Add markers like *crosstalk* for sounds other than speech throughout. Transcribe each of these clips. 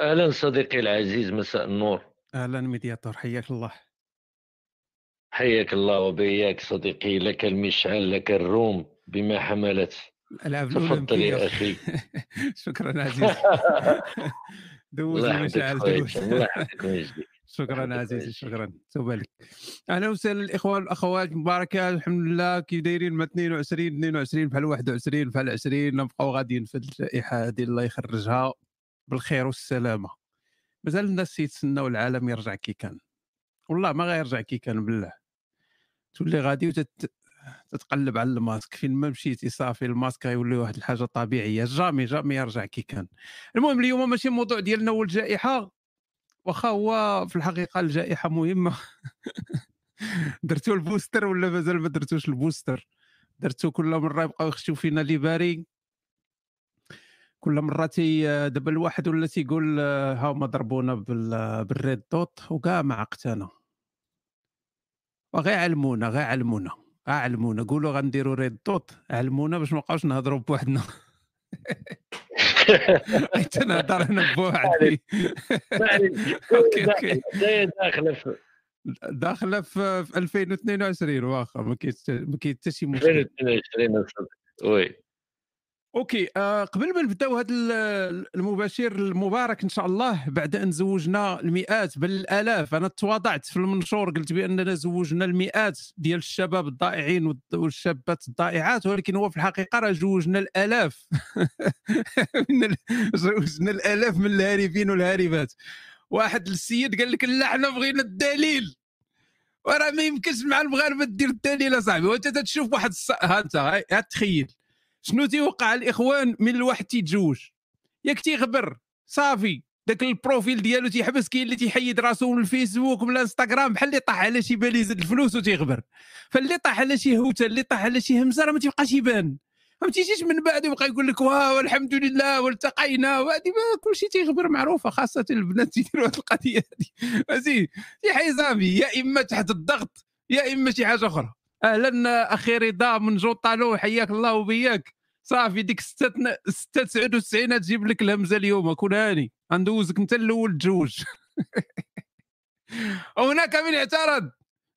أهلا صديقي العزيز مساء النور أهلا مدير حياك الله *laughs* حياك الله وبإياك صديقي لك المشعل لك الروم بما حملت الألعاب تفضل الأولمبية يا أخي شكرا *laughs* *laughs* عزيزي دوز الله يحفظك خويا المشعل دوز هشام الله يحفظك ويجزيك شكرا يحفظك عزيزي ويجزيك شكرا توب عليك اهلا وسهلا الاخوان والاخوات مباركه الحمد لله كي دايرين ما 22 22 بحال 21 بحال 20 نبقاو غاديين في الجائحه هذه الله يخرجها بالخير والسلامه مازال الناس يتسناو العالم يرجع كي كان والله ما غيرجع كي كان بالله تولي غادي وتتقلب على الماسك فين ما مشيتي صافي الماسك غيولي واحد الحاجه طبيعيه جامي جامي يرجع كي كان المهم اليوم ماشي موضوع ديالنا هو الجائحه واخا هو في الحقيقه الجائحه مهمه *laughs* درتو البوستر ولا مازال ما درتوش البوستر درتو كل مره يبقاو يخشيو فينا لي باري كل مره تي دابا الواحد ولا تيقول آه، ها هما ضربونا بال- بالريد دوت وكاع ما عقت انا وغير علمونا غير علمونا غير علمونا قولوا غنديروا ريد دوت علمونا باش ما نبقاوش نهضروا بوحدنا *laughs* حيت نهضر انا بوحدي ما عليك *laughs* اوكي اوكي داير داخله في داخله في في 2022 واخا ما كاين حتى- ما كاين حتى شي مشكل 2022 صديقي. وي اوكي آه قبل ما نبداو هذا المباشر المبارك ان شاء الله بعد ان زوجنا المئات بل الالاف انا تواضعت في المنشور قلت باننا زوجنا المئات ديال الشباب الضائعين والد- والشابات الضائعات ولكن هو في الحقيقه راه زوجنا الالاف *laughs* من ال- زوجنا الالاف من الهاربين والهاربات واحد السيد قال لك لا حنا بغينا الدليل وراه ما يمكنش مع المغاربه دير الدليل اصاحبي وانت تتشوف واحد الص... ها انت هاي- ها تخيل شنو تيوقع الاخوان من الواحد تيتزوج ياك تيغبر صافي داك البروفيل ديالو تيحبس كاين اللي تيحيد راسو من الفيسبوك ولا انستغرام بحال اللي طاح على شي باليزه الفلوس وتيغبر فاللي طاح على شي هوته اللي طاح على شي همزه راه ما تيبقاش يبان ما تيجيش من بعد يبقى يقول لك واه والحمد لله والتقينا وهادي ما- كلشي تيغبر معروفه خاصه البنات تيديروا هاد القضيه هادي ماشي شي حيزامي يا اما تحت الضغط يا اما شي حاجه اخرى اهلا اخي رضا من جوطالو حياك الله وبياك صافي ديك 96 تجيب لك الهمزه اليوم كون هاني غندوزك انت الاول تزوج *laughs* هناك من اعترض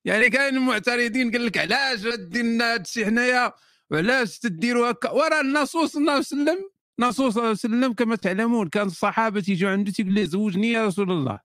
يعني كاين معترضين قال لك علاش غادي لنا هادشي حنايا وعلاش تديروا هكا وراه النصوص الله وسلم النصوص صلى الله عليه وسلم كما تعلمون كان الصحابه تيجوا عنده تيقول لي زوجني يا رسول الله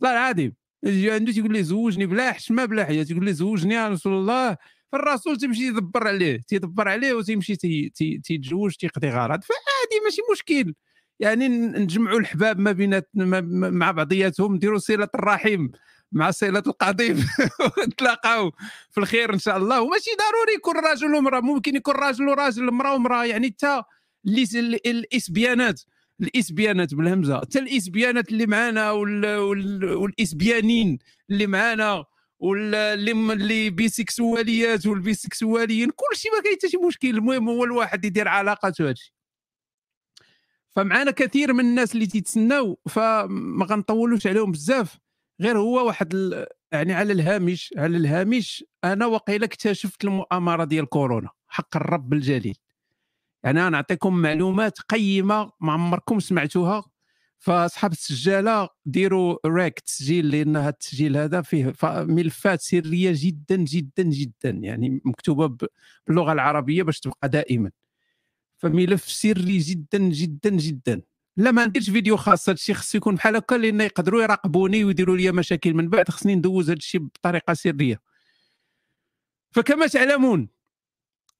والله العظيم يجي عنده تيقول لي زوجني بلا حشمه بلا حياه تيقول لي زوجني يا رسول الله فالرسول تيمشي يدبر عليه تيدبر عليه وتيمشي تي- تي- تيتزوج تيقضي غرض فعادي ماشي مشكل يعني ن- نجمعوا الحباب ما بينات ما- ما- مع بعضياتهم نديروا صله الرحم مع صله القضيب *laughs* ونتلاقاو في الخير ان شاء الله وماشي ضروري يكون راجل ومراه ممكن يكون راجل وراجل امراه ومراه يعني حتى اللي- ال- الاسبيانات الاسبيانات بالهمزه حتى الاسبيانات اللي معانا وال... وال... والاسبيانين اللي معانا واللي اللي بيسكسواليات والبيسكسواليين كلشي ما كاين حتى شي مشكل المهم هو الواحد يدير علاقته هادشي فمعانا كثير من الناس اللي تيتسناو فما غنطولوش عليهم بزاف غير هو واحد ال... يعني على الهامش على الهامش انا وقيلا اكتشفت المؤامره ديال كورونا حق الرب الجليل يعني انا نعطيكم معلومات قيمه ما عمركم سمعتوها فاصحاب السجاله ديروا راك تسجيل لان هذا التسجيل هذا فيه ف- ملفات سريه جدا جدا جدا يعني مكتوبه ب- باللغه العربيه باش تبقى دائما فملف سري جدا جدا جدا لا ما نديرش فيديو خاص هادشي خصو يكون بحال هكا لان يقدروا يراقبوني ويديروا لي مشاكل من بعد خصني ندوز هادشي بطريقه سريه فكما تعلمون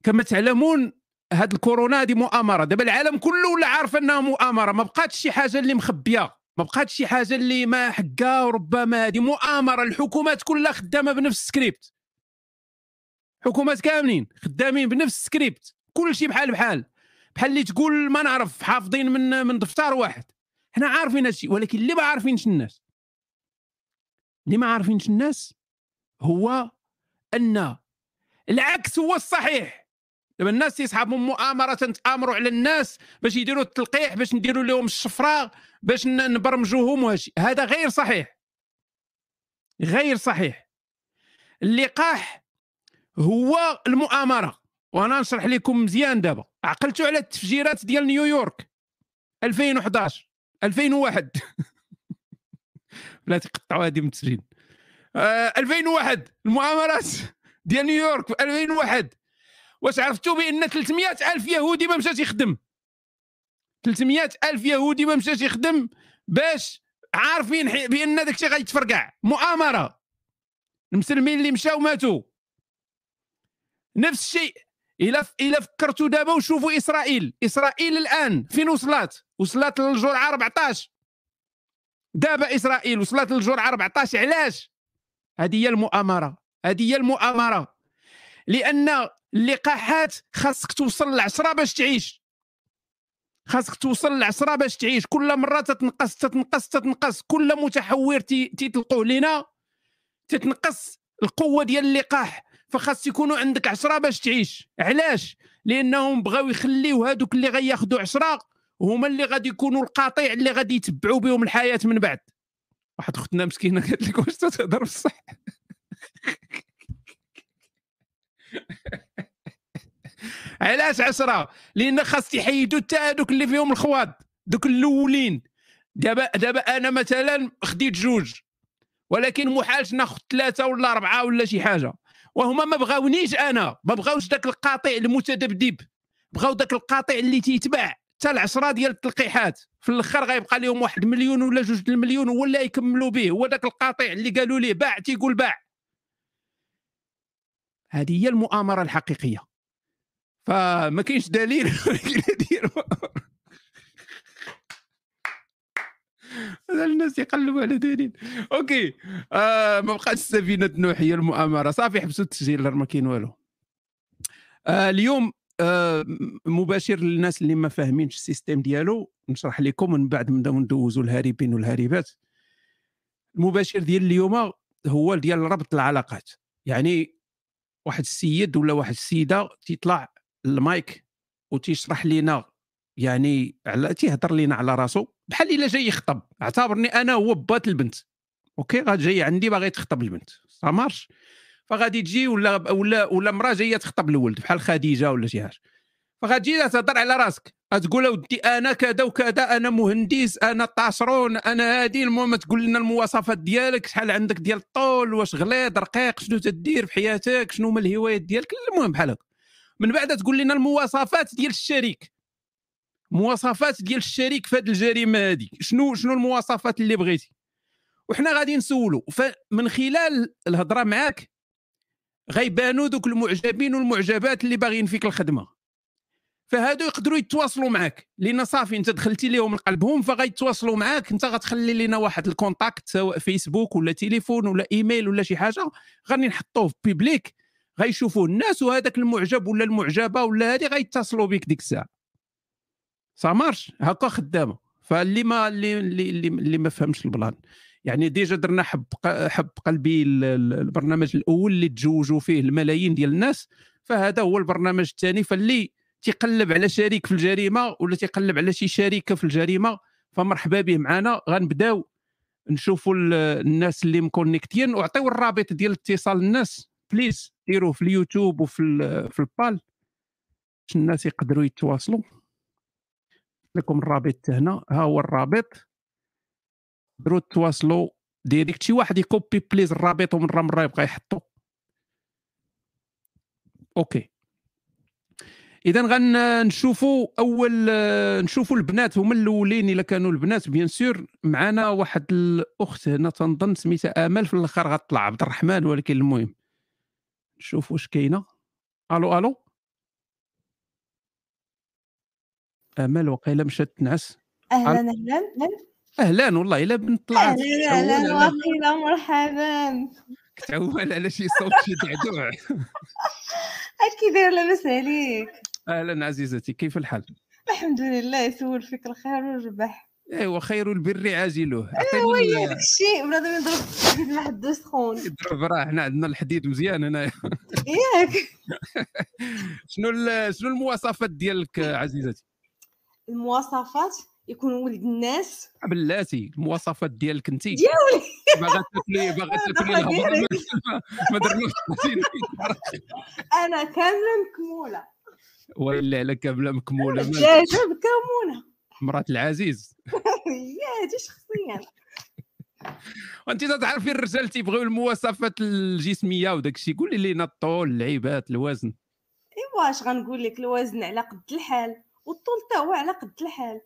كما تعلمون هاد الكورونا هادي مؤامره دابا العالم كله ولا عارف انها مؤامره ما بقاتش شي حاجه اللي مخبيه ما بقاتش شي حاجه اللي ما حقا وربما هذه مؤامره الحكومات كلها خدامه بنفس السكريبت حكومات كاملين خدامين بنفس السكريبت كل شيء بحال بحال بحال اللي تقول ما نعرف حافظين من من دفتر واحد حنا عارفين هادشي ولكن اللي ما عارفينش الناس اللي ما عارفينش الناس هو ان العكس هو الصحيح دابا الناس تيصحابهم مؤامره تنتامروا على الناس باش يديروا التلقيح باش نديروا لهم الشفراء باش ن- نبرمجوهم وهادشي هذا غير صحيح غير صحيح اللقاح هو المؤامره وانا نشرح لكم مزيان دابا عقلتوا على التفجيرات ديال نيويورك 2011 2001 لا تقطعوا هذه من التسجيل *laughs* آه 2001 المؤامرات ديال نيويورك في 2001 واش عرفتوا بان 300 الف يهودي ما مشاش يخدم 300 الف يهودي ما مشاش يخدم باش عارفين حي- بان داك الشيء غيتفرقع مؤامره المسلمين اللي مشاو ماتوا نفس الشيء الا ف... الا فكرتوا دابا وشوفوا اسرائيل اسرائيل الان فين وصلت وصلت للجرعه 14 دابا اسرائيل وصلت للجرعه 14 علاش هذه هي المؤامره هذه هي المؤامره لان اللقاحات خاصك توصل للعشرة باش تعيش خاصك توصل للعشرة باش تعيش كل مره تتنقص تتنقص تتنقص كل متحور تي- تيطلقوه لنا تتنقص القوه ديال اللقاح فخاص يكونوا عندك عشرة باش تعيش علاش لانهم بغاو يخليو هادوك اللي غياخذوا عشرة هما اللي غادي يكونوا القطيع اللي غادي يتبعوا بهم الحياه من بعد واحد اختنا مسكينه قالت لك واش تهضر بصح علاش عشرة لان خاص يحيدوا حتى هادوك اللي فيهم الخواض دوك الاولين دابا دابا انا مثلا خديت جوج ولكن محالش ناخذ ثلاثه ولا اربعه ولا شي حاجه وهما ما بغاونيش انا ما بغاوش داك القاطع المتذبذب بغاو داك القاطع اللي تيتباع حتى العشره ديال التلقيحات في الاخر غيبقى لهم واحد مليون ولا جوج د المليون هو اللي يكملوا به هو داك القاطع اللي قالوا ليه باع تيقول باع هذه هي المؤامره الحقيقيه فما كاينش دليل *laughs* ولكن هذه هي المؤامرة. هذا الناس يقلبوا على دليل اوكي آه ما بقاش السفينه نوح هي المؤامره صافي حبسوا التسجيل راه ما كاين والو آه اليوم آه م- مباشر للناس اللي ما فاهمينش السيستم ديالو نشرح لكم من بعد نبداو ندوزوا الهاربين والهاربات المباشر ديال اليوم هو ديال ربط العلاقات يعني واحد السيد ولا واحد السيده تيطلع المايك وتيشرح لينا يعني على تيهضر لينا على راسو بحال الا جاي يخطب اعتبرني انا هو بات البنت اوكي غا جاي عندي باغي تخطب البنت ما مارش فغادي تجي ولا ولا ولا مراه جايه تخطب الولد بحال خديجه ولا شي حاجه فغتجي تهضر على راسك تقول ودي انا كذا وكذا انا مهندس انا طاشرون انا هادي المهم تقول لنا المواصفات ديالك شحال عندك ديال الطول واش غليظ رقيق شنو تدير في حياتك شنو هما الهوايات ديالك المهم بحال هكا من بعد تقول لنا المواصفات ديال الشريك مواصفات ديال الشريك في هذه الجريمه هذه شنو شنو المواصفات اللي بغيتي وحنا غادي نسولو فمن خلال الهضره معاك غيبانوا دوك المعجبين والمعجبات اللي باغيين فيك الخدمه فهادو يقدروا يتواصلوا معاك لان صافي انت دخلتي ليهم لقلبهم فغيتواصلوا معاك انت غتخلي لنا واحد الكونتاكت سواء فيسبوك ولا تليفون ولا ايميل ولا شي حاجه غادي نحطوه في بيبليك غيشوفوه الناس وهذاك المعجب ولا المعجبه ولا هذه غيتصلوا بك ديك الساعه سا مارش هكا خدامه فاللي ما اللي اللي اللي, اللي ما فهمش البلان يعني ديجا درنا حب ق- حب قلبي ال- ال- البرنامج الاول اللي تزوجوا فيه الملايين ديال الناس فهذا هو البرنامج الثاني فاللي تيقلب على شريك في الجريمه ولا تيقلب على شي شريكه في الجريمه فمرحبا به معنا غنبداو نشوفوا ال- الناس اللي مكونكتين وعطيو الرابط ديال اتصال الناس بليز ديروه في اليوتيوب وفي ال- في البال باش الناس يقدروا يتواصلوا لكم الرابط هنا ها هو الرابط قدروا تواصلوا ديريكت شي واحد يكوبي بليز الرابط ومره مره يبقى يحطو اوكي اذا غنشوفوا اول آه، نشوفوا البنات هما الاولين الا كانوا البنات بيان سور معنا واحد الاخت هنا تنظن سميتها امل في الاخر غتطلع عبد الرحمن ولكن المهم نشوف واش كاينه الو الو امل وقيله مشات تنعس اهلا اهلا اهلا والله الا بنت طلعت اهلا أهلاً. اهلا وسهلا مرحبا كتعول على شي صوت شي *laughs* دعدوع كي داير لاباس عليك اهلا عزيزتي كيف الحال الحمد لله يسول فيك الخير والربح ايوا خير البر عاجله عطيني ويلي ال- داكشي بنادم يضرب في واحد الدوس سخون يضرب راه حنا عندنا الحديد مزيان هنايا ياك *laughs* شنو ال- شنو المواصفات ديالك عزيزتي المواصفات يكون ولد الناس بلاتي المواصفات ديالك انت ديالي باغا تاكلي *laughs* باغا تاكلي دخل الهضره ديالك. ما- ما درنوش *laughs* انا كامله مكموله ويلي على كامله مكموله مالك؟ *laughs* الدجاجه مكمونه مرات العزيز *laughs* يا هادي شخصيا وانت تعرفي الرجال تيبغيو المواصفات الجسميه وداك الشيء قولي لينا الطول اللعيبات الوزن ايوا اش إيه، غنقول لك الوزن على قد الحال والطول تا هو على قد الحال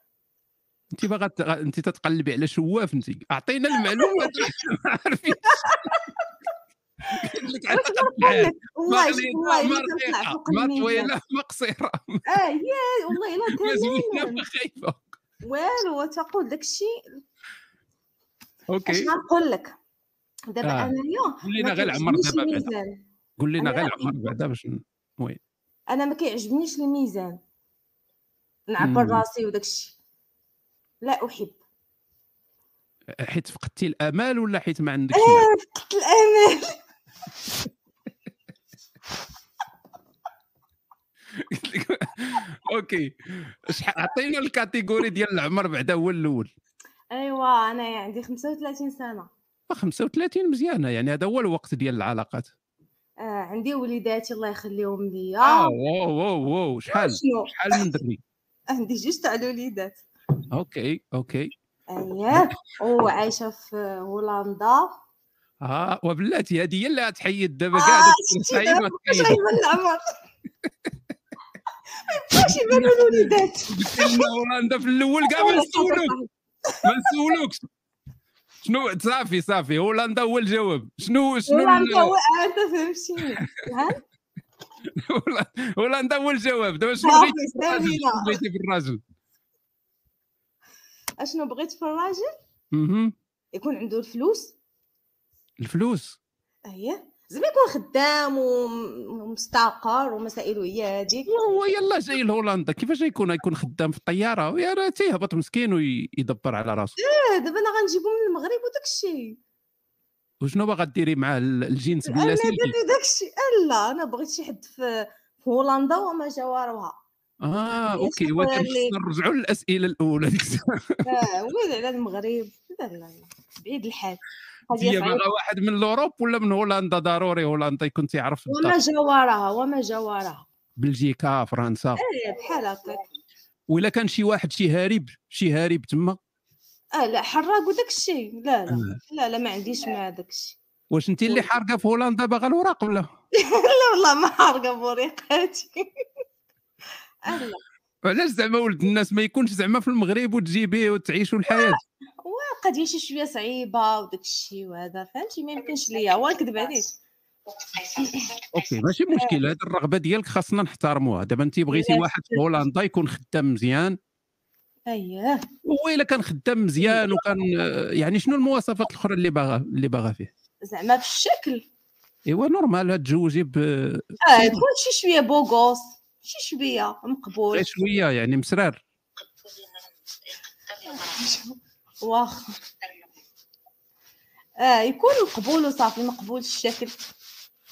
انت باغا ت- انت تتقلبي على شواف انت اعطينا المعلومات ما عارفين قال لك على واش قد نقول الحال. لك *laughs* والله ما شوف غليظة، والله الا كنطلع فوق ما رقيقة، ما الميزان طويله ما قصيره اه يا والله الا ما زوينه تماما ما خايفه والو تقول داكشي اش اوكي غنقول لك دابا آه. انايا ولينا ما غير العمر كيعجبنيش دابا بعدا الميزان. قول لنا أنا غير رأيي- العمر بعدا باش ن- انا ما كيعجبنيش الميزان نعبر مم. راسي وداكشي لا احب حيت فقدتي الامال ولا حيت ما عندكش مال؟ آه، فقدت الامل *laughs* قلت لك- اوكي شحال عطينا الكاتيجوري ديال العمر بعدا هو الاول ايوا انا عندي 35 سنه آه، 35 مزيانه يعني هذا هو الوقت ديال العلاقات آه عندي وليداتي الله يخليهم ليا اه واو واو واو شحال آه. شنو شحال من دري عندي جوج تاع الوليدات آه، اوكي اوكي ياك وعايشه في هولندا اه وبلاتي هذه هي اللي غتحيد دابا آه، كاع شتي دابا باش غيبان العمر باش يبانوا *laughs* الوليدات هولندا في *laughs* الاول كاع ما نسولوك ما نسولوكش شنو صافي صافي هولندا هو الجواب *laughs* شنو شنو والله ال- انت هو انت فهمتيني ها هولندا- هولندا هو الجواب دابا شنو صافي، بغيتي في الراجل؟ سامي لا. شنو بغيتي في الراجل اشنو بغيت في الراجل مهم. يكون عنده الفلوس الفلوس اييه زعما يكون خدام وم- ومستقر ومسائله هي هذيك هو يلا جاي لهولندا كيفاش يكون يكون خدام في الطياره يا راه تيهبط مسكين ويدبر على راسو إيه، دابا انا غنجيبو من المغرب وداك الشيء وشنو باغا ديري معاه ال- الجنس بلا انا سلكي درت داك الشيء لا انا بغيت شي حد في في هولندا وما *laughs* جوارها اه اوكي شنو هو قال كان لي؟ نرجعوا للاسئله الاولى ديك الساعة. آه، وين على المغرب لا لا لا بعيد الحال قضية هي صعيبة. باغا واحد من الاوروب ولا من هولندا ضروري هولندا يكون تيعرف وما الدار. جوارها وما جوارها بلجيكا فرنسا آه، بحال هكاك ولا كان شي واحد شي هارب شي هارب تما اه لا حراق وداك الشيء لا لا آه. لا لا ما عنديش مع داك الشيء *laughs* واش انت اللي حارقه في هولندا باغا الوراق ولا لا والله ما حارقه بوريقاتي *laughs* آه، لا علاش زعما ولد الناس ما يكونش زعما في المغرب وتجيبيه وتعيشوا الحياه القضيه شي شويه صعيبه وداك الشيء وهذا فهمتي ما يمكنش ليا هو نكذب عليك *laughs* اوكي ماشي مشكل هذه الرغبه ديالك خاصنا نحترموها دابا انت بغيتي لا، واحد في هولندا يكون خدام مزيان اييه هو الا كان خدام مزيان وكان آه، يعني شنو المواصفات الاخرى اللي باغا اللي باغا فيه زعما في الشكل ايوا نورمال تزوجي إيه، ب- اه تكون شي شويه بوغوس شي شويه مقبول غير شويه يعني مسرار واخا اه يكون مقبول وصافي مقبول الشكل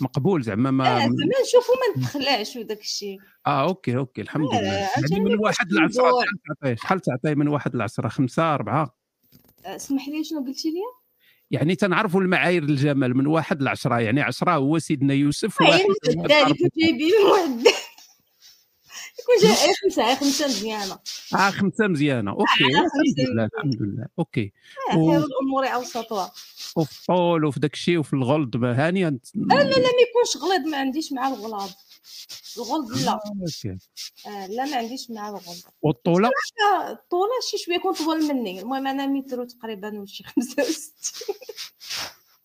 مقبول زعما اه ما زعما نشوفو ما نتخلعش وداك الشيء اه اوكي اوكي الحمد لله آه، يعني عجبني من واحد لعشره الجوع. شحال تعطيه شحال تعطيه من واحد لعشره خمسه اربعه آه، اسمح لي شنو قلتي لي يعني تنعرفوا المعايير الجمال من واحد لعشره يعني عشره هو سيدنا يوسف واحد عين هو الدال الأرض. أيوة، يكون جايبين واحد *laughs* يكون جاي آه، خمسه خمسه مزيانه اه خمسه مزيانه اوكي آه، الحمد خمسة لله الحمد لله اوكي آه، و- خير الامور اوسطها وفي الطول وفي داك الشيء وفي الغلظ ما هانيه نت- آه، لا لا لا ما يكونش غليظ ما عنديش مع الغلاظ الغلظ لا أوكي. آه، لا ما عنديش مع الغلظ والطوله آه، الطولة شي شويه يكون طول مني المهم انا مترو تقريبا وشي 65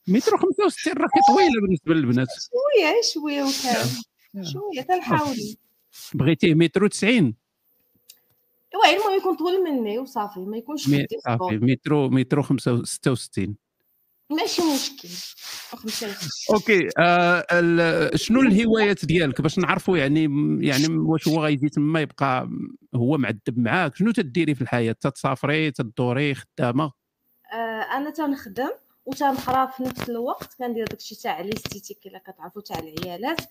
متر 65 راكي طويله بالنسبه للبنات شويه شويه نعم. وكام شويه تنحاول بغيتيه متر 90 ايوا المهم يكون طول مني وصافي ما يكونش نعم. مي- آه، قدي صافي صغير. متر متر 66 ماشي مشكل 65 اوكي آه ال- شنو الهوايات ديالك باش نعرفوا يعني يعني واش هو غيجي تما يبقى هو معذب معاك شنو تديري في الحياه تتسافري تدوري خدامه آه، انا تنخدم وتنقرا في نفس الوقت كندير داكشي تاع الاستيتيك الا كتعرفوا تاع العيالات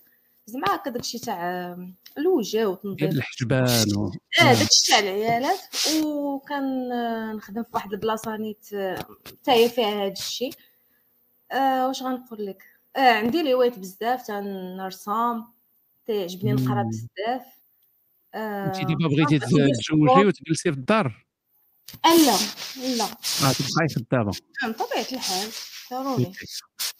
زعما هكا داكشي تاع آه، آم، الوجه ديال وتنظيف الحجبان و... اه داكشي تاع العيالات وكنخدم في واحد البلاصه نيت حتى هي فيها هاد الشيء آه واش غنقول لك آه عندي الهوايات بزاف تنرسم تيعجبني نقرا مم. بزاف آه انت دابا بغيتي آه، تزوجي وتجلسي في الدار آه، لا لا اه تبقاي خدامه عن طبيعه الحال ضروري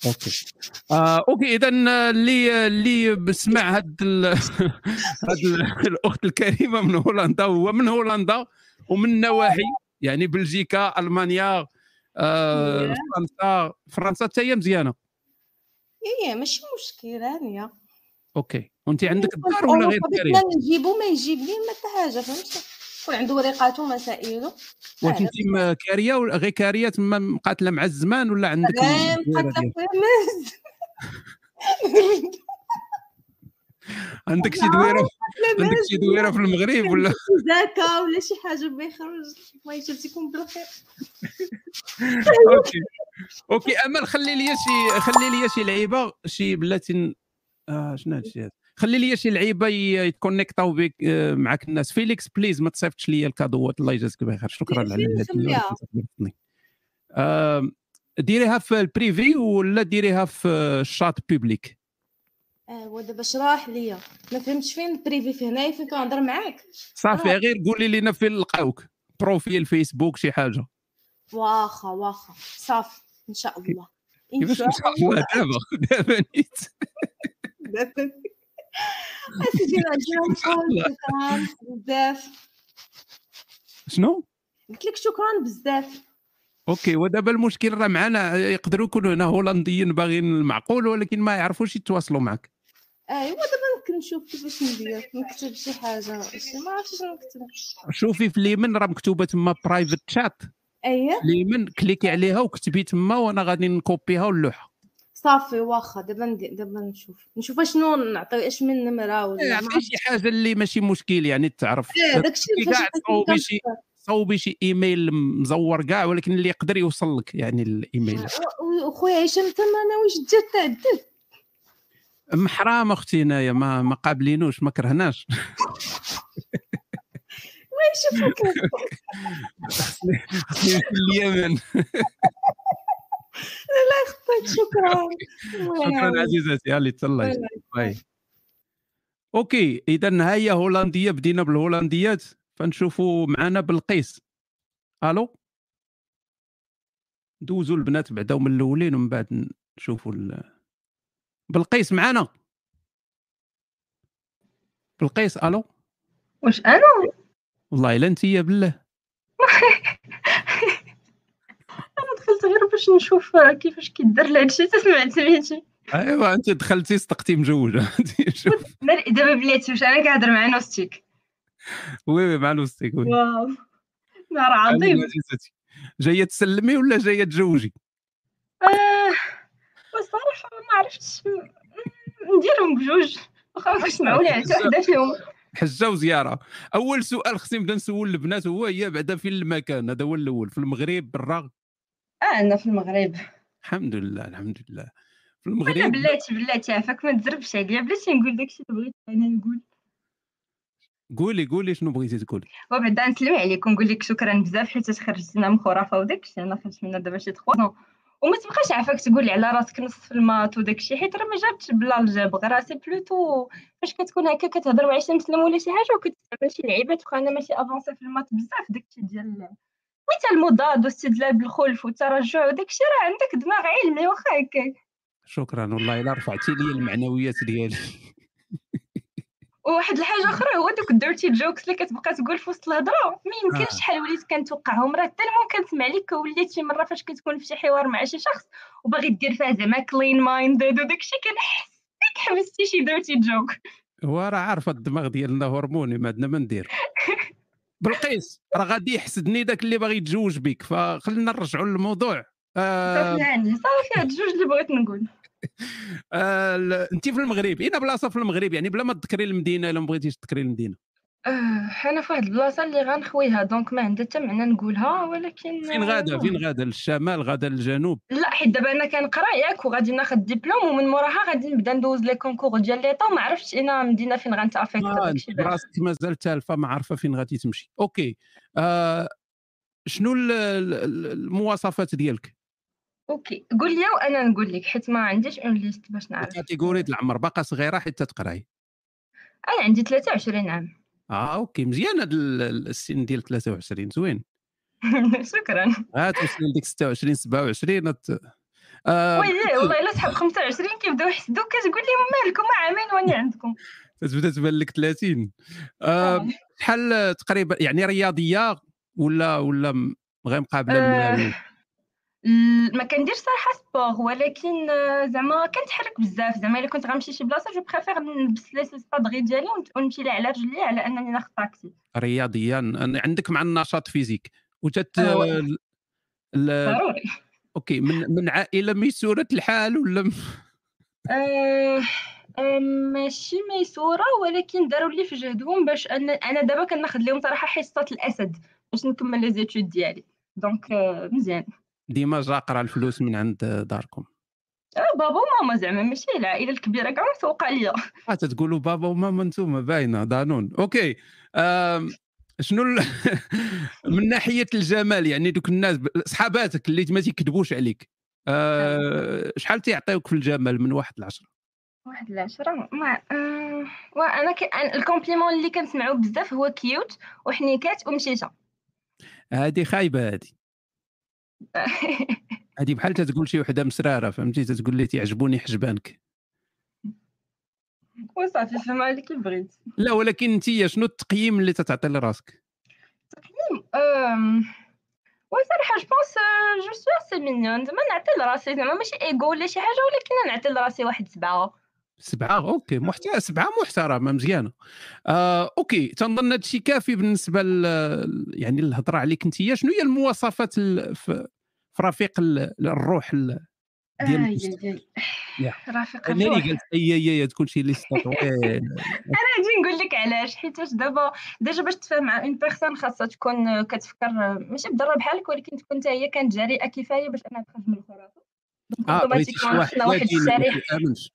اوكي آه، اوكي اذا اللي اللي بسمع هاد ال... *laughs* هاد ال- الاخت الكريمه من هولندا هو من هولندا ومن نواحي يعني بلجيكا المانيا آه، Yeah. فرنسا فرنسا حتى هي مزيانه ايه ماشي مشكل هانيه اوكي وانت عندك الدار ولا غير الكريم ما نجيبو ما يجيب ليه ما حتى حاجه فهمتي يكون عنده ريقاته ومسائله وانت انت م- كاريه ولا غير كاريه تما مقاتله مع الزمان ولا عندك آه، الدايرة مقاتلة ديالك؟ في المز. عندك شي لا، دويره مقاتلة عندك مز شي دويره في المغرب ولا *laughs* زاكا ولا شي حاجه ما يخرج ما يجبتكم بالخير *laughs* *laughs* اوكي اوكي امل خلي لي شي خلي لي شي لعيبه شي بلاتي اه شنو هادشي هذا خلي لي شي لعيبه ي- يتكونيكتاو بك آه، معك الناس فيليكس بليز ما تصيفطش لي الكادوات الله يجازك بخير شكرا على فين هاد ال- نسميها؟ خليتني. آم، ديريها في البريفي ولا ديريها في الشات بيبليك ايوا دابا شرح ليا ما فهمتش فين البريفي في هنايا فين كنهضر معاك صافي آه. غير قولي لنا فين لقاوك بروفيل فيسبوك شي حاجه واخا واخا صافي ان شاء الله ان كيفاش شاء نشرح لها دابا دابا نيت *laughs* الله اسيدي إن شاء شكرا الله. *laughs* بزاف شنو قلت لك شكرا بزاف اوكي ودابا المشكل راه معنا يقدروا يكونوا هنا هولنديين باغيين المعقول ولكن ما يعرفوش يتواصلوا معك ايوا آه، دابا نشوف كيفاش ندير نكتب شي حاجه شي- ما عرفتش شنو نكتب شوفي في اليمين راه مكتوبه تما برايفت شات اييه اليمين كليكي عليها وكتبي تما وانا غادي نكوبيها واللوحه صافي واخا دابا ندي- دابا نشوف نشوف اشنو نعطي اش من نمره ولا ما يعني شي حاجه اللي ماشي مشكل يعني تعرف إيه، داكشي كي فاش قاعد كنت صوبي شي- كنفكر. صوبي شي ايميل مزور كاع ولكن اللي يقدر يوصل لك يعني الايميل و- وخويا هشام تما انا واش جات تعدل محرام اختي هنايا ما ما قابلينوش ما *laughs* كرهناش *laughs* واش *laughs* فكر خصني نمشي لليمن خطيت شكرا الله شكرا يعاونك. عزيزتي اللي الله تهلاي يعاونك. باي اوكي اذا طيب. هيا هولنديه بدينا بالهولنديات فنشوفوا معنا بلقيس الو دوزوا البنات بعداو من الاولين ومن بعد نشوفوا ال... بلقيس معنا بلقيس الو واش انا والله الا انت يا بالله *laughs* انا دخلت غير باش نشوف كيفاش كيدار لهادشي تسمع سميتي ايوا انت أيوة، دخلتي صدقتي مزوجه *laughs* شوف *laughs* مال- دابا بلاتي واش انا كنهضر مع نوستيك وي وي مع نوستيك وي واو نهار عظيم عزيزتي. جايه تسلمي ولا جايه تزوجي آه، والصراحه ما عرفتش م- نديرهم بجوج واخا ما كنتش معولة على حتى وحده فيهم حجه وزياره اول سؤال خصني نبدا نسول البنات هو هي بعدا فين المكان هذا هو الاول في المغرب برا اه انا في المغرب الحمد لله الحمد لله في انا المغرب بلاتي بلاتي عافاك ما تزربش عليا بلاتي نقول داكشي اللي بغيت انا نقول قولي قولي شنو بغيتي تقولي وبعدا نسلم عليك ونقول لك شكرا بزاف حيت خرجتينا من خرافه وداكشي انا خرجت منها دابا شي 3 وما تبقاش عافاك تقول لي على راسك نص في المات وداكشي حيت راه ما جابتش بالالجبر راه سي بلوتو فاش كتكون هكا كتهضر مع شي مسلم ولا شي حاجه وكتستعمل شي لعيبه تبقى انا ماشي افونسي في المات بزاف داكشي ديال حتى المضاد واستدلال بالخلف والترجع وداكشي راه عندك دماغ علمي واخا هكاك شكرا والله الا رفعتي لي المعنويات ديالي وواحد الحاجه اخرى هو دوك الديرتي جوكس اللي كتبقى تقول في وسط الهضره ما يمكنش آه. شحال وليت كنتوقعهم راه تالمون كنسمع لك وليت شي مره فاش كتكون في شي حوار مع شي شخص وباغي دير فيها زعما كلين مايندد وداكشي كنحس ديك حبستي شي ديرتي جوك هو راه عارفه الدماغ ديالنا هرموني ما عندنا ما ندير بلقيس راه غادي يحسدني داك اللي باغي يتزوج بك فخلينا نرجعوا للموضوع *laughs* آه صافي يعني صافي هاد الجوج اللي بغيت نقول آه ال- انت في المغرب اين بلاصه في المغرب يعني بلا ما تذكري المدينه الا ما بغيتيش تذكري المدينه آه، انا في واحد البلاصه اللي غنخويها دونك ما عندها حتى معنى نقولها ولكن فين غادا آه، فين غادا للشمال غادا للجنوب لا حيت دابا انا كنقرا ياك وغادي ناخد ديبلوم ومن موراها غادي نبدا ندوز لي كونكور ديال لي طون ما عرفتش انا مدينه فين غنتافيكت آه، داكشي انت براسك مازال تالفه ما عارفه فين غادي تمشي اوكي آه شنو ال- ال- ال- المواصفات ديالك اوكي قول لي وانا نقول لك حيت ما عنديش اون ليست باش نعرف الكاتيجوري د العمر باقا صغيره حيت تقراي آه، انا عندي 23 عام *laughs* اه اوكي مزيان هذا ال- ال- السن ديال 23 زوين شكرا عاد توصل لديك 26 27 أت- آه، وي والله الا سحب 25 كيبداو يحسدوك كتقول لهم مالكم عامين واني عندكم تبدا تبان لك 30 آه، شحال تقريبا يعني رياضيه ولا ولا م- غير مقابله آه. المال؟ ال- ما كنديرش صراحه سبور ولكن آه، زعما كنتحرك بزاف زعما الا كنت غنمشي شي بلاصه جو بريفير نلبس لي سبادغي ديالي ونت- ونمشي لها على رجلي على انني ناخذ طاكسي رياضيا أن- عندك مع النشاط فيزيك وتت آه. ال- ال- ضروري اوكي من من عائله ميسوره الحال ولا م- آه، آه، ماشي ميسوره ولكن داروا لي في جهدهم باش أن انا دابا كناخذ لهم صراحه حصه الاسد باش نكمل لي زيتود ديالي دونك آه، مزيان ديما جا قرا الفلوس من عند داركم آه، بابا وماما زعما ماشي العائله الكبيره كاع مسوقه ليا آه تتقولوا بابا وماما نتوما باينه دانون اوكي آم، شنو ال... *laughs* من ناحيه الجمال يعني دوك الناس ب- صحاباتك اللي ما تيكذبوش عليك آه، شحال تيعطيوك في الجمال من واحد لعشرة واحد العشرة ما آه، وانا ك... أنا- الكومبليمون اللي كنسمعو بزاف هو كيوت وحنيكات ومشيشة هذه خايبه هذه هذه بحال تتقول شي وحده مسراره فهمتي تتقول لي تيعجبوني حجبانك *laughs* وصافي فما اللي كيبغيت لا ولكن انت شنو التقييم اللي تتعطي لراسك أم، وصراحة جو بونس جو سو اسي مينيون زعما نعطي لراسي زعما ماشي ايغو ولا شي حاجة ولكن نعطي لراسي واحد سبعة سبعة اوكي محترم سبعة محترمة مزيانة آه، اوكي تنظن هذا الشيء كافي بالنسبة ل... يعني الهضرة عليك انت شنو هي المواصفات ال... في... في رفيق ال... الروح ال... ديال آه، آي، الإنسان. آي، آي. يا. رفيق انا اللي الروح. قلت اي اي اي تكون شي ليست طويل. انا غادي نقول لك علاش حيتاش دابا ديجا باش تفهم مع اون بيرسون خاصها تكون آه، كتفكر آه، ماشي بضرة بحالك ولكن تكون حتى هي كانت جريئه كفايه باش انها تخرج من الخرافه دونك اه بغيتي أوتوماتيكمون شي واحد خصنا واحد واجينا ما الشريحة. تيآمنش.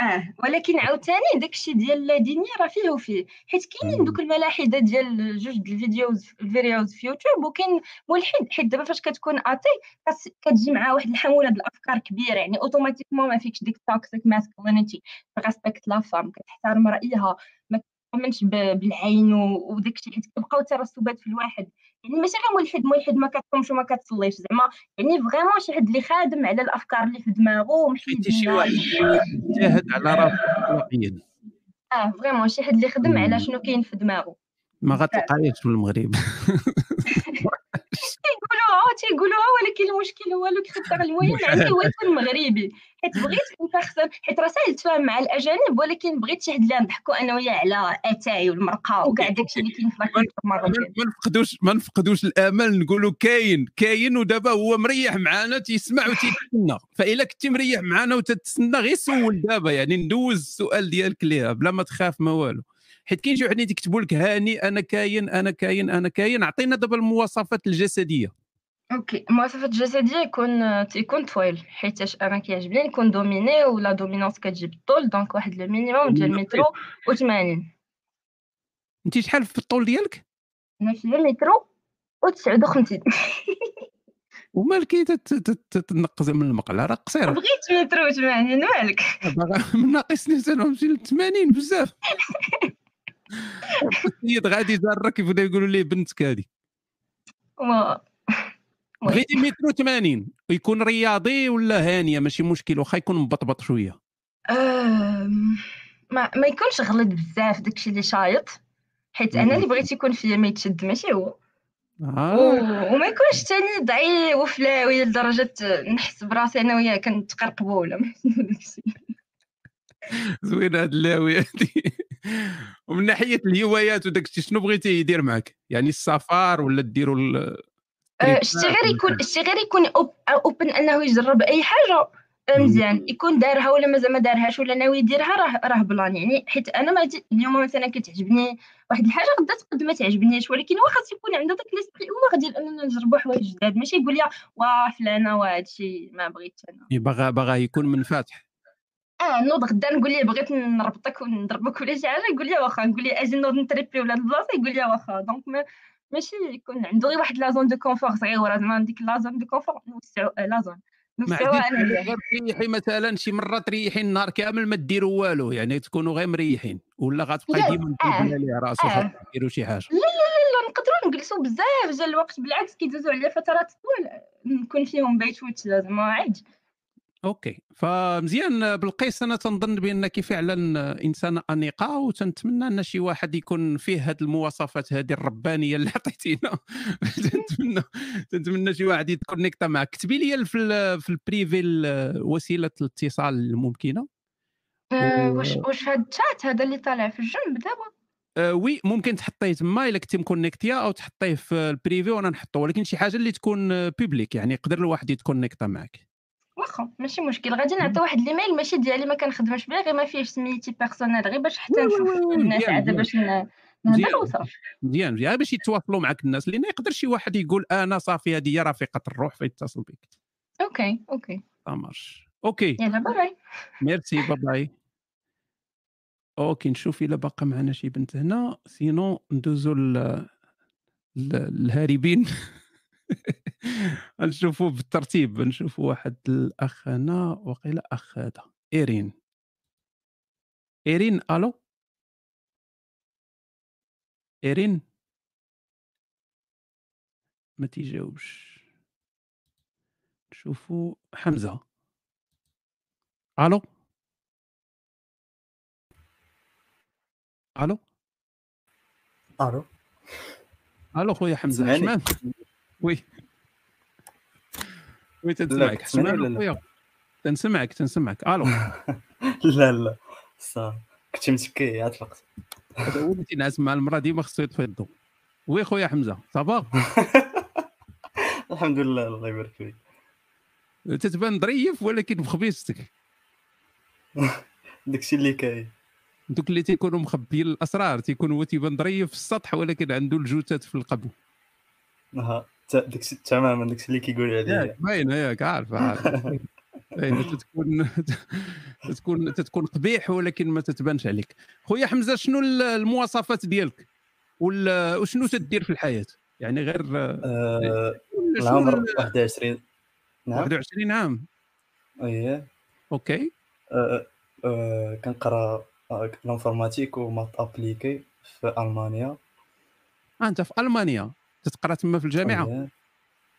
اه ولكن عاوتاني داكشي ديال لا ديني راه فيه وفيه حيت كاينين دوك الملاحده ديال جوج د الفيديوز الفيديوز في يوتيوب وكاين ملحد حيت دابا فاش كتكون اتي خاص- كتجي معاه واحد الحموله د الافكار كبيره يعني اوتوماتيكمون ما فيكش ديك توكسيك ماسكولينيتي ريسبكت لا فام كتحترم رايها ما كتامنش ب- بالعين و- وداكشي حيت كيبقاو ترسبات في الواحد يعني ماشي غير ملحد ملحد ما كتصومش وما كتصليش زعما يعني فريمون شي حد اللي خادم على الافكار اللي في دماغه ومحيد حيت شي الناس. واحد جاهد على راسه واقعيا اه فريمون شي حد اللي خدم مم. على شنو كاين في *laughs* دماغه ما غتلقايش في المغرب تيقولوها تيقولوها ولكن المشكل هو لو كريتير المهم عندي هو يكون مغربي حيت بغيت نفخسر حيت راه ساهل تفاهم مع الاجانب ولكن بغيت شي حد اللي نضحكوا انا وياه على اتاي والمرقه وكاع داكشي اللي كاين في لاكليك ما المغرب يعني؟ ما نفقدوش ما نفقدوش الامل نقولوا كاين كاين ودابا هو مريح معانا تيسمع وتيتسنى فإلا كنتي مريح معانا وتتسنى غير سول دابا يعني ندوز السؤال ديالك ليها بلا ما تخاف ما والو حيت كاين شي وحدين تيكتبوا لك هاني انا كاين انا كاين انا كاين عطينا دابا المواصفات الجسديه اوكي المواصفات الجسديه يكون تيكون طويل حيتاش انا كيعجبني نكون دوميني ولا دومينونس كتجيب الطول دونك واحد لو مينيموم ديال مترو و80 انت شحال في الطول ديالك انا في مترو و59 *laughs* ومالك تت- تت- تتنقز من المقله راه *laughs* قصيره بغيت مترو و80 مالك آه، *laughs* باغا من ناقصني سنه نمشي ل 80 بزاف السيد غادي جارك يبدا يقولوا ليه بنتك هذه و- وي. بغيتي مترو 80 ويكون رياضي ولا هانيه ماشي مشكل واخا يكون مبطبط شويه أم، ما ما يكونش غلط بزاف داكشي اللي شايط حيت انا اللي بغيت يكون فيا ما يتشد ماشي هو و- آه. وما يكونش تاني ضعيف وفلاوي لدرجه نحس براسي انا وياه كنتقرقبوا ولا ما *laughs* عرفت داكشي زوينه هاد اللاوي هادي ومن ناحيه الهوايات وداك الشيء شنو بغيتي يدير معك يعني السفر ولا ديروا ال- أه، شتي غير يكون شتي غير يكون أوب- اوبن انه يجرب اي حاجه أه، مم. مزيان يكون دارها ولا مازال ما دارهاش ولا ناوي يديرها راه راه بلان يعني حيت انا ما جي- اليوم مثلا كتعجبني واحد الحاجه غدا تقد ما تعجبنيش ولكن هو خاص يكون عنده داك ليسبري هو غادي اننا نجربوا حوايج جداد ماشي يقول لي واه فلانه وهادشي ما بغيتش انا باغا باغا يكون منفتح اه نوض غدا نقول ليه بغيت نربطك ونضربك ولا شي حاجه يقول لي واخا نقول ليه اجي نوض نتريبي ولا هاد البلاصه يقول لي واخا دونك ما ماشي يكون عنده غير واحد لازون دو كونفور صغيره زعما ديك لازون دو كونفور نوسعوا لازون ما نوسعوا انا عنديش ليه غير تريحي مثلا شي مره تريحي النهار كامل ما ديروا والو يعني تكونوا غير مريحين ولا غتبقى لا، ديما آه، تقول عليه راسو آه. ديروا شي حاجه نقدروا كنجلسوا بزاف جا الوقت بالعكس كيدوزوا عليا فترات طوال نكون فيهم بيتوت زعما عادي اوكي فمزيان بالقيس انا تنظن بانك فعلا انسانه انيقه وتنتمنى ان شي واحد يكون فيه هذه المواصفات هذه الربانيه اللي *laughs* عطيتينا تنتمنى تنتمنى شي واحد يتكونيكتا معك كتبي لي في ال- في البريفي ال- وسيله الاتصال الممكنه أه، واش واش هاد الشات هذا اللي طالع في الجنب دابا آه وي ممكن تحطيه تما الا كنتي مكونيكتيا او تحطيه في البريفي وانا نحطه ولكن شي حاجه اللي تكون آه، بيبليك يعني يقدر الواحد يتكونيكتا معك واخا ماشي مشكل غادي نعطي واحد الايميل ماشي ديالي ما كنخدمش به غير ما فيهش سميتي بيرسونيل غير باش حتى وي- وي- نشوف وي- وي، الناس مزيان، عاد مزيان. باش ن- مزيان. نهضر وصافي مزيان مزيان باش يتواصلوا معك الناس لان يقدر شي واحد يقول انا صافي هذه هي رفيقه الروح فيتصل بك اوكي اوكي مارش اوكي يلا باي ميرسي باي باي اوكي نشوف الا باقا معنا شي بنت هنا سينو ندوزو ل- ل- للهاربين *laughs* نشوفوا بالترتيب نشوفوا واحد الاخ هنا وقيلا اخ هذا ايرين ايرين الو ايرين ما تيجاوبش نشوفوا حمزه الو الو الو الو خويا حمزه سمعني؟ حشمان وي وي لا، تنسمعك كتسمعني ولا حشمان لا؟ خويا تنسمعك تنسمعك الو *laughs* لا لا صافي كنت متكي عاد الوقت هذا هو اللي تينعس مع المراه ديما خصو يطفي الضو وي خويا حمزه صافا *laughs* الحمد لله الله يبارك فيك تتبان ظريف ولكن *laughs* بخبيصتك داكشي اللي كاين دوك اللي تيكونوا مخبيين الاسرار تيكون هو تيبان ظريف في السطح ولكن عنده الجوتات في القبو ها تا- داكشي تماما داكشي اللي كيقول عليا ياك باين ياك إيه، عارف عارف باين *laughs* تتكون *laughs* تتكون تتكون قبيح ولكن ما تتبانش عليك خويا حمزه شنو ال- المواصفات ديالك وال- وشنو تدير في الحياه يعني غير آه، شنو العمر ال- 21 نعم 21 عام اييه اوكي آه، آه، كنقرا آه، لانفورماتيك ومات ابليكي في المانيا آه، انت في المانيا تتقرا تما في الجامعه أييه.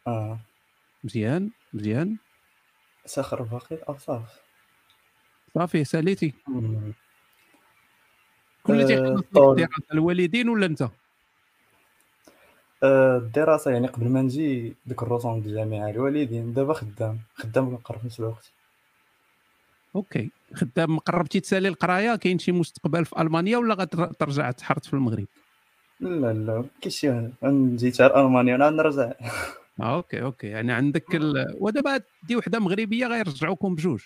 اه مزيان مزيان ساخر باقي او صافي صافي ساليتي مم. كل اللي آه، تيقرا فيك طول. الدراسة، الوالدين ولا انت آه، الدراسه يعني قبل ما نجي ديك الروتون ديال الجامعه الوالدين دابا خدام خدام كنقرا في نفس الوقت اوكي خدام قربتي تسالي القرايه كاين شي مستقبل في المانيا ولا غترجع تحرط في المغرب لا لا كيشي نجي تاع المانيا انا نرجع آه، اوكي اوكي يعني عندك ال... ودابا دي وحده مغربيه غيرجعوكم بجوج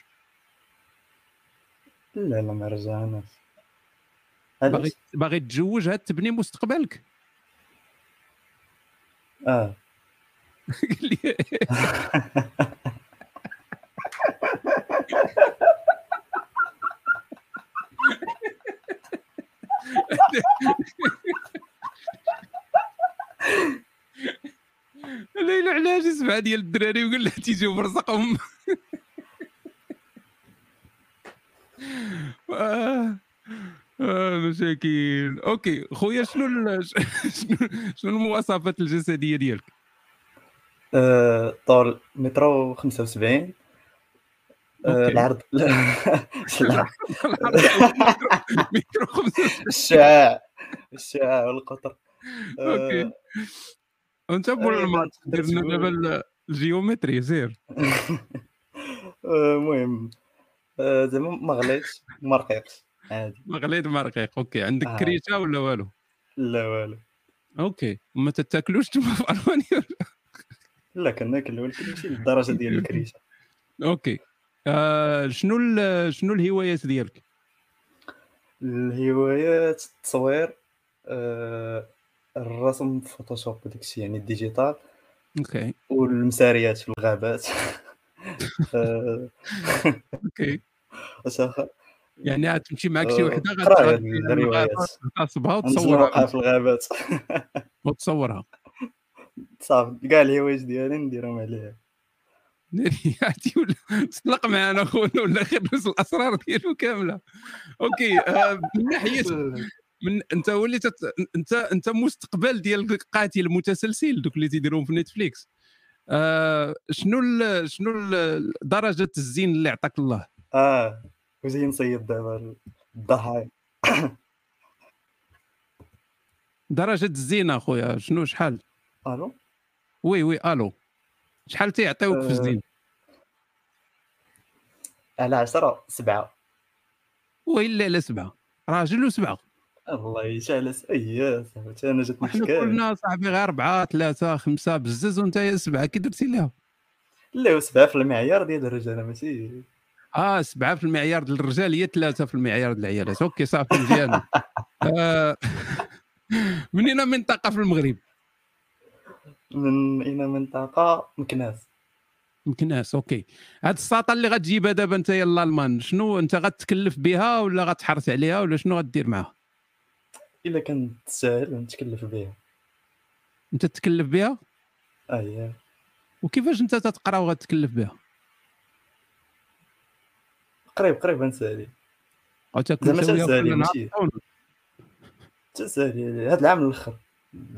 لا لا ما رجعناش باغي باغي تتزوج هاد تبني مستقبلك آه. اه قال لي *laughs* ليلى علاش سبعه ديال الدراري وقال لها تيجيو برزقهم *laughs* آه. آه مشاكل اوكي خويا شنو ال- *laughs* شنو شنو المواصفات الجسديه ديالك آه، طول مترو 75 آه، أوكي. العرض *laughs* العرض. ميكرو خمسة الشعاع الشعاع والقطر أوكي. آه، انت بول أيوة، المات تقدر درنا تقول. دابا ال- الجيومتري سير آه، المهم آه، زعما ما غليتش ما رقيقش عادي ما غليت ما رقيق اوكي عندك آه. كريشه ولا والو لا والو اوكي ما تتاكلوش *laughs* تما في المانيا لا كناكل ولكن ماشي للدرجه ديال الكريشه اوكي آه شنو ال- شنو الهوايات ديالك الهوايات التصوير آه، الرسم في فوتوشوب وداكشي يعني الديجيتال اوكي والمساريات في الغابات *laughs* آه، اوكي *laughs* واش آخر؟ يعني عاد تمشي معك شي آه، وحده قراية غتعرف فيها الروايات. المغاربة، غتصبها نزل نوقع وتصورها في الغابات *laughs* وتصورها صافي كاع الهوايات ديالي نديرهم عليها نارياتي ولا تسلق معنا خونا ولا خرج الاسرار ديالو كامله اوكي آه من ناحيه من انت وليت تت- انت انت مستقبل ديال القاتل المتسلسل دوك اللي تيديروهم في نتفليكس آه شنو ال شنو ال درجه الزين اللي عطاك الله آه، اه وجاي نصيد دابا الضحايا درجه الزين اخويا شنو شحال الو وي وي الو شحال تيعطيوك في آه. الزين على عشرة سبعة ويلا على سبعه راجل وسبعه الله يشعل اي صاحبتي انا جاتني وحنا حكايه قلنا صاحبي غير اربعه ثلاثه خمسه بزز وانت يا سبعه كي درتي لها لا وسبعة في المعيار ديال الرجال ماشي اه سبعه في المعيار ديال الرجال هي ثلاثه في المعيار ديال العيالات اوكي صافي *laughs* مزيان آه *laughs* منين منطقه في المغرب من اين منطقة مكناس مكناس اوكي هاد الساطه اللي غتجيبها دابا انت يا الالمان شنو انت غتكلف بها ولا غتحرص عليها ولا شنو غدير معها الا كانت تسهل نتكلف بها انت تتكلف بها اه هي وكيفاش انت تتقرا وغتكلف بها قريب قريب نسالي او تكون زعما سوية تسالي وكلنا ماشي عارفون. تسالي هذا العام الاخر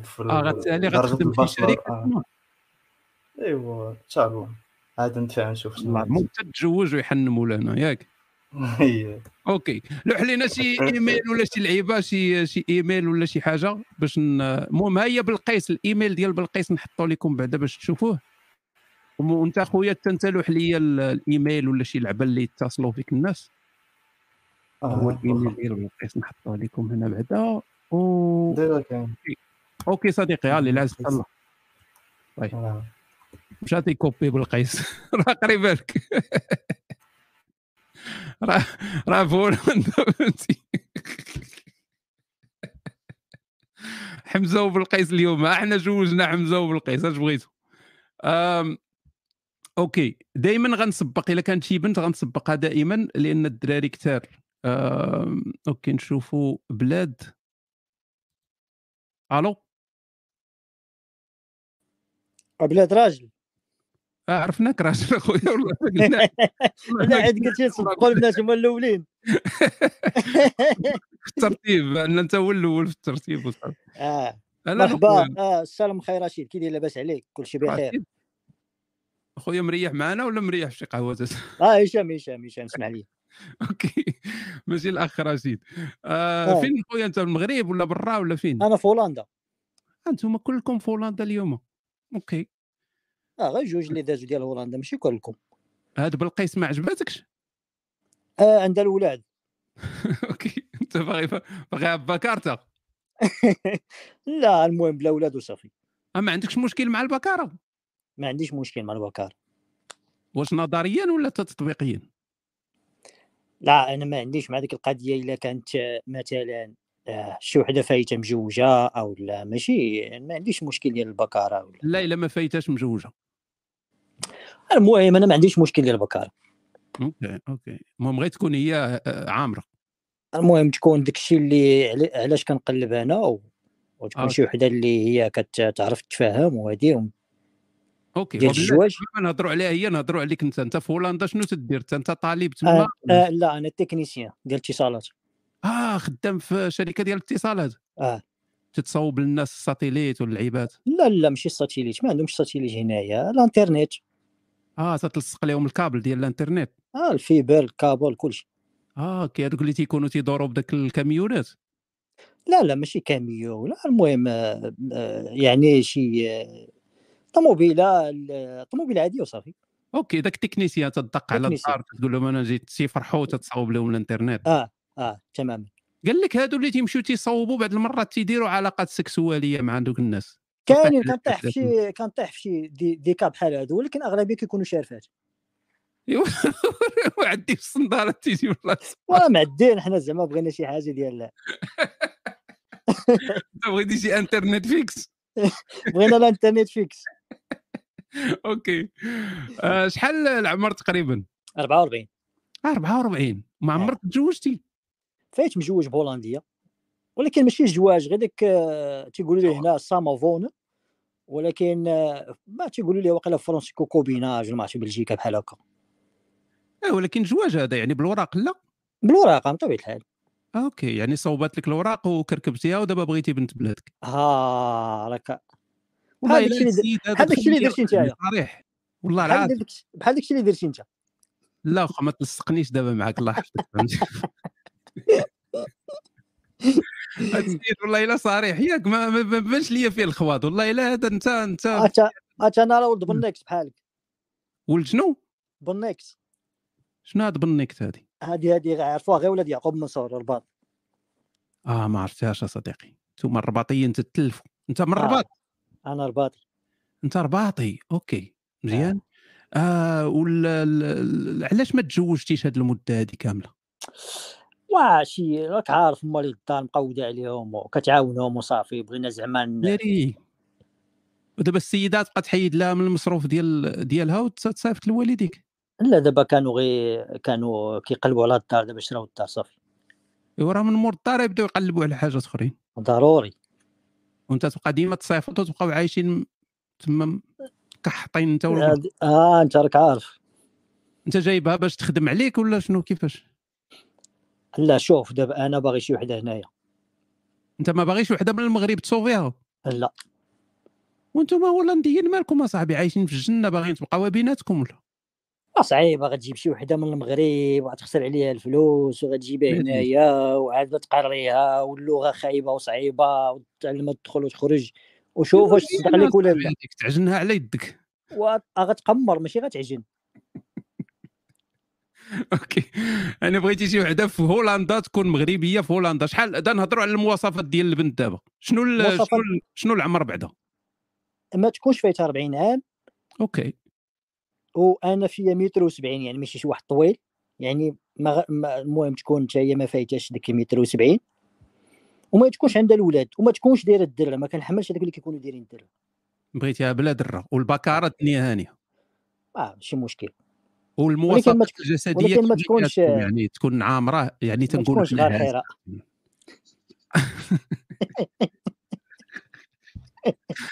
في اه غتسالي درجة غتخدم في البشر. شركه آه. ايوا ان شاء الله عاد ندفع نشوف شنو المهم تتزوج ويحن مولانا ياك *laughs* آه، هي. اوكي لوح لنا شي ايميل ولا شي لعيبه شي شي ايميل ولا شي حاجه باش ن- المهم ها هي بلقيس الايميل ديال بلقيس نحطو لكم بعدا باش تشوفوه وم- وانت اخويا حتى انت لوح ليا ال- الايميل ولا شي لعبه اللي يتصلوا فيك الناس آه، هو اه الايميل ديال بلقيس نحطوه لكم هنا بعدا و... دابا كان اوكي صديقي ها اللي العز الله آه. طيب. مش غادي كوبي بالقيس *laughs* راه قريبه لك راه راه فول فهمتي حمزه وبالقيس اليوم ها حنا جوجنا حمزه وبالقيس اش بغيتو أم، اوكي دائما غنسبق الا كانت شي بنت غنسبقها دائما لان الدراري كثار أم، اوكي نشوفوا بلاد الو بلاد راجل آه، عرفناك راجل اخويا *laughs* والله *laughs* ما قلنا لا عاد قلت لي صدقوا البنات هما الاولين في الترتيب ان انت هو الاول في الترتيب وصافي اه لا، لا، مرحبا اه السلام خير رشيد كي داير لاباس عليك كلشي خويا، بخير رشيد. خويا مريح معنا ولا مريح في شي قهوه أساس؟ اه هشام هشام هشام اسمع *laughs* لي اوكي ماشي الاخ رشيد آه آه. فين خويا انت في المغرب ولا برا ولا فين انا في هولندا انتم كلكم في هولندا اليوم اوكي اه غير جوج اللي دازوا ديال هولندا ماشي كلكم هاد بلقيس ما عجباتكش اه عندها الولاد اوكي انت باغي باغي عبا كارتا *laughs* لا المهم بلا ولاد وصافي آه، ما عندكش مشكل مع البكاره ما عنديش مشكل مع البكار واش نظريا ولا تطبيقيا لا انا ما عنديش مع ديك القضيه الا كانت آه، مثلا آه، شي وحده فايته مزوجه او لا ماشي ما عنديش مشكل ديال البكاره ولا لا الا ما فايتاش مزوجه المهم انا ما عنديش مشكل ديال البكاره اوكي اوكي المهم غير تكون هي آه، آه، عامره المهم تكون داكشي اللي عل- علاش كنقلب انا و... وتكون آه. شي وحده اللي هي كتعرف تتفاهم وهادي اوكي ديال وبلا- الزواج ما نهضروا عليها هي نهضروا عليك انت انت في هولندا شنو تدير انت انت طالب آه تما آه لا انا تكنيسيان ديال الاتصالات اه خدام في شركه ديال الاتصالات آه. تتصاوب للناس الساتيليت واللعيبات لا لا ماشي الساتيليت ما عندهمش الساتيليت هنايا الانترنت اه تتلصق لهم الكابل ديال الانترنت اه الفيبر الكابل كلشي اه كي هذوك اللي تيكونوا تيدوروا بداك الكاميونات لا لا ماشي كاميو لا المهم آه، آه، يعني شي آه، طوموبيله ال- طوموبيله عاديه وصافي اوكي داك التكنيسيان تدق على تكنيسيان. الدار تقول لهم انا جيت تيفرحوا تتصاوب لهم الانترنت اه تماما قال لك هادو اللي تيمشيو تيصاوبوا بعض المرات تيديروا علاقات سكسواليه مع دوك الناس كاين على كنطيح في الأحداث. شي كنطيح في شي دي, دي كاب بحال هادو ولكن اغلبيه كيكونوا شارفات إيوا، وعندي في الصنداله تيجي والله ولا معدين حنا زعما بغينا شي حاجه ديال *laughs* بغيتي شي انترنت فيكس *laughs* بغينا الانترنت فيكس اوكي آه، شحال العمر تقريبا 44 آه، 44 ما عمرك تزوجتي إيه. فايت مجوج بهولنديه ولكن ماشي زواج غير داك آه، تيقولوا ليه هنا سامافون ولكن آه، ما تيقولوا ليه واقيلا فرنسي كوكوبيناج ولا ما عرفتش بلجيكا بحال هكا آه ولكن زواج هذا يعني بالوراق لا بالوراقه بطبيعه الحال اوكي يعني صوبات لك الاوراق وكركبتيها ودابا بغيتي بنت بلادك ها آه، راك والله هذا إلا الشيء اللي نسيت هذا هذا الشيء اللي الخير درتي نتايا. صريح والله بحال العظيم داك- بحال داك الشيء اللي درتي انت لا واخا ما تلصقنيش دابا معاك الله يحفظك فهمتي؟ *laughs* هاد السيد والله الا صريح ياك ما ما- ما بانش ليا فيه الخواض والله الا هذا انت انت اتا اتا انا راه ولد بنيكس بحالك ولد شنو؟ بنيكس شنو هاد بنيكت هادي؟ هذه هذه عرفوها غير ولاد يعقوب منصور الرباط اه ما عرفتهاش يا صديقي انتوما الرباطيين تتلفوا انت من آه. الرباط انا رباطي انت رباطي اوكي مزيان آه. اه وال ال- ال- علاش ما تزوجتيش هاد المده هادي كامله واه شي راك عارف مالي الدار مقوده عليهم وكتعاونهم وصافي بغينا زعما ن- ناري ودابا السيدات بقى تحيد لها من المصروف ديال ديالها وتصيفط لوالديك لا دابا كانوا غير كانوا كيقلبوا على الدار دابا شراو الدار صافي إيوا راه من مور الدار يبداو يقلبوا على حاجات اخرين ضروري وانت تبقى ديما تصيفط وتبقاو عايشين تما كحطين انت والولد هاد- اه انت راك عارف انت جايبها باش تخدم عليك ولا شنو كيفاش لا شوف دابا انا باغي شي وحده هنايا انت ما باغيش وحده من المغرب تصوفيها لا وانتم هولنديين مالكم اصاحبي عايشين في الجنه باغيين تبقاو بيناتكم ولا راه صعيبه غتجيب شي وحده من المغرب وغتخسر عليها الفلوس وغتجيبها مم. هنايا وعاد ما تقريها واللغه خايبه وصعيبه وتعلم تدخل وتخرج وشوف واش تصدق لك ولا لا أصاحبي، تعجنها على يدك وغتقمر ماشي غتعجن اوكي انا بغيتي شي وحده في هولندا تكون مغربيه في هولندا شحال دا نهضروا على المواصفات ديال البنت دابا شنو ال- مواصفات- شنو ال- شنو العمر بعدا ما تكونش فايتها 40 عام اوكي وانا فيا متر و70 يعني ماشي شي واحد طويل يعني ما غ- ما- المهم تكون حتى هي ما فايتاش ديك متر و70 وما تكونش عندها الاولاد وما تكونش دايره الدرع ما كنحملش هذوك اللي كيكونوا دايرين الدرع بغيتيها بلا دره والبكاره الدنيا هانيه اه ماشي مشكل والمواصفات تك- الجسديه ولكن ما كيف تكونش- كتكون، يعني تكون عامره يعني ما تنقول تكونش غير لها حيره *laughs*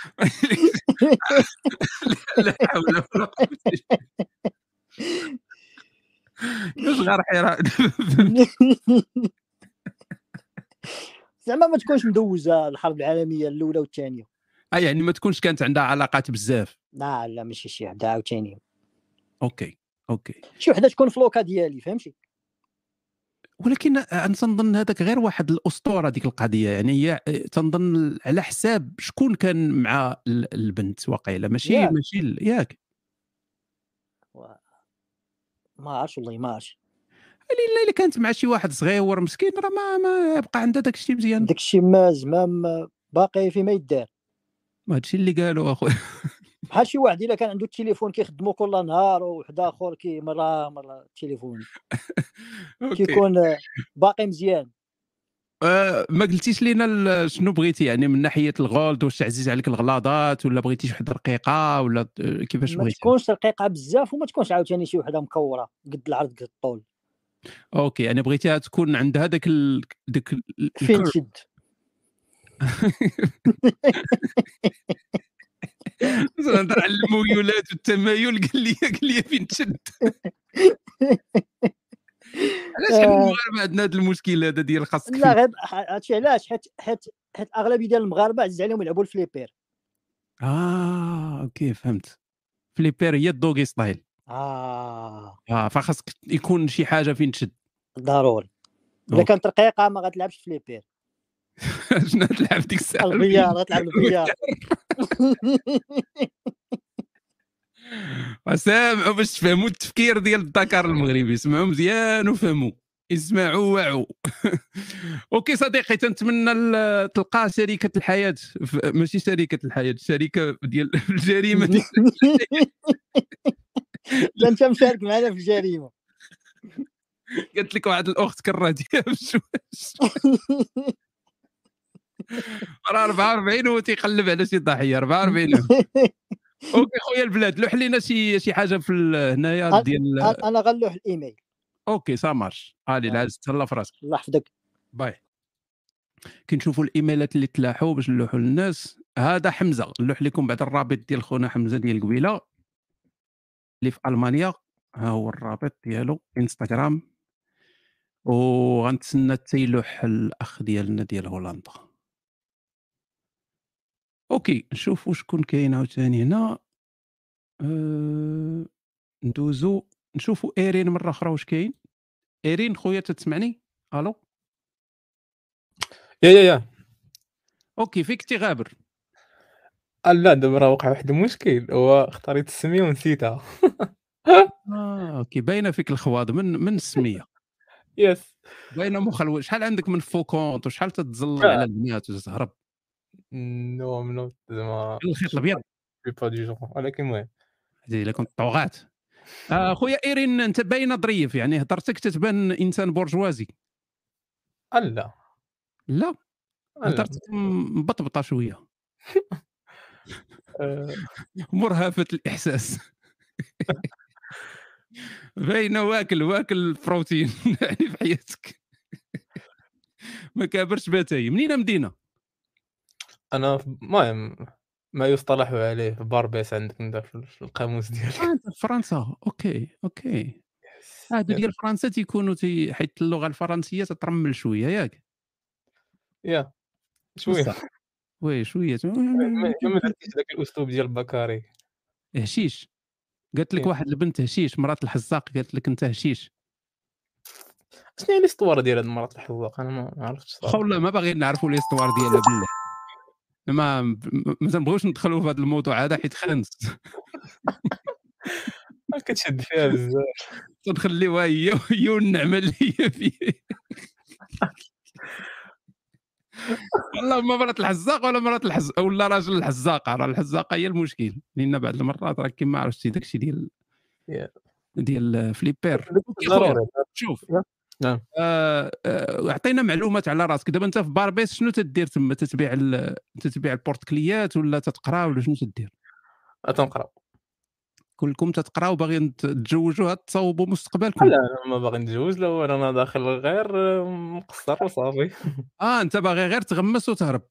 لا حول ولا قوه كيفاش غير حيره *laughs* زعما ما تكونش مدوزه الحرب العالميه الاولى والثانيه آه، يعني ما تكونش كانت عندها علاقات بزاف لا لا ماشي شي وحده عاوتاني اوكي اوكي شي وحده تكون في لوكا ديالي فهمتي ولكن انا تنظن هذاك غير واحد الاسطوره ديك القضيه يعني هي تنظن على حساب شكون كان مع ال- البنت واقيلا ماشي ياك. ماشي ال- ياك ما عرفتش والله ما عرفتش الا الا كانت مع شي واحد صغير مسكين راه ما ما بقى عندها داك الشيء مزيان داك الشيء ما زعما ما- باقي فيما يدار ما هادشي اللي قالوا اخويا بحال شي واحد الا كان عنده التليفون كيخدمو كل نهار وواحد اخر كي مره مره التليفون *laughs* أوكي. كيكون آه، باقي مزيان *laughs* آه، ما قلتيش لينا ال- شنو بغيتي يعني من ناحيه الغولد واش عزيز عليك الغلاضات ولا بغيتي شي وحده رقيقه ولا آه، كيفاش ما بغيتي تكونش رقيقه بزاف وما تكونش عاوتاني شي وحده مكوره قد العرض قد الطول اوكي يعني بغيتيها تكون عندها داك ال... داك ال- فين الكر- *laughs* تشد نهضر على الميولات والتمايل قال لي قال لي فين تشد علاش حنا آه. المغاربه عندنا هذا المشكل هذا ديال خاصك لا فيه. غير هادشي علاش حيت حيت حيت الاغلبيه ديال المغاربه عزيز عليهم يلعبوا الفليبير اه اوكي فهمت فليبير هي الدوغي ستايل اه اه فخاصك يكون شي حاجه فين تشد ضروري اذا أوكي. كانت رقيقه ما غتلعبش فليبير *laughs* شنو تلعب ديك الساعه البيار غتلعب البيار *laughs* *laughs* سامعوا باش تفهموا التفكير ديال الدكار المغربي اسمعوا مزيان وفهموا اسمعوا *laughs* واعوا اوكي صديقي تنتمنى ال- تلقى شريكه الحياه ف- ماشي شريكه الحياه شريكه ديال *laughs* *laughs* الجريمه ديال لا انت مشارك معنا في الجريمه قالت لك واحد الاخت كرهتيها *laughs* بالزواج راه 44 وهو تيقلب على شي ضحيه 44 اوكي خويا البلاد لوح لينا شي شي حاجه في ال- هنايا أ- ديال أنا- انا غنلوح الايميل اوكي سا مارش علي العز تهلا في راسك آه. الله يحفظك باي كنشوفوا الايميلات اللي تلاحوا باش نلوحوا للناس هذا حمزه نلوح لكم بعد الرابط ديال خونا حمزه ديال قبيله اللي في المانيا ها هو الرابط ديالو انستغرام وغنتسنى التيلوح الاخ ديالنا ديال هولندا اوكي نشوفوا شكون كاين عاوتاني هنا أه... ندوزو نشوفوا ايرين مره اخرى واش كاين ايرين خويا تسمعني الو يا يا يا اوكي فيك تغابر آه، لا دابا راه وقع واحد المشكل هو اختاريت السميه ونسيتها آه، اوكي باينه فيك الخواض من من السميه يس باينه مخلوش شحال عندك من فوكونت وشحال تتزلق آه. على البنات وتهرب نو ام نوت زعما الخيط الابيض سي با دي جون ولكن المهم هذه الا كنت طوغات آه، خويا ايرين انت باينه ظريف يعني هضرتك تتبان انسان برجوازي آه، لا لا آه، لا هضرتك م- مبطبطه شويه *laughs* آه، مرهفه الاحساس باينه واكل واكل البروتين *laughs* يعني في حياتك ما كابرش باتاي منين مدينه انا في- المهم ما يصطلح عليه في باربيس عندك انت في في القاموس ديالك *laughs* آه، أنت في فرنسا آه، اوكي اوكي Yes. هادو Yes. ديال فرنسا تيكونوا تي- حيت اللغه الفرنسيه تترمل شويه ياك يا شويه بصح. وي شويه ما ما- ما درتيش ذاك الاسلوب ديال بكاري هشيش قالت لك إيه. واحد البنت هشيش مرات الحزاق قالت لك انت هشيش شنو هي الاسطوره ديال هاد المرات الحذاق انا ما ما عرفتش صراحة. خولا ما باغيين نعرفوا ليستوار ديالها بالله ما ما تنبغيوش ندخلوا في هذا الموضوع هذا حيت خانس *laughs* ما كتشد فيها بزاف تنخليوها هي هي والنعمه اللي هي فيه والله ما مرات الحزاق ولا مرات الحز ولا راجل الحزاقه راه الحزاقه هي المشكل لان بعض المرات راه كيما عرفتي داك الشيء ديال Yeah. ديال فليبير أوكي خويا. ضروري شوف نعم. آه، آه، عطينا معلومات على راسك دابا انت في باربيس شنو تدير تما تتبيع ال- تتبيع البورتكليات ولا تتقرا ولا شنو تدير تنقرا كلكم تتقراو باغيين ت- تتزوجوا هاد تصاوبوا مستقبلكم لا انا ما باغي نتزوج لا وانا أنا داخل غير مقصر *laughs* وصافي اه انت باغي غير تغمس وتهرب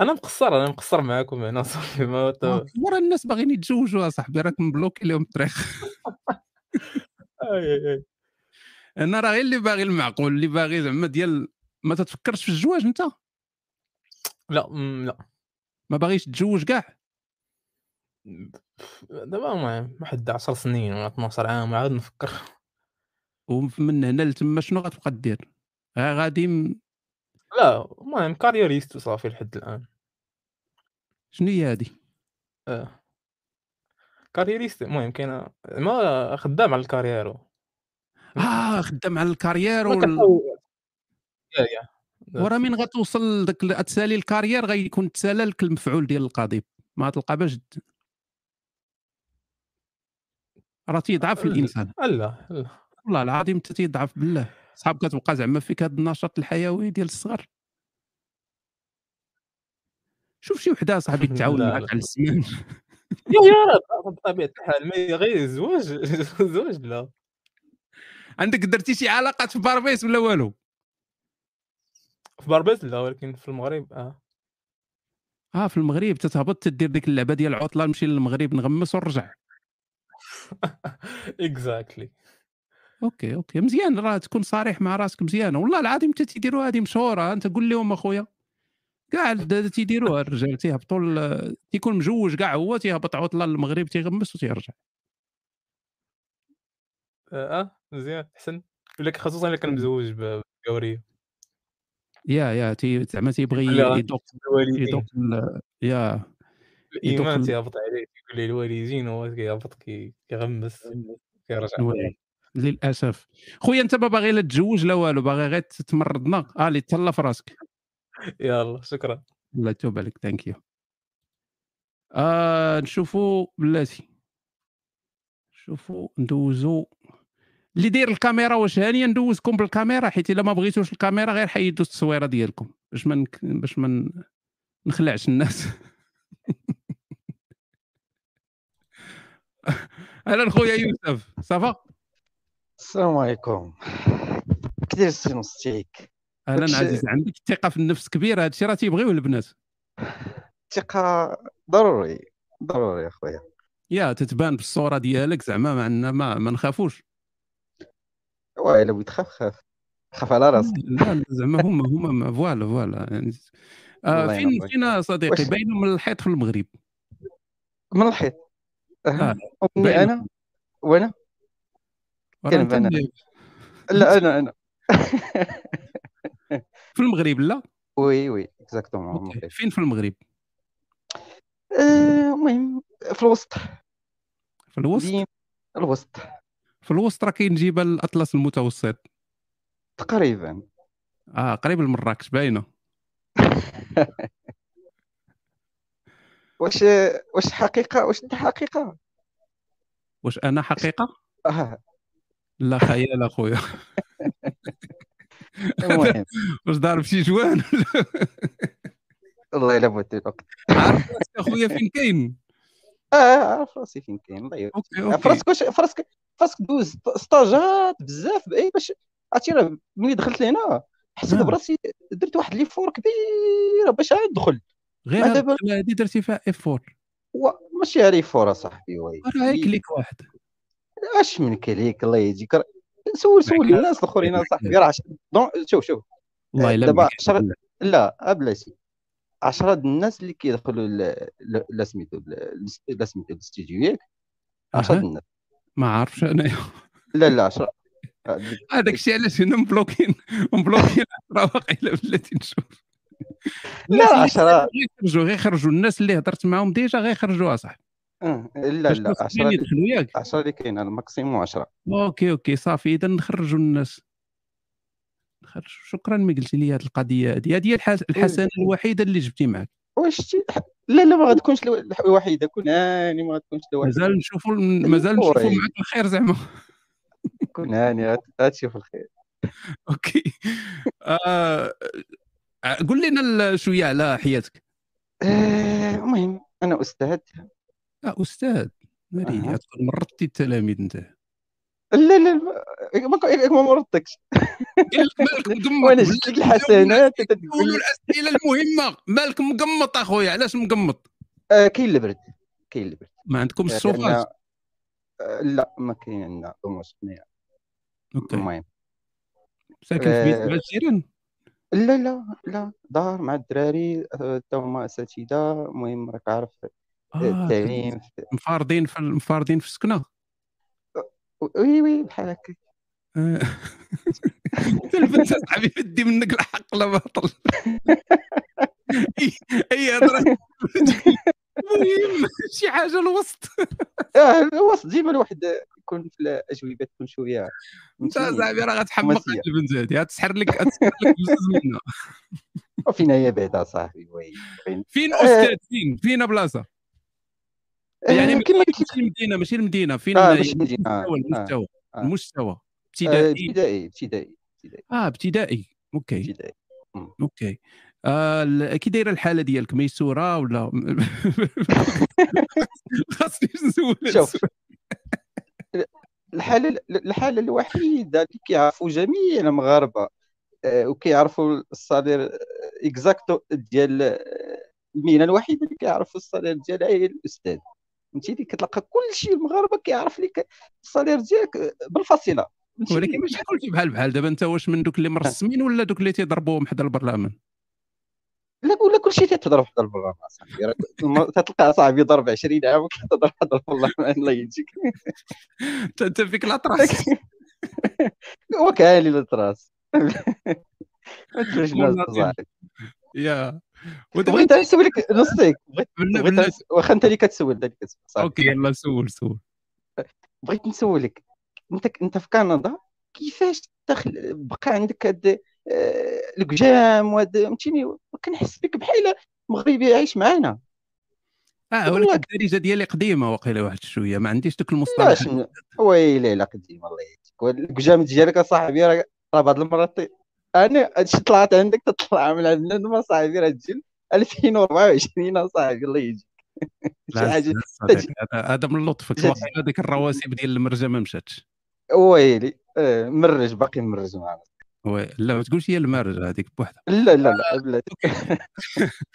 انا مقصر انا مقصر معاكم هنا صافي ما ت- ورا الناس باغيين يتزوجوا صاحبي راك مبلوكي لهم الطريق *laughs* آي آه، آي آي. انا راه غير اللي باغي المعقول اللي باغي زعما ديال ما تتفكرش في الزواج انت لا مم، لا ما باغيش تتزوج كاع دابا ما ما حد 10 سنين ولا 12 عام *laughs* عاد نفكر ومن هنا لتما شنو غتبقى دير آه، غادي م- لا المهم كاريريست وصافي لحد الان شنو هي هادي آه. كاريريست المهم كاين ما خدام على *laughs* الكاريرو اه خدام على الكارير ما وال... كتحاول. يا يا ورا من غتوصل داك ال- تسالي الكارير غيكون تسالى لك المفعول ديال القضيب ما تلقى باش د- راه تيضعف لا. الانسان لا لا والله العظيم انت تيضعف بالله صحاب كتبقى زعما فيك هذا النشاط الحيوي ديال الصغر شوف شي *laughs* وحده صاحبي تعاون لا، معك لا. على السنان يا يا راه بطبيعه آه، الحال ما هي غير *laughs* الزواج الزواج لا عندك درتي شي علاقات في باربيس ولا والو في باربيس لا ولكن في المغرب اه اه في المغرب تتهبط تدير ديك اللعبه ديال العطله نمشي للمغرب نغمس ونرجع اكزاكتلي اوكي اوكي مزيان راه تكون صريح مع راسك مزيانه والله العظيم حتى تيديروا هذه مشهوره انت قول لهم اخويا كاع ال- تيديروها الرجال تيهبطوا ال- تيكون مجوج كاع هو تيهبط عطله للمغرب تيغمس وتيرجع اه آه، مزيان حسن ولا ك- خصوصا الا كان مزوج ب- بالدوريه يا يا تي زعما تيبغي لا. يدق يدق الوالدين ال- يا الايمان يدخل- تيهبط عليه تيقول ليه الوالدين هو كيهبط كي- كيغمس كيرجع وي. للاسف خويا انت ما باغي لا تتزوج لا والو باغي غير تمرضنا اه اللي تهلا في راسك يلا شكرا الله يتوب عليك ثانك يو آه نشوفوا بلاتي نشوفوا ندوزو اللي داير الكاميرا واش هانيه ندوزكم بالكاميرا حيت الا ما بغيتوش الكاميرا غير حيدوا التصويره ديالكم باش ما نك... باش ما ن- نخلعش الناس *laughs* اهلا خويا يوسف صافا السلام عليكم كثير السي نصيك اهلا داكشي- عزيز عندك الثقه في النفس كبيره هادشي راه تيبغيوه البنات الثقة ضروري ضروري يا خويا يا تتبان بالصوره ديالك زعما ما عندنا ما, ما نخافوش واه الا بغيت تخاف خاف خاف على راسك لا لا، زعما هما هما ما- فوالا فوالا يعني آه الله فين ينور. فين صديقي واش- باين من الحيط في المغرب من الحيط أه. آه، امي انا وانا راه كان أنت بنا. مليح. لا انا انا *laughs* في المغرب لا وي وي اكزاكتومون أوكي. فين في المغرب آه، المهم في الوسط في الوسط ديما الوسط في الوسط راه كاين جبال الاطلس المتوسط تقريبا اه قريب لمراكش باينه واش واش حقيقه واش انت حقيقه واش انا حقيقه اه لا خيال اخويا *laughs* المهم *laughs* واش ضارب شي جوان الله يلا بغيت الوقت عارف راسك اخويا فين *laughs* كاين اه عارف راسي فين كاين الله يلا اوكي اوكي فراسك واش فراسك فراسك دوز ستاجات بزاف باي باش عرفتي راه ملي دخلت لهنا حسيت آه. براسي درت واحد ليفور كبيره باش عاد ندخل غير ما دابا- هاد- هادي درتي فيها افور و- ماشي غير ليفور اصاحبي وي راه هيك ليك واحد اش من كليك الله يجيك راه- سول سول معك. الناس الاخرين اصاحبي راه عش- دون- شوف شوف الله يلا دابا معك. عشرة- لا آه، ابلاسي 10 الناس اللي كيدخلوا ل- ل- لا سميتو ل- لا سميتو الاستديو ياك 10 أها. الناس *laughs* ما عارفش انا لا لا 10 هذاك الشيء علاش هنا مبلوكين مبلوكين *laughs* راه واقيلا بلاتي نشوف الناس اللي عشرة. غير يخرجوا غير يخرجوا الناس اللي هضرت معاهم ديجا غير يخرجوها صح آه، لا لا 10 اللي- يدخلوا يعني ياك 10 اللي كاين الماكسيموم 10 اوكي اوكي صافي اذا نخرجوا الناس نخرجوا شكرا ما قلتي لي هذه القضيه هذه هذه هي الحس- إيه. الحسنه الوحيده اللي جبتي معك واش شتي لا لا ما غتكونش الو- الح- الوحيده كون هاني ما غتكونش الوحيده مازال نشوفوا مازال نشوفوا أوي. معك الخير زعما كون هاني غت- غتشوف الخير اوكي آه، قول لنا ال- شويه على حياتك آه، المهم انا استاذ آه، استاذ أها. مريت مرضتي التلاميذ انت لا لا ما- ما كو- ما مرضتكش قال لك *laughs* إيه، مالك مقمط وانا جبت لك الحسنات أنت تقول لي- قولوا الاسئله المهمه مالك مقمط اخويا علاش مقمط آه، كاين البرد كاين البرد ما عندكمش لأن- السوفاج آه، لا ما كاين عندنا دمشق هنايا. اوكي المهم ساكن في بيت آه. مع الجيران لا لا لا دار مع الدراري آه، تا هما اساتذه المهم راك عارف آه، آه، التعليم مفارضين في مفارضين في السكنه أه، وي وي بحال هكا آه. انت البنت صاحبي بدي منك الحق لا باطل أي- اي هضره المهم *laughs* شي حاجه *laughs* الوسط اه الوسط ديما الواحد يكون في الاجوبه تكون شويه انت فهمتيني؟ صاحبي راه غتحمق مسيا. هاد البنت هادي غتسحر لك غتسحر لك بزاف *laughs* منها وفينا هي بعدا صاحبي آه. وي وين فين استاذ فين فين بلاصه يعني يعني كما قلت لك ماشي المدينه ماشي المدينه فين آه، يعني ماشي المدينة. آه، المستوى المستوى آه. المستوى آه، ابتدائي ابتدائي ابتدائي اه ابتدائي اوكي ابتدائي اوكي آه ال- كي دايره الحاله ديالك ميسوره ولا خاصني نسول هاد شوف. السؤال. الحاله الحاله الوحيده اللي كيعرفوا جميع المغاربه آه، وكيعرفوا الصالير اكزاكتو ديال آه، المهنه الوحيده اللي كيعرفوا الصالير ديالها هي الاستاذ فهمتي اللي كتلقى كل شيء المغاربه كيعرف لك الصالير ديالك آه، بالفصيله فهمتي؟ ولكن ماشي كلشي بحال بحال دابا انت واش من آه. دوك اللي مرسمين ولا دوك اللي تيضربوهم حدا البرلمان لا ولا كل شيء تتضرب حدا البرلمان صاحبي راك- الم- تتلقى صاحبي ضرب 20 عام وكتضرب حدا البرلمان *laughs* الله يجيك انت انت فيك الاطراس وكالي للتراس ما تفرش الناس والله صاحبي يا وتبغي بغيت نسولك نصيك بغيت بلا- بغيت بلا- نس- واخا انت اللي كتسول انت اللي كتسول صاحبي اوكي يلا سول سول بغيت نسولك انت انت في كندا كيفاش دخل بقى عندك هاد آه، القجام وهاد فهمتيني كنحس بك بحال مغربي عايش معانا اه والله. ولكن الدارجه ديالي قديمه واقيلا واحد شويه ما عنديش دوك لا المصطلحات شنو ويلي لا قديم الله يهديك والقجام ديالك اصاحبي راه راه بعض المرات طي- انا هادشي طلعت عندك تطلع من عندنا ما صاحبي راه تجي 2024 اصاحبي الله يجيك شي *laughs* لا، حاجه لا، صديقي، هذا هذا من لطفك تجي- واقيلا ديك الرواسب ديال المرجه ما مشاتش ويلي آه، مرج باقي مرج معنا وي لا ما تقولش هي المرجه هذيك بوحدها *laughs* لا لا لا بلاتي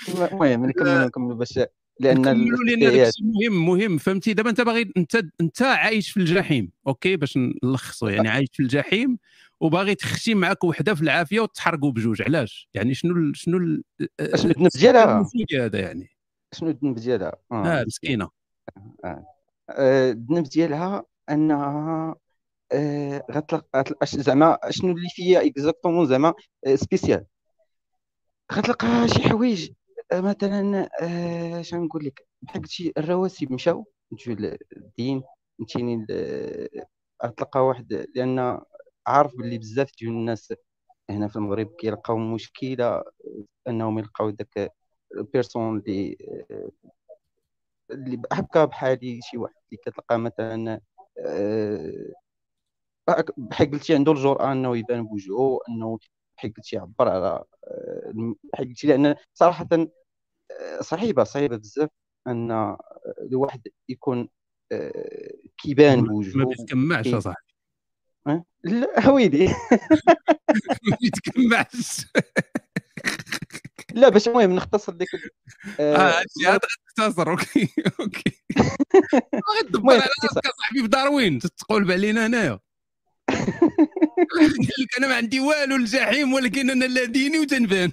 المهم نكمل نكمل باش لان نكملوا لان داك الاجتماعيات الشيء مهم مهم فهمتي دابا انت باغي انت انت عايش في الجحيم اوكي باش نلخصوا يعني عايش في الجحيم وباغي تختي معاك وحده في العافيه وتحرقوا بجوج علاش يعني شنو ال... شنو ال... أه، شنو الذنب ديالها النتيجة هذا يعني شنو الذنب ديالها آه. اه مسكينه آه، الذنب ديالها انها آه، غتلق غتلق- أش- زعما شنو اللي فيها اكزاكتومون زعما سبيسيال غتلقى شي حوايج آه، مثلا آه، شنو نقول لك بحال شي الرواسب مشاو مشاو للدين مشيني ل- غتلقى واحد لان عارف باللي بزاف ديال الناس هنا في المغرب كيلقاو مشكله آه، انهم يلقاو داك البيرسون اللي آه، اللي هكا بحالي شي واحد اللي كتلقى مثلا آه، بحال قلتي عنده الجرأة انه يبان بوجهه انه بحال قلتي يعبر على آه، الم- بحال قلتي لان صراحة آه، صعيبة صعيبة بزاف ان آه، الواحد يكون آه، كيبان ما بوجهه بيتكمعش إيه. اصاحبي آه، لا *laughs* ويلي *laughs* ما بيتكمعش لا باش المهم نختصر ديك ال- اه آه، هادشي هذا غتختصر اوكي اوكي باغي تدبر المهم على اختصار راسك اصاحبي في داروين تتقلب *laughs* علينا انايا قال لك انا ما عندي والو الجحيم ولكن انا لا ديني وتنبان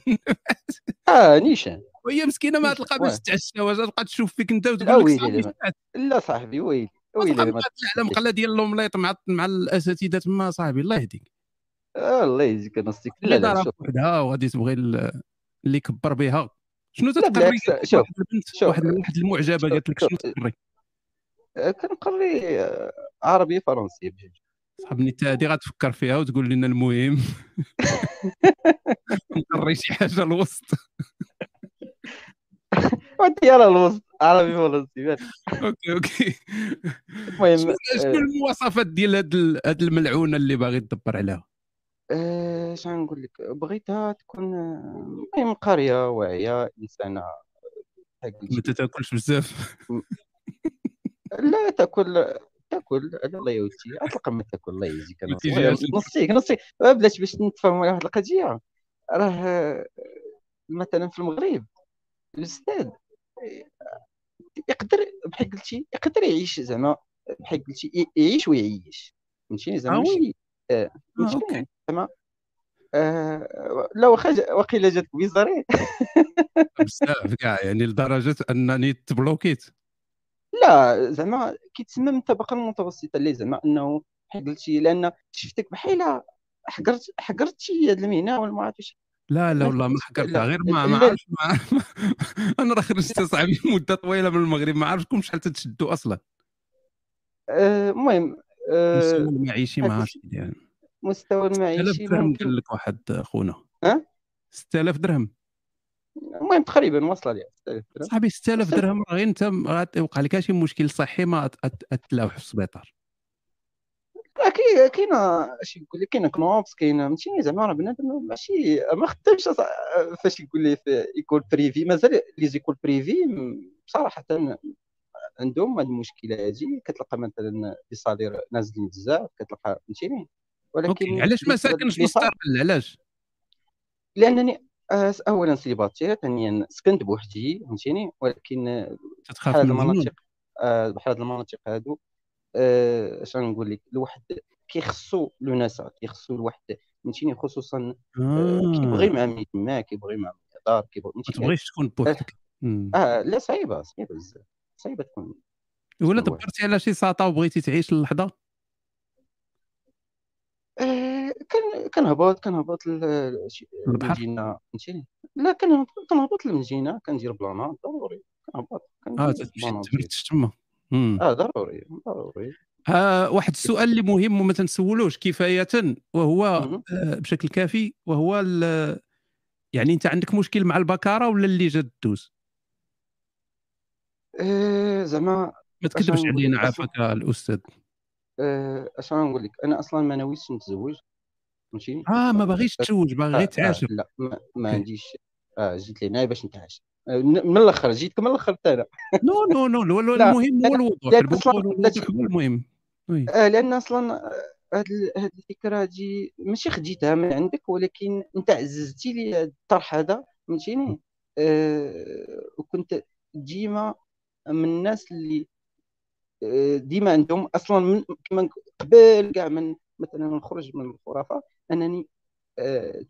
اه نيشان وهي مسكينه ما تلقى باش واه. تتعشى واش تبقى تشوف فيك انت لا وتقول لك ويلي صاحبي دابا. شحال لا صاحبي ويلي تبقى ويلي ما مقاتلة على تخليش. مقله ديال المليط مع مع الاساتذه تما صاحبي الله يهديك آه، الله يجزيك انا صديق لا اللي لا دارها شوف بوحدها آه، وغادي تبغي ال- اللي كبر بها شنو تتقري بالعكس، شوف، واحد البنت شوف. واحد واحد المعجبه شوف، قالت لك شوف. شنو تقري آه، كنقري آه، عربي فرنسي بجوج صاحبني انت هادي غتفكر فيها وتقول *laughs* لنا المهم نقري شي *laughs* حاجه الوسط وانت يلا الوسط عربي فرنسي ماشي. اوكي اوكي المهم شنو شنو آه، المواصفات ديال هاد ال- هاد الملعونه اللي باغي تدبر عليها آه، شنو نقول لك بغيتها تكون آه، المهم قاريه واعيه انسانه بحال *laughs* ما قلتي. تاكلش بزاف *laughs* لا تاكل تاكل الله يوتي اطلق ما تاكل الله يجزيك انا وتيجي ولا هاد ال- نصيك نصيك آه، بلاش باش نتفاهموا على واحد القضيه راه آه، مثلا في المغرب الاستاذ يقدر بحال قلتي يقدر يعيش زعما بحال قلتي ي- يعيش ويعيش فهمتيني زعما آه، وي. ماشي آه، آه، أوكي. فهمتيني زعما آه، لا واخا جا- واقيلا جاتك بيزاري بزاف كاع يعني لدرجه انني تبلوكيت لا زعما كيتسمى من الطبقه المتوسطه اللي زعما انه بحال قلتي لان شفتك بحال حقرت حقرت شي هاد المهنه ولا ما عرفتش لا لا ما والله ما كنتش- حكرتها لا، غير ما ما لا. عرفش ما *laughs* انا راه خرجت صاحبي مده طويله من المغرب ما عرفتكم شحال تتشدوا اصلا آه، المهم آه، المستوى المعيشي ما هذا عرفتش يعني مستوى 6000 المعيشي درهم ممكن قال لك واحد خونا أه؟ 6000 درهم المهم تقريبا واصله لي 6000 درهم صاحبي 6000 6000 درهم راه غير انت غيوقع لك شي مشكل صحي ما تلاوح في السبيطار لا، كاي- كاينه شي يقول لك كاينه كنوبس كاينه فهمتيني زعما راه بنادم ماشي ما خدامش أصا- فاش يقول لي في ايكول بريفي مازال لي زيكول بريفي م- صراحه عندهم هاد المشكله هادي كتلقى مثلا لي صالير نازلين بزاف كتلقى فهمتيني اوكي ولكن علاش ما لي- ساكنش لي صالير- مستقل علاش لانني آه، اولا سيباتير ثانيا سكنت بوحدي فهمتيني ولكن آه، تتخاف بحال هاد من الجنون المناطق آه، بحال هاد المناطق هادو آه، شنو نقول لك الواحد كيخصو لوناسا كيخصو الواحد فهمتيني خصوصا آه، كيبغي آه، معاهم يتما كيبغي معاهم الهضار كيبغي ما فهمتيني تبغيش تكون بوحدك مم. اه لا صعيبه صعيبه بزاف صعيبه تكون ولا شنو دبرتي على شي ساطه وبغيتي تعيش اللحظه آه، كان كنهبط كنهبط ل- شي- البحر؟ للمدينه فهمتيني لا كنهبط كنهبط للمدينه كندير بلانا ضروري كنهبط اه كندير تمشي بلانا تبرتش تما مم. اه ضروري ضروري آه واحد السؤال اللي مهم وما تنسولوش كفايه وهو مهم. آه بشكل كافي وهو ال- يعني انت عندك مشكل مع البكاره ولا اللي جات دوز آه، زعما ما تكذبش أصلاً علينا أصلاً- عافاك الاستاذ آه، اش غنقول لك انا اصلا ما ناويش نتزوج ماشي اه ما باغيش تزوج باغي تعاشر آه، لا ما, ما أوكي. عنديش آه جيت لهنا باش نتعاشر آه، من من الاخر جيتك من الاخر حتى انا *laughs* نو نو نو الو- الو- لا، المهم هو لا، الوضوح لا، البكاره أصلاً- والوضوح هو المهم وي. آه لان اصلا هذه هاد الفكره هادي ماشي خديتها من عندك ولكن انت عززتي لي هاد الطرح هذا فهمتيني آه وكنت ديما من الناس اللي آه، ديما عندهم اصلا من كما نك- قبل كاع من مثلا نخرج من الخرافه انني آه،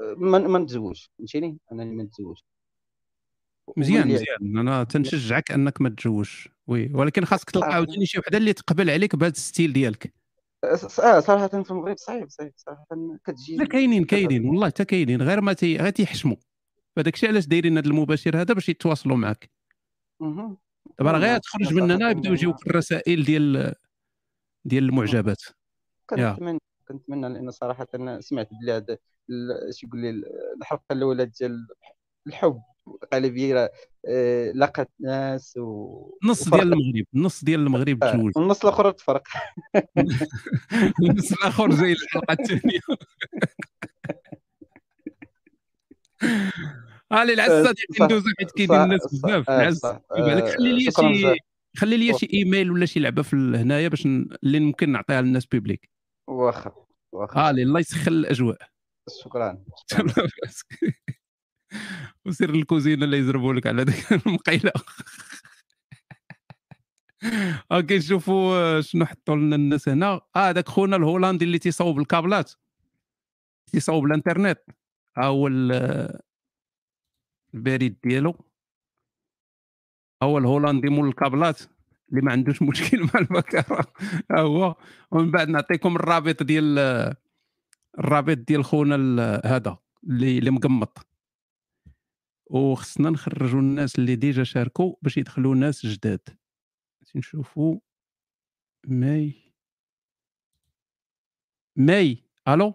آه، ما ما نتزوج فهمتيني انني ما نتزوج مزيان واللي- مزيان انا تنشجعك انك ما تجوش وي ولكن خاصك تلقى صح. عاوتاني شي وحده اللي تقبل عليك بهذا الستيل ديالك أس- اه صراحه في المغرب صعيب صعيب صراحه كتجي لا كاينين كاينين والله حتى كاينين غير ما تي غير تيحشموا فداك الشيء علاش دايرين هذا المباشر هذا باش يتواصلوا معك مهم. دابا راه والله غير تخرج من هنا صراحة يبداو يجيوك الرسائل ديال ديال المعجبات يا. كنتمنى كنتمنى لان صراحه أنا سمعت بلي هذا ال- شو يقول لي ال- الحلقه الاولى ديال الحب غالبيه راه، آه، لقت ناس و نص ديال المغرب نص ديال المغرب تزوج النص الاخر تفرق *laughs* النص الاخر زي الحلقه الثانيه علي العز آه، صديقي صح، ندوزو حيت كيدير صح، الناس صح، بزاف آه، العز صح. يبقى لك آه، خلي لي شكراً شي بزاف. خلي لي شي ايميل ولا شي لعبه في ال- هنايا باش ن- اللي ممكن نعطيها للناس بيبليك واخا واخا علي الله يسخن الاجواء شكرا شكراً. *laughs* تهلا براسك. وسير للكوزينه اللي يزربوا لك على ديك *laughs* المقيله اوكي نشوفوا آه، شنو حطوا لنا الناس هنا اه داك خونا الهولندي اللي تيصاوب الكابلات تيصاوب الانترنت ها هو ال- آه، البريد ديالو ها هو الهولندي مول الكابلات اللي ما عندوش مشكل *laughs* مع المكاره ها هو ومن بعد نعطيكم الرابط ديال آه، الرابط ديال خونا ال- هذا اللي اللي مقمط وخصنا نخرجوا الناس اللي ديجا شاركوا باش يدخلوا ناس جداد خصني نشوفوا ماي ماي الو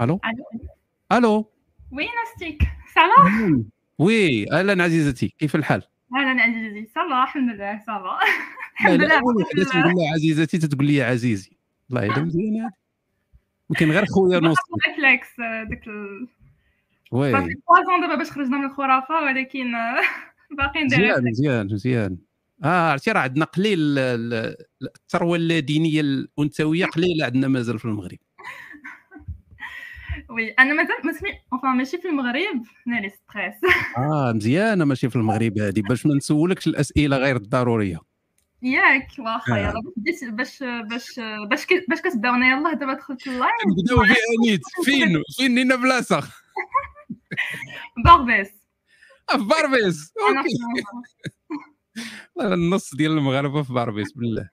الو الو *laughs* الو وين استيك صلاح وي اهلا عزيزتي كيف الحال؟ اهلا عزيزي صلاح الحمد لله صلاح الحمد لا لا لله، اول وحده الحمد لله. تنقول لها عزيزتي تتقول لي عزيزي *laughs* الله يلا مزيان هذا يمكن غير خويا نوصل ريفلكس آه، ديك ال وي بوازون دابا باش خرجنا من الخرافه ولكن آه، *laughs* باقيين دايرين مزيان مزيان مزيان اه عرفتي راه عندنا قليل ال- ال- الثروه الدينيه الانثويه قليله عندنا مازال في المغرب وي انا مازال ما سمعت enfin ماشي في المغرب هنا لي ستريس اه مزيانه ماشي في المغرب هذه باش ما نسولكش الاسئله غير الضروريه *laughs* ياك واخا آه. يلاه باش بديت- باش باش باش كي- باش كتبداونا يلاه دابا دخلت اللايف *laughs* نبداو بها نيت فين فين لينا *laughs* بلاصه باربيس في باربيس انا اوكي في المغرب. والله النص ديال المغاربه في باربيس بالله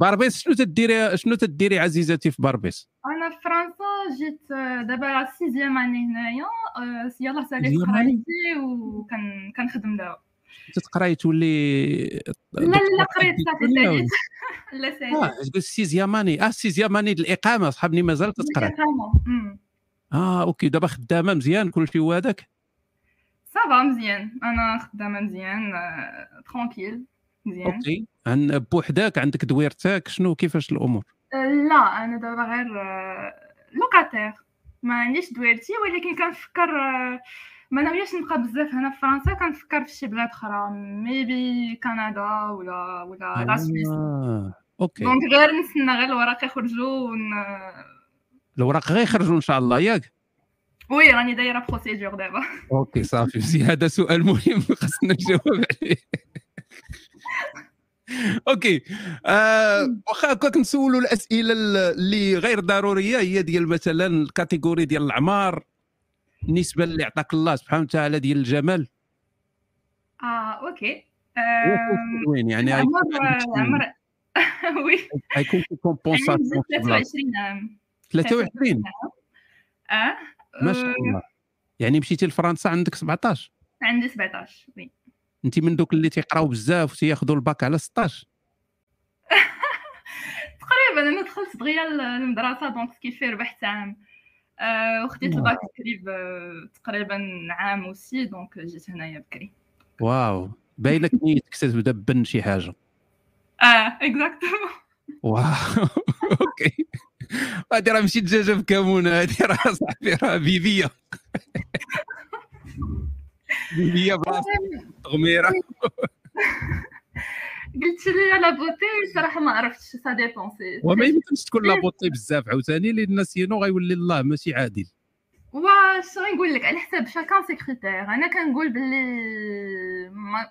باربيس شنو تديري شنو تديري عزيزتي في باربيس انا في فرنسا جيت آه، دابا 6 اني هنايا آه، يلاه ساليت سيزيام قرايتي عام. وكان كنخدم دابا تتقراي تولي لا لا قريت صافي ساليت *laughs* لا ساليت اه تقول سيزياماني اه سيزياماني د الاقامه صحابني مازال تتقرا أمم. اه اوكي دابا خدامه مزيان كلشي هو هذاك صافا مزيان انا خدامه مزيان آه، ترونكيل مزيان اوكي عن بوحدك عندك دويرتك شنو كيفاش الامور آه، لا انا دابا غير آه، لوكاتير ما عنديش دويرتي ولكن كنفكر آه، ما ناوياش نبقى بزاف هنا في فرنسا كنفكر في شي بلاد اخرى ميبي كندا ولا Ah, ولا لا سويس آه. اوكي دونك غير نستنى غير الوراق يخرجوا ون... الوراق غيخرجوا ان شاء الله ياك وي راني دايره بروسيدور دابا اوكي صافي مزيان هذا سؤال مهم *laughs* خصنا نجاوب عليه *laughs* اوكي آه واخا هكا كنسولوا الاسئله اللي غير ضروريه هي ديال مثلا الكاتيجوري ديال الاعمار النسبه اللي عطاك الله سبحانه وتعالى ديال الجمال اه اوكي آه، وين يعني عمر غيكون- عمر *laughs* وي غيكون *laughs* في عندي كومبونساسيون في البلاصة. 23 عام 23 اه ما شاء الله يعني مشيتي لفرنسا عندك 17 عندي 17 وي انت من دوك اللي تيقراو بزاف وتياخذوا الباك على 16 تقريبا انا دخلت دغيا المدرسه دونك سكيفي ربحت عام آه، وخديت آه. الباك قريب آه، تقريبا عام وسي دونك جيت هنايا بكري واو باينك نيتك تبدا بن شي حاجه اه اكزاكتومون *laughs* واو اوكي هادي راه ماشي دجاجه في كمون هادي راه صاحبي راه *laughs* بيبيه بيبيه بلاصه تغميره قلت لي لا بوتي صراحه ما عرفتش سا ديبون سي وما يمكنش تكون لابوطي بزاف عاوتاني لان سينو غيولي الله ماشي عادل واش نقول لك على حساب شاكان سي كريتير انا كنقول باللي ما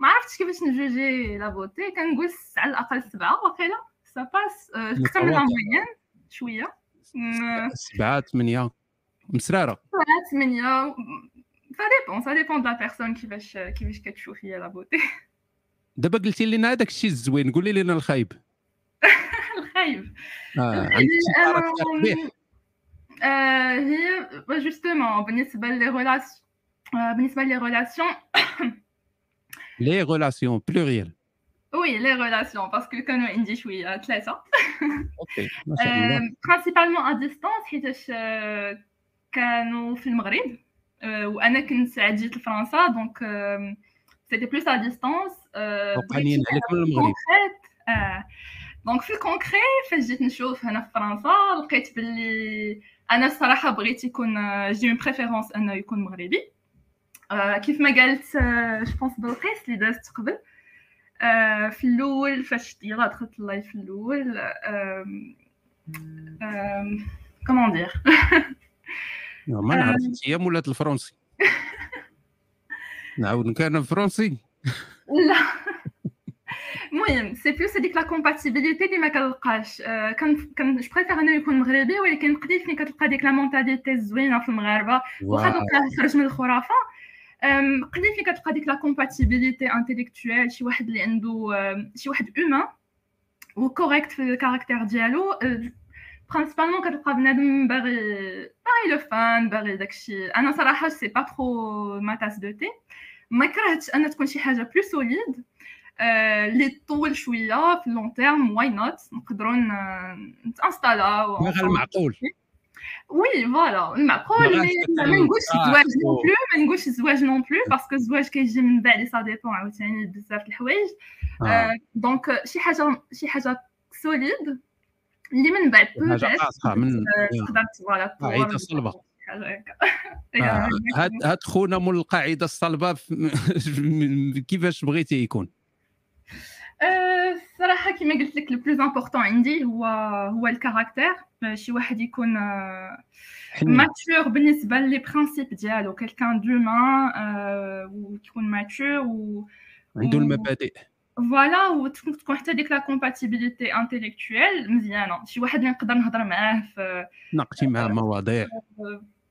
ما عرفتش كيفاش نجوجي لا بوتي كنقول س- على الاقل سبعه واقيلا euh، سا باس آه، اكثر من متواضعة. لامويان شويه م- سبعه ثمانيه مسراره سبعه ثمانيه سا ديبون سا ديبون دو لا بيرسون كيفاش كيفاش كتشوفي لا بوتي دابا قلتي لنا هذاك الشيء الزوين قولي لنا الخايب *laughs* الخايب Euh, آه عندك شي أنا- تعرف فيها قبيح؟ آه، هي جوستومون بالنسبه لي ريلاسيون بالنسبه لي ريلاسيون لي غولاسيون بلوريال وي لي ريلاسيون باسكو كانوا عندي شويه ثلاثه اوكي ما شاء Euh, الله برينسيبالمون ا ديستونس حيتاش آه، كانوا في المغرب آه، وانا كنت عاد جيت لفرنسا دونك سيتي بلوس ا ديستونس euh, وقانين عليكم المغرب اه دونك في الكونكري فاش جيت نشوف هنا في فرنسا لقيت باللي انا الصراحه بغيت يكون آه، جي اون بريفيرونس انه يكون مغربي آه، كيف ما قالت آه، جو بونس بلقيس اللي دازت قبل آه، في الاول فاش يلا دخلت اللايف في الاول آم، آم، كومون *laughs* دير ما نعرف ايام ولات *laughs* الفرنسي نعاود كان فرنسي لا المهم سي بلوس هذيك لا كومباتيبيليتي اللي ما كنلقاش آه، كان كان جو بريفير انه يكون مغربي ولكن قليل فين كتلقى ديك لا مونتاليتي الزوينه في المغاربه واخا واو. دوكا خرج من الخرافه أم، قليل فين كتلقى ديك لا كومباتيبيليتي انتيليكتويل شي واحد اللي عنده آم، شي واحد اومان وكوريكت في الكاركتير ديالو آه، برينسيبالمون كتلقى بنادم باغي باغي لو فان باغي داكشي انا صراحه سي با ترو ما تاس دو تي ما كرهتش ان تكون شي حاجه بلو سوليد آه، اللي تطول شويه في لون تيرم واي نوت نقدروا ن- نتانستالاو باغي المعقول وي فوالا ما المعقول غاديش مي تتعلم ما نقولش آه، الزواج نون و- بلو ما نقولش الزواج نون بلو باسكو الزواج كيجي من بعد لي سا ديبون عاوتاني بزاف د الحوايج آه. آه، دونك آه، شي حاجه شي حاجه سوليد اللي من بعد حاجة بعد قاصحة من- آه، يا. تقدر فوالا تطور قاعدة صلبة. حاجة هكا. *laughs* آه، يعني هاد هاد خونا مول القاعده الصلبه *laughs* في- كيفاش بغيتي يكون آه، الصراحه كما Euh, قلت لك البلوز امبورطون عندي هو هو الكاركتير آه، شي واحد يكون آه، حنين ماتور بالنسبه لي برينسيپ ديالو كيلكان دومان آه، وتكون ماتور و عنده المبادئ فوالا وتكون حتى ديك لا كومباتيبيليتي انتيليكتويل مزيانه شي واحد اللي نقدر نهضر معاه في ناقشي معاه مواضيع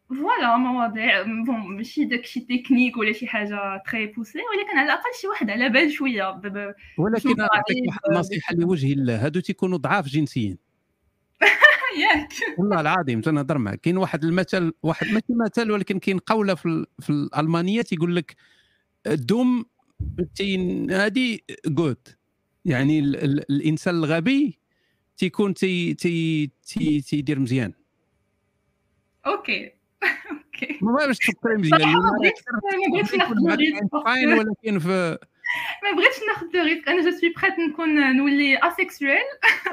فوالا مواضيع بون ماشي داكشي تكنيك ولا شي حاجه تري بوسي ولكن على الاقل شي واحد على بال شويه ب- ب- ولكن شنو نعطيك طريق- واحد النصيحه لوجه الله هادو تيكونوا ضعاف جنسيا *laughs* ياك والله العظيم تنهضر معك كاين واحد المثل واحد ماشي مثل ولكن كاين قوله في, ال- في الالمانيه تيقول لك دوم تين هذه جود يعني ال ال الانسان الغبي تيكون تي تي تي تيدير مزيان اوكي اوكي ما بعرفش تفكر مزيان صراحة ما بغيتش- لأن ما بغيتش ناخذ تكون معك الريسك عين ولكن في ما بغيتش ناخذ لو ريسك انا جو سوي بريت نكون نولي *laughs* اسيكسويل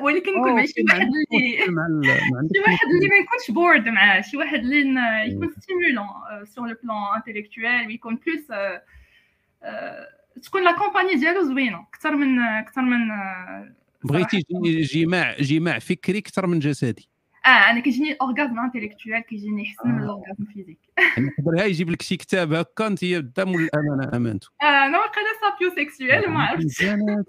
ولكن نكون أوه، مع شي ما واحد عندكش اللي مشكل مع ال- ما عندكش شي واحد مشكل. اللي ما يكونش بورد معاه شي واحد اللي ن- يكون ستيمولون سور لو بلان انتيليكتويل ويكون بلوس آه، آه، تكون لا كومباني ديالو زوينه اكثر من اكثر من اه بغيتي جي- جماع جماع فكري اكثر من جسدي آه، انا كيجيني الاورغازم انتيليكتويل كيجيني احسن من الاورغازم فيزيك يعني قدرها يجيب لك شي كتاب هكا انت يا الدم والامانه امانته آه، انا واقيلا سابيو سيكسويل ما عرفتش مزيانات.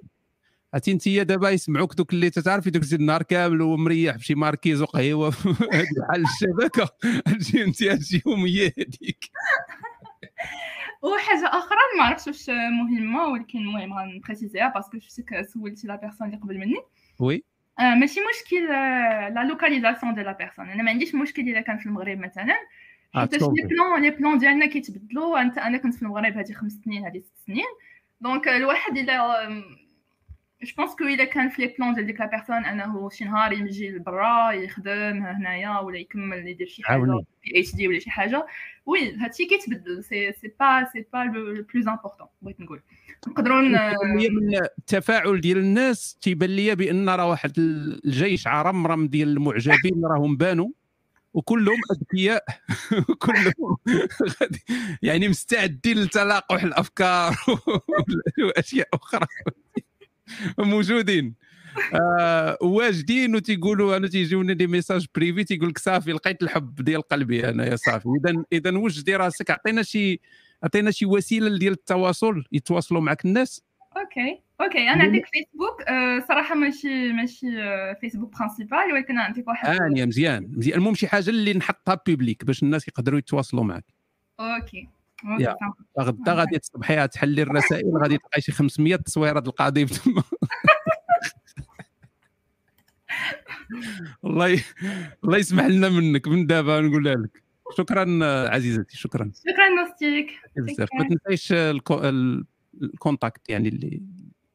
عرفتي انت يا دابا يسمعوك دوك اللي تتعرفي دوك زيد النهار كامل هو مريح بشي ماركيز وقهيوه *laughs* هاد بحال الشبكه هادشي انت هادشي يوميه هذيك وحاجه اخرى اللي ما عرفتش واش مهمه ولكن المهم غنبريسيزيها باسكو شفتك سولتي لا بيرسون اللي قبل مني وي آه، ماشي مشكل آه، لا لوكاليزاسيون ديال لا بيرسون انا ما عنديش مشكل الا كان في المغرب مثلا آه، حيت تكون لي فيه. بلون لي بلون ديالنا كيتبدلوا انت انا كنت في المغرب هذه خمس سنين هذه ست سنين دونك آه، الواحد الا جو بونس كو الا كان في لي بلون ديال ديك لا بيرسون انه شي نهار يجي لبرا يخدم هنايا ولا يكمل يدير شي حاجه عاوني. بي اتش دي ولا شي حاجه وي هادشي كيتبدل سي سي با سي با لو بلوز امبورطون بغيت نقول نقدروا ن- كتبان ليا من التفاعل ديال الناس تيبان ليا بان راه واحد الجيش عرمرم ديال المعجبين راهم بانوا وكلهم *laughs* اذكياء كلهم غادي يعني مستعدين لتلاقح *laughs* الافكار واشياء اخرى موجودين آه، واجدين وتيقولوا انا تيجيوني دي ميساج بريفي تيقول لك صافي لقيت الحب ديال قلبي انا يا صافي اذا اذا وجدي راسك عطينا شي عطينا شي وسيله ديال التواصل يتواصلوا معك الناس اوكي اوكي انا عندك فيسبوك آه، صراحه ماشي ماشي آه، فيسبوك برانسيبال ولكن عندك واحد اني مزيان مزيان المهم شي حاجه اللي نحطها بيبليك باش الناس يقدروا يتواصلوا معك اوكي يا. آه. غدا غادي تصبحي تحلي الرسائل غادي تلقاي شي 500 تصويره د القضيب *laughs* تما الله ي... الله يسمح لنا منك من دابا نقولها لك شكرا آه، عزيزتي شكرا شكرا نوستيك بزاف ما تنسايش آه، الكو- ال- الكونتاكت يعني اللي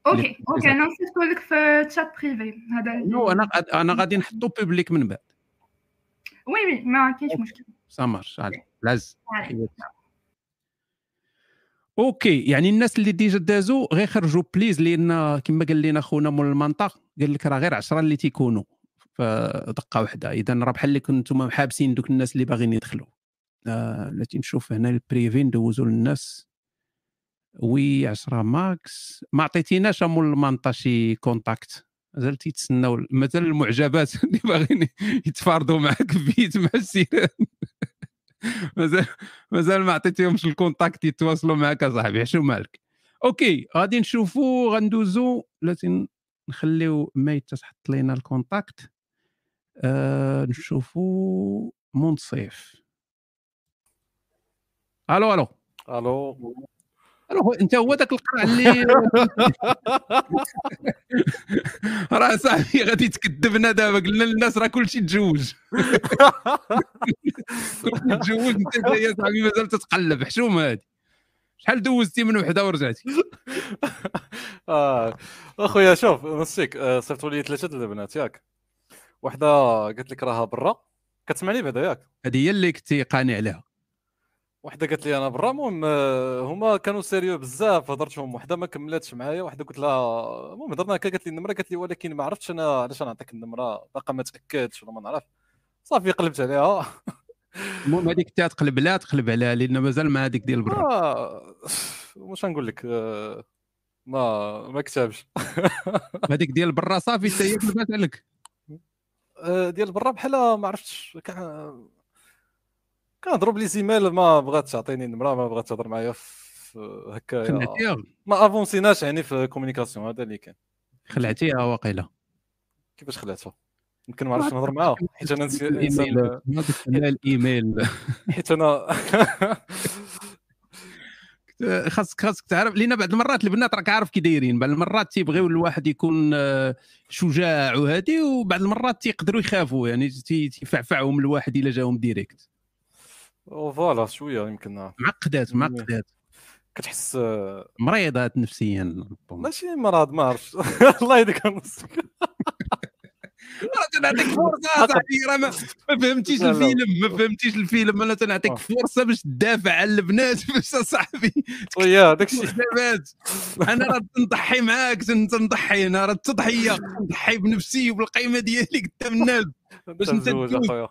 اوكي اوكي انا نسيت نقول لك في تشات بريفي هذا نو انا غاد- انا غادي نحطو بيبليك من بعد وي وي ما كاينش مشكل سامر علي العز عادي. اوكي يعني الناس اللي ديجا دازو غير خرجوا بليز لان كما قال لنا خونا مول المنطقه قال لك راه غير 10 اللي تيكونوا فدقه واحده اذا راه بحال اللي كنتم محابسين دوك الناس اللي باغيين يدخلوا آه، التي نشوف هنا البريفي ندوزو للناس وي 10 ماكس ما عطيتيناش مول المنطقه شي كونتاكت مازال تيتسناو مازال المعجبات *laughs* اللي باغيين يتفارضوا معك في بيت مع السيران مازال مازال ما عطيتيهمش الكونتاكت يتواصلوا معك اصاحبي شو مالك اوكي غادي نشوفوا غندوزو لكن نخليو ما تحط لينا الكونتاكت آه نشوفوا منصف الو الو الو الو هو- انت هو ذاك القرع *laughs* اللي *laughs* راه صاحبي غادي تكذبنا دابا قلنا للناس راه كلشي تزوج كلشي تزوج انت جاي يا صاحبي مازال تتقلب حشومه هادي شحال دوزتي من وحده ورجعتي آه. اخويا شوف نسيك آه، صيفطوا لي ثلاثه ديال البنات ياك واحده قالت لك راها برا كتسمعني بعدا ياك هذه هي اللي كنتي قاني عليها واحده قالت لي انا برا المهم آه، هما كانوا سيريو بزاف هضرتهم واحده ما كملاتش معايا واحده قلت لها المهم هضرنا هكا قالت لي النمره قالت لي ولكن ما عرفتش انا علاش انا نعطيك النمره باقا ما تاكدتش ولا ما نعرف صافي قلبت عليها المهم هذيك انت تقلب لا تقلب عليها لان مازال مع هذيك *laughs* ديال برا آه، واش نقول لك آه، ما ما كتبش هذيك ديال برا صافي حتى هي كذبات عليك آه، ديال برا بحال ما عرفتش كان كنهضروا بلي زيمال ما بغات تعطيني النمره ما بغات تهضر معايا في- هكايا خلعتيها ما افونسيناش يعني في الكوميونيكاسيون هذا اللي كان خلعتيها واقيلا كيفاش خلعتها يمكن ما عرفتش نهضر معاها حيت انا نسي- انسان الايميل ما تستنى الايميل حيت *laughs* انا خاصك خاصك تعرف لان بعض المرات البنات راك عارف كي دايرين بعض المرات تيبغيو الواحد يكون آه، شجاع وهادي وبعض المرات تيقدروا يخافوا يعني تي- تيفعفعهم الواحد الا جاهم ديريكت فوالا شويه يمكن معقدات معقدات كتحس آه، مريضات نفسيا ماشي مرض ما عرفتش *laughs* الله يهديك نصك راه تنعطيك فرصه صاحبي راه ما ما فهمتيش لا، آه. لا. الفيلم ما فهمتيش الفيلم انا تنعطيك فرصه باش تدافع على البنات *laughs* باش صاحبي ويا *laughs* داكشي الشباب انا راه نضحي معاك نضحي انا راه التضحيه نضحي بنفسي وبالقيمه ديالي قدام الناس باش انت تزوج تدوز. اخويا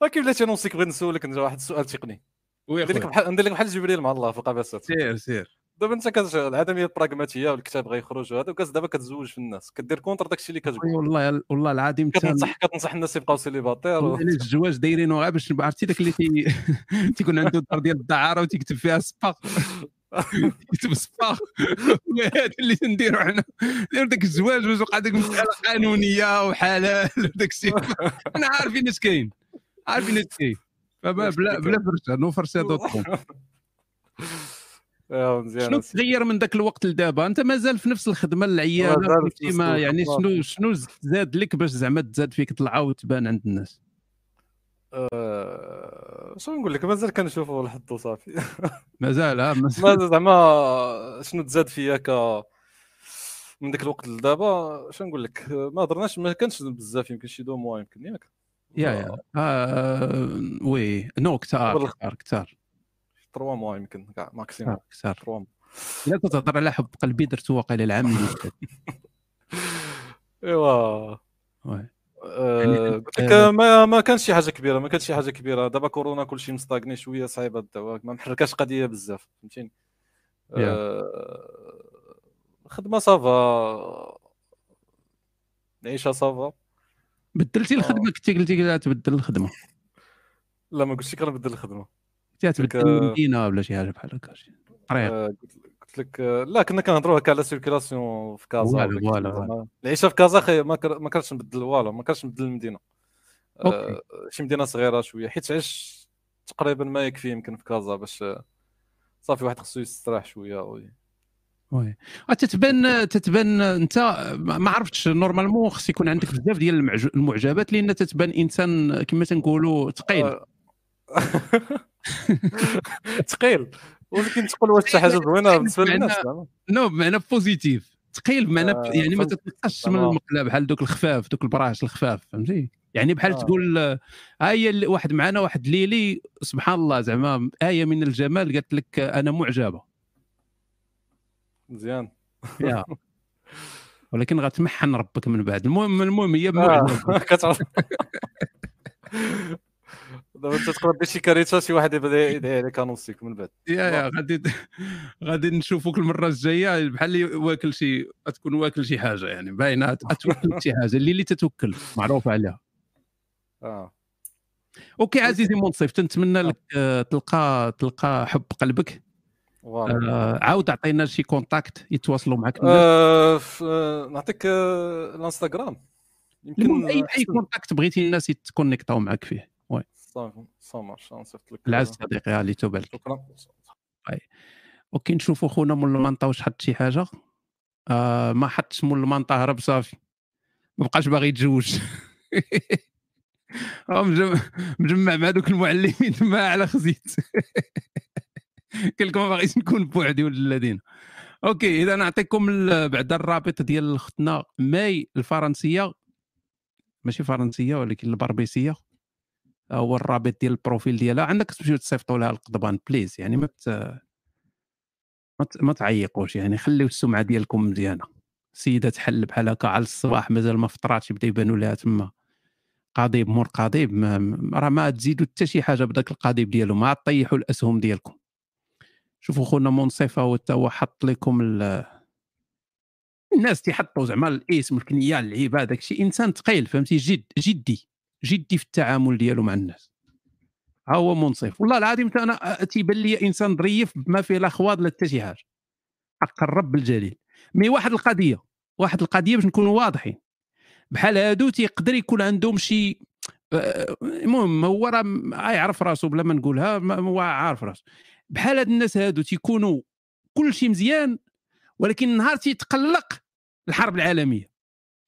ولكن بلاتي انا نوصيك بغيت نسولك انت واحد السؤال تقني وي ندير لك خويا. بحال ندير لك بحال جبريل مع الله في القباسات سير سير دابا انت كت... العدميه البراغماتيه والكتاب غيخرج وهذا وكاز دابا كتزوج في الناس كدير كونتر داكشي اللي أي كتبغي والله والله العظيم كتنصح كتنصح الناس يبقاو سيليباتير و... يعني الزواج دايرينو غير باش عرفتي داك اللي تي... *laughs* تيكون عنده الدار ديال الدعاره وتيكتب *laughs* فيها سبا يكتب سبا هذا اللي نديرو حنا داير داك الزواج باش وقع ديك المساله قانونيه وحلال وداك الشيء انا عارفين اش كاين عارفين اش كاين فما بلا بلا فرشه نو فرشه دوت كوم آه، مزيان *laughs* شنو أنسي. تغير من ذاك الوقت لدابا انت مازال في نفس الخدمه العيانه مازال في فهمتي نفس ما يعني الخدمة. شنو شنو زاد لك باش زعما تزاد فيك طلعه وتبان عند الناس آه، شنو نقول لك مازال كنشوفوا الحظ وصافي مازال ها *laughs* مازال مازال زعما شنو تزاد فيا ك من ذاك الوقت لدابا شنو نقول لك آه، ما هضرناش ما كانش بزاف يمكن شي دو موا يمكن ياك يا يا آه، وي نو كثار والله. كثار كثار 3 موا يمكن كاع ماكسيموم كثار 3 الا كنت تهضر على حب قلبي درت واقيلا العام *laughs* اللي فات ايوا وي. إيوه. آه، قلت لك آه، ما ما كانش شي حاجه كبيره ما كانش شي حاجه كبيره دابا كورونا كلشي مستاغني شويه صعيبه الدواء ما محركاش قضيه بزاف فهمتيني يا. آه، الخدمه صافا العيشه صافا بدلتي آه. الخدمه كنتي قلتي لا تبدل الخدمه لا ما قلتش لك غنبدل الخدمه كنتي قلت لك، تبدل آه، المدينه ولا شي حاجه بحال هكا شي طريق آه، قلت- قلت لك آه، لا كنا كنهضروا هكا على سيركيلاسيون في كازا والو، ولا كي- والو، زعما والو. العيشه في كازا خي ما كر- ما كرهتش نبدل والو ما كرهتش نبدل المدينه آه، أوكي. شي مدينه صغيره شويه حيت عشت تقريبا ما يكفي يمكن في كازا باش آه، صافي واحد خصو يستراح شويه وي. وي آه، تتبان تتبان انت ما ما عرفتش نورمالمون خص يكون عندك بزاف ديال المعج- المعجبات لان تتبان انسان كما تنقولوا ثقيل آه. *laughs* *laughs* ثقيل ولكن تقول واش حتى حاجه زوينه بالنسبه بمعنى- للناس زعما نو بمعنى بوزيتيف ثقيل بمعنى آه، يعني ما فهمت. تتنقصش من تمام. المقله بحال دوك الخفاف دوك البراش الخفاف فهمتي يعني بحال آه. تقول آه، ها هي اللي- واحد معنا واحد ليلي سبحان الله زعما ايه من الجمال قالت لك آه، انا معجبه مزيان يا. ولكن غتمحن ربك من بعد المهم المهم هي *laughs* آه، *laughs* معجبة. كتعرف دابا انت تقدر دير شي كارثه شي واحد يبدا يدعي عليك انونسيك من بعد يا يا غادي غادي نشوفوك المره الجايه بحال اللي واكل شي تكون واكل شي حاجه يعني باينه توكل شي حاجه اللي اللي تتوكل معروفه عليها اه اوكي عزيزي منصف تنتمنى لك آه، تلقى تلقى حب قلبك فوالا. آه، عاود عطينا شي كونتاكت يتواصلوا معك الناس. آه، ف- آه، نعطيك آه، الانستغرام المهم اي اي أحسن. كونتاكت بغيتي الناس يتكونيكتاو معك فيه وي صافي سامر غنصيفط لك العز صديقي ها اللي توبالك شكرا طيب. اوكي نشوفوا خونا مول المنطقه واش حط شي حاجه آه ما حطش مول المنطقه هرب صافي ما بقاش باغي يتزوج هو مجمع, مجمع مع دوك المعلمين *laughs* تما على خزيت قال لكم ما باغيش نكون بوحدي ولا الذين اوكي اذا نعطيكم ال- بعد الرابط ديال اختنا ماي الفرنسيه ماشي فرنسيه ولكن البربيسيه هو الرابط ديال البروفيل ديالها عندك تمشيو تصيفطوا لها القضبان بليز يعني ما ت... ما ت- ما تعيقوش يعني خليو السمعه ديالكم مزيانه سيده تحل بحال هكا على الصباح مازال ما فطراتش بدا يبانوا لها تما قضيب مور قضيب ما- ما- راه ما تزيدوا حتى شي حاجه بداك القضيب ديالو ما طيحوا الاسهم ديالكم شوفوا خونا منصفه هو تا هو حط لكم ال... الناس تيحطوا زعما الاسم الكنيه اللعيبه داك الشيء انسان ثقيل فهمتي جد جدي جدي في التعامل ديالو مع الناس ها هو منصف والله العظيم تا انا تيبان لي انسان ظريف ما فيه لا خواض لا حتى شي حاجه حق الرب الجليل مي واحد القضيه واحد القضيه باش نكونوا واضحين بحال هادو تيقدر يكون عندهم شي آه، المهم هو راه م- يعرف راسو بلا ما نقولها ما- هو عارف راسو بحال هاد الناس هادو تيكونوا كل شيء مزيان ولكن نهار تيتقلق الحرب العالميه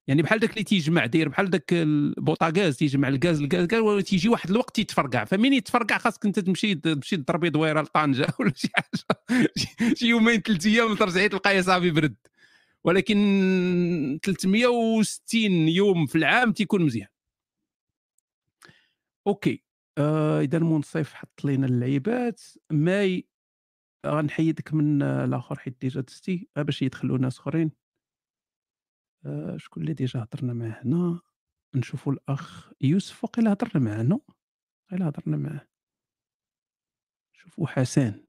يعني بحال داك اللي تيجمع داير بحال داك البوطاغاز تيجمع الغاز الغاز الغاز وتيجي واحد الوقت يتفرقع فمين يتفرقع خاصك انت تمشي تمشي تضربي دويره لطنجه *laughs* ولا شي حاجه شي- شي يومين ثلاث ايام ترجعي تلقاي صافي برد ولكن 360 يوم في العام تيكون مزيان اوكي آه اذا المنصف حط لينا اللعيبات ماي غنحيدك من آه، الاخر حيت ديجا دزتي آه، باش يدخلوا ناس اخرين آه شكون اللي ديجا هضرنا معاه هنا نشوفوا الاخ يوسف وقيلا هضرنا معاه نو قيلا هضرنا معاه شوفوا حسن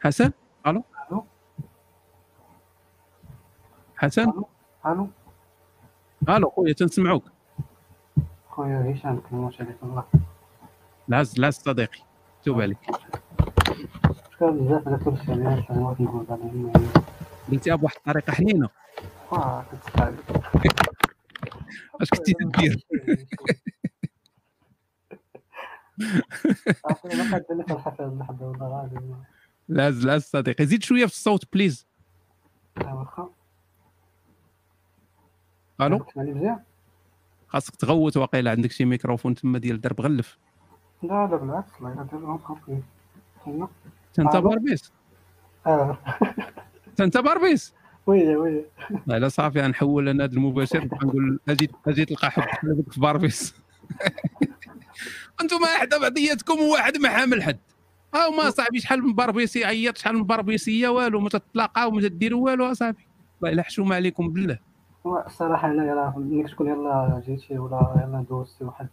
حسن الو حسن الو آه. الو خويا تنسمعوك خويا هشام كلمات عليك الله العز العز صديقي آه. توب عليك شكرا بزاف على كل شيء اللي كنت نقول عليهم *laughs* قلتيها بواحد الطريقه حنينه واه كتسحب اش كنتي *laughs* تدير عرفتي ما كدير لك الحفله اللحظه ولا غادي العز العز صديقي زيد شويه في الصوت بليز آه، واخا الو تسمعني مزيان خاصك تغوت واقيلا عندك شي ميكروفون تما ديال درب غلف لا لا بالعكس الله يلا دير لهم خاطري هنا انت ألو؟ باربيس اه انت باربيس ويلي ويلي لا صافي غنحول انا هذا *laughs* المباشر نبقى نقول اجي اجي تلقى حب قلبك في باربيس انتم حدا بعضياتكم وواحد ما حامل حد ها آه. هما صاحبي شحال من باربيسي عيط شحال من باربيسيه والو ما تتلاقاو ما تديروا والو اصاحبي الله الا حشومه عليكم بالله هو الصراحه انا يلا ملي كتكون يلا جيتي ولا يلا دوزتي واحد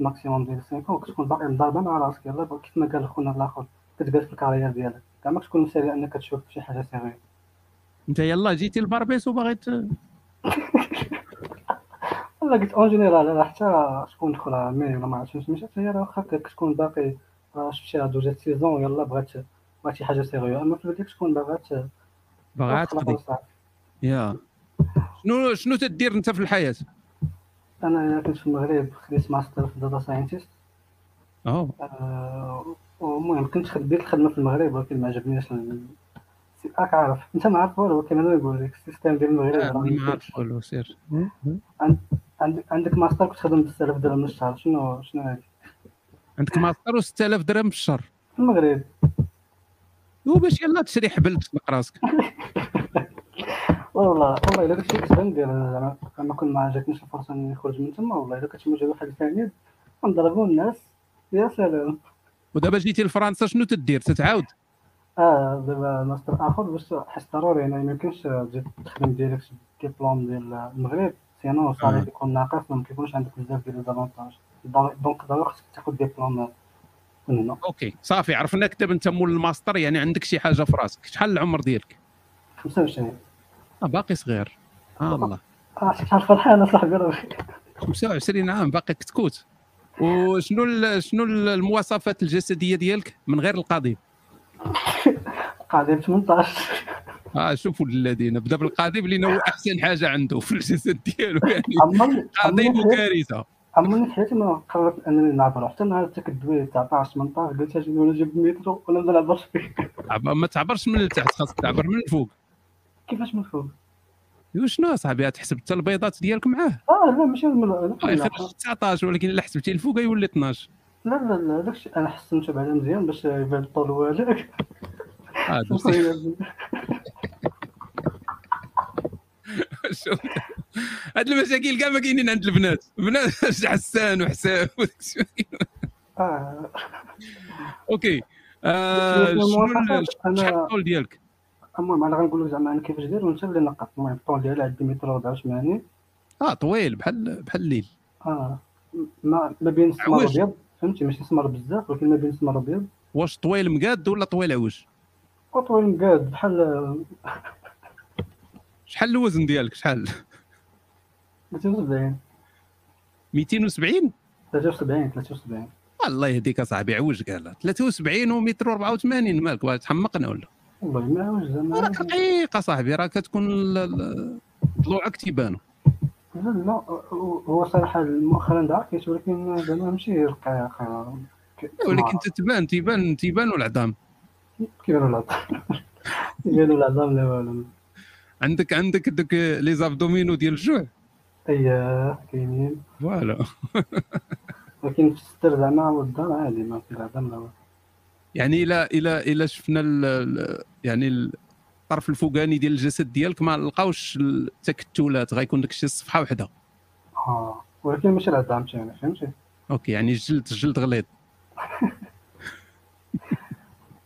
ماكسيموم ديال 5 وكتكون باقي مضاربه مع راسك يلا با- كيف ما قال خونا الاخر كتجلس في الكارير ديالك كاع ما كتكون مسالي انك تشوف شي حاجه سيريوس انت يلا جيتي لباربيس وباغي ت- لا قلت اون جينيرال راه حتى شكون دخل راه مي ولا ما عرفتش سميتها حتى هي راه واخا هكاك شكون باقي راه شفتي راه دوزات سيزون يلا بغات بغات شي حاجه سيريو اما في البداية شكون باغات باغا تقضي يا شنو شنو تدير انت في الحياه انا إلا كنت في المغرب خديت ماستر في داتا ساينتيست اه المهم كنت خد- بديت الخدمه في المغرب ولكن ما عجبنيش ال- سي- راك عارف انت ما عارف والو ولكن انا نقول لك السيستم ديال المغرب آه، راه ما ما عرفت والو سير عند- عند- عندك ماستر كنت خدم 6000 درهم للشهر شنو شنو هذه عندك ماستر و6000 درهم في الشهر في المغرب وباش يلا تشري حبل تسلق راسك والله والله الا كنت كنت ندير زعما ما كون ما جاتنيش الفرصه اني نخرج من تما والله الا كنت موجه واحد ثاني نضربو الناس يا سلام ودابا جيتي لفرنسا شنو تدير تتعاود اه دابا ماستر اخر باش حس ضروري يعني ما يمكنش تجي تخدم ديريكت الدبلوم ديال المغرب سينو الصالير يكون ناقص ما يكونش عندك بزاف ديال ليزافونتاج دونك ضروري خصك تاخد دبلوم من هنا اوكي صافي عرفناك دابا انت مول الماستر يعني عندك شي حاجه في راسك شحال العمر ديالك 25 اه باقي صغير آه الله اه شفت الفرحان صاحبي راه 25 عام باقي كتكوت وشنو ال- شنو المواصفات الجسديه ديالك من غير القضيب *laughs* قاعدين 18 اه شوفوا الذين بدا بالقضيب لان هو احسن حاجه عنده في الجسد *laughs* ديالو يعني عمرني قضيب عمرني- وكارثه عمرني في حياتي ما قررت انني نعبر حتى نهار ديك الدوي 19 18 قلت اجي ولا جبت المترو ولا ما نعبرش فيه *laughs* عب- ما تعبرش من التحت خاصك تعبر من الفوق كيفاش من فوق وشنو صاحبي تحسب حتى البيضات ديالك معاه اه لا ماشي من لا آه، يخرج 19 ولكن الا حسبتي الفوق يولي 12 لا لا لا داكشي انا حسنته بعدا مزيان باش يبان الطول *laughs* والك *laughs* اه دوزتي شوف هاد المشاكل كاع ما كاينين عند البنات بنات *laughs* حسان وحساب وداك الشيء. اه اوكي آه، شوف، شنو المواصفات، ال- أنا- شحال الطول ديالك المهم انا غنقول لك زعما انا كيفاش داير وانت اللي نقط المهم الطول ديالي عندي متر 84 اه طويل بحال بحال الليل اه ما ما بين السمر عوج. ابيض فهمتي ماشي سمر بزاف ولكن ما بين السمر ابيض واش طويل مقاد ولا طويل عوج وطويل مقاد بحال شحال الوزن ديالك شحال 270 270 73 73 الله يهديك اصاحبي عوج قال 73 ومتر 84 مالك واش تحمقنا ولا والله ما عوج زعما راك رقيق اصاحبي راه كتكون ال- ال- طلوعك تيبانو لا لا هو- هو صراحة مؤخرا دعكت ولكن زعما ماشي رقيق ولكن تتبان تيبان تيبانو العظام كيبانو العظام كيبانو العظام لا والو عندك عندك دوك لي زابدومينو ديال الجوع اييه كاينين فوالا *laughs* ولكن في الستر زعما والدار عادي ما في العظام لا والو يعني الى الى الى شفنا ال ال يعني ال- الطرف الفوقاني ديال الجسد ديالك ما لقاوش التكتلات غيكون داك الشيء صفحه واحده اه ولكن ماشي العظام تاعنا فهمتي اوكي يعني الجلد الجلد غليظ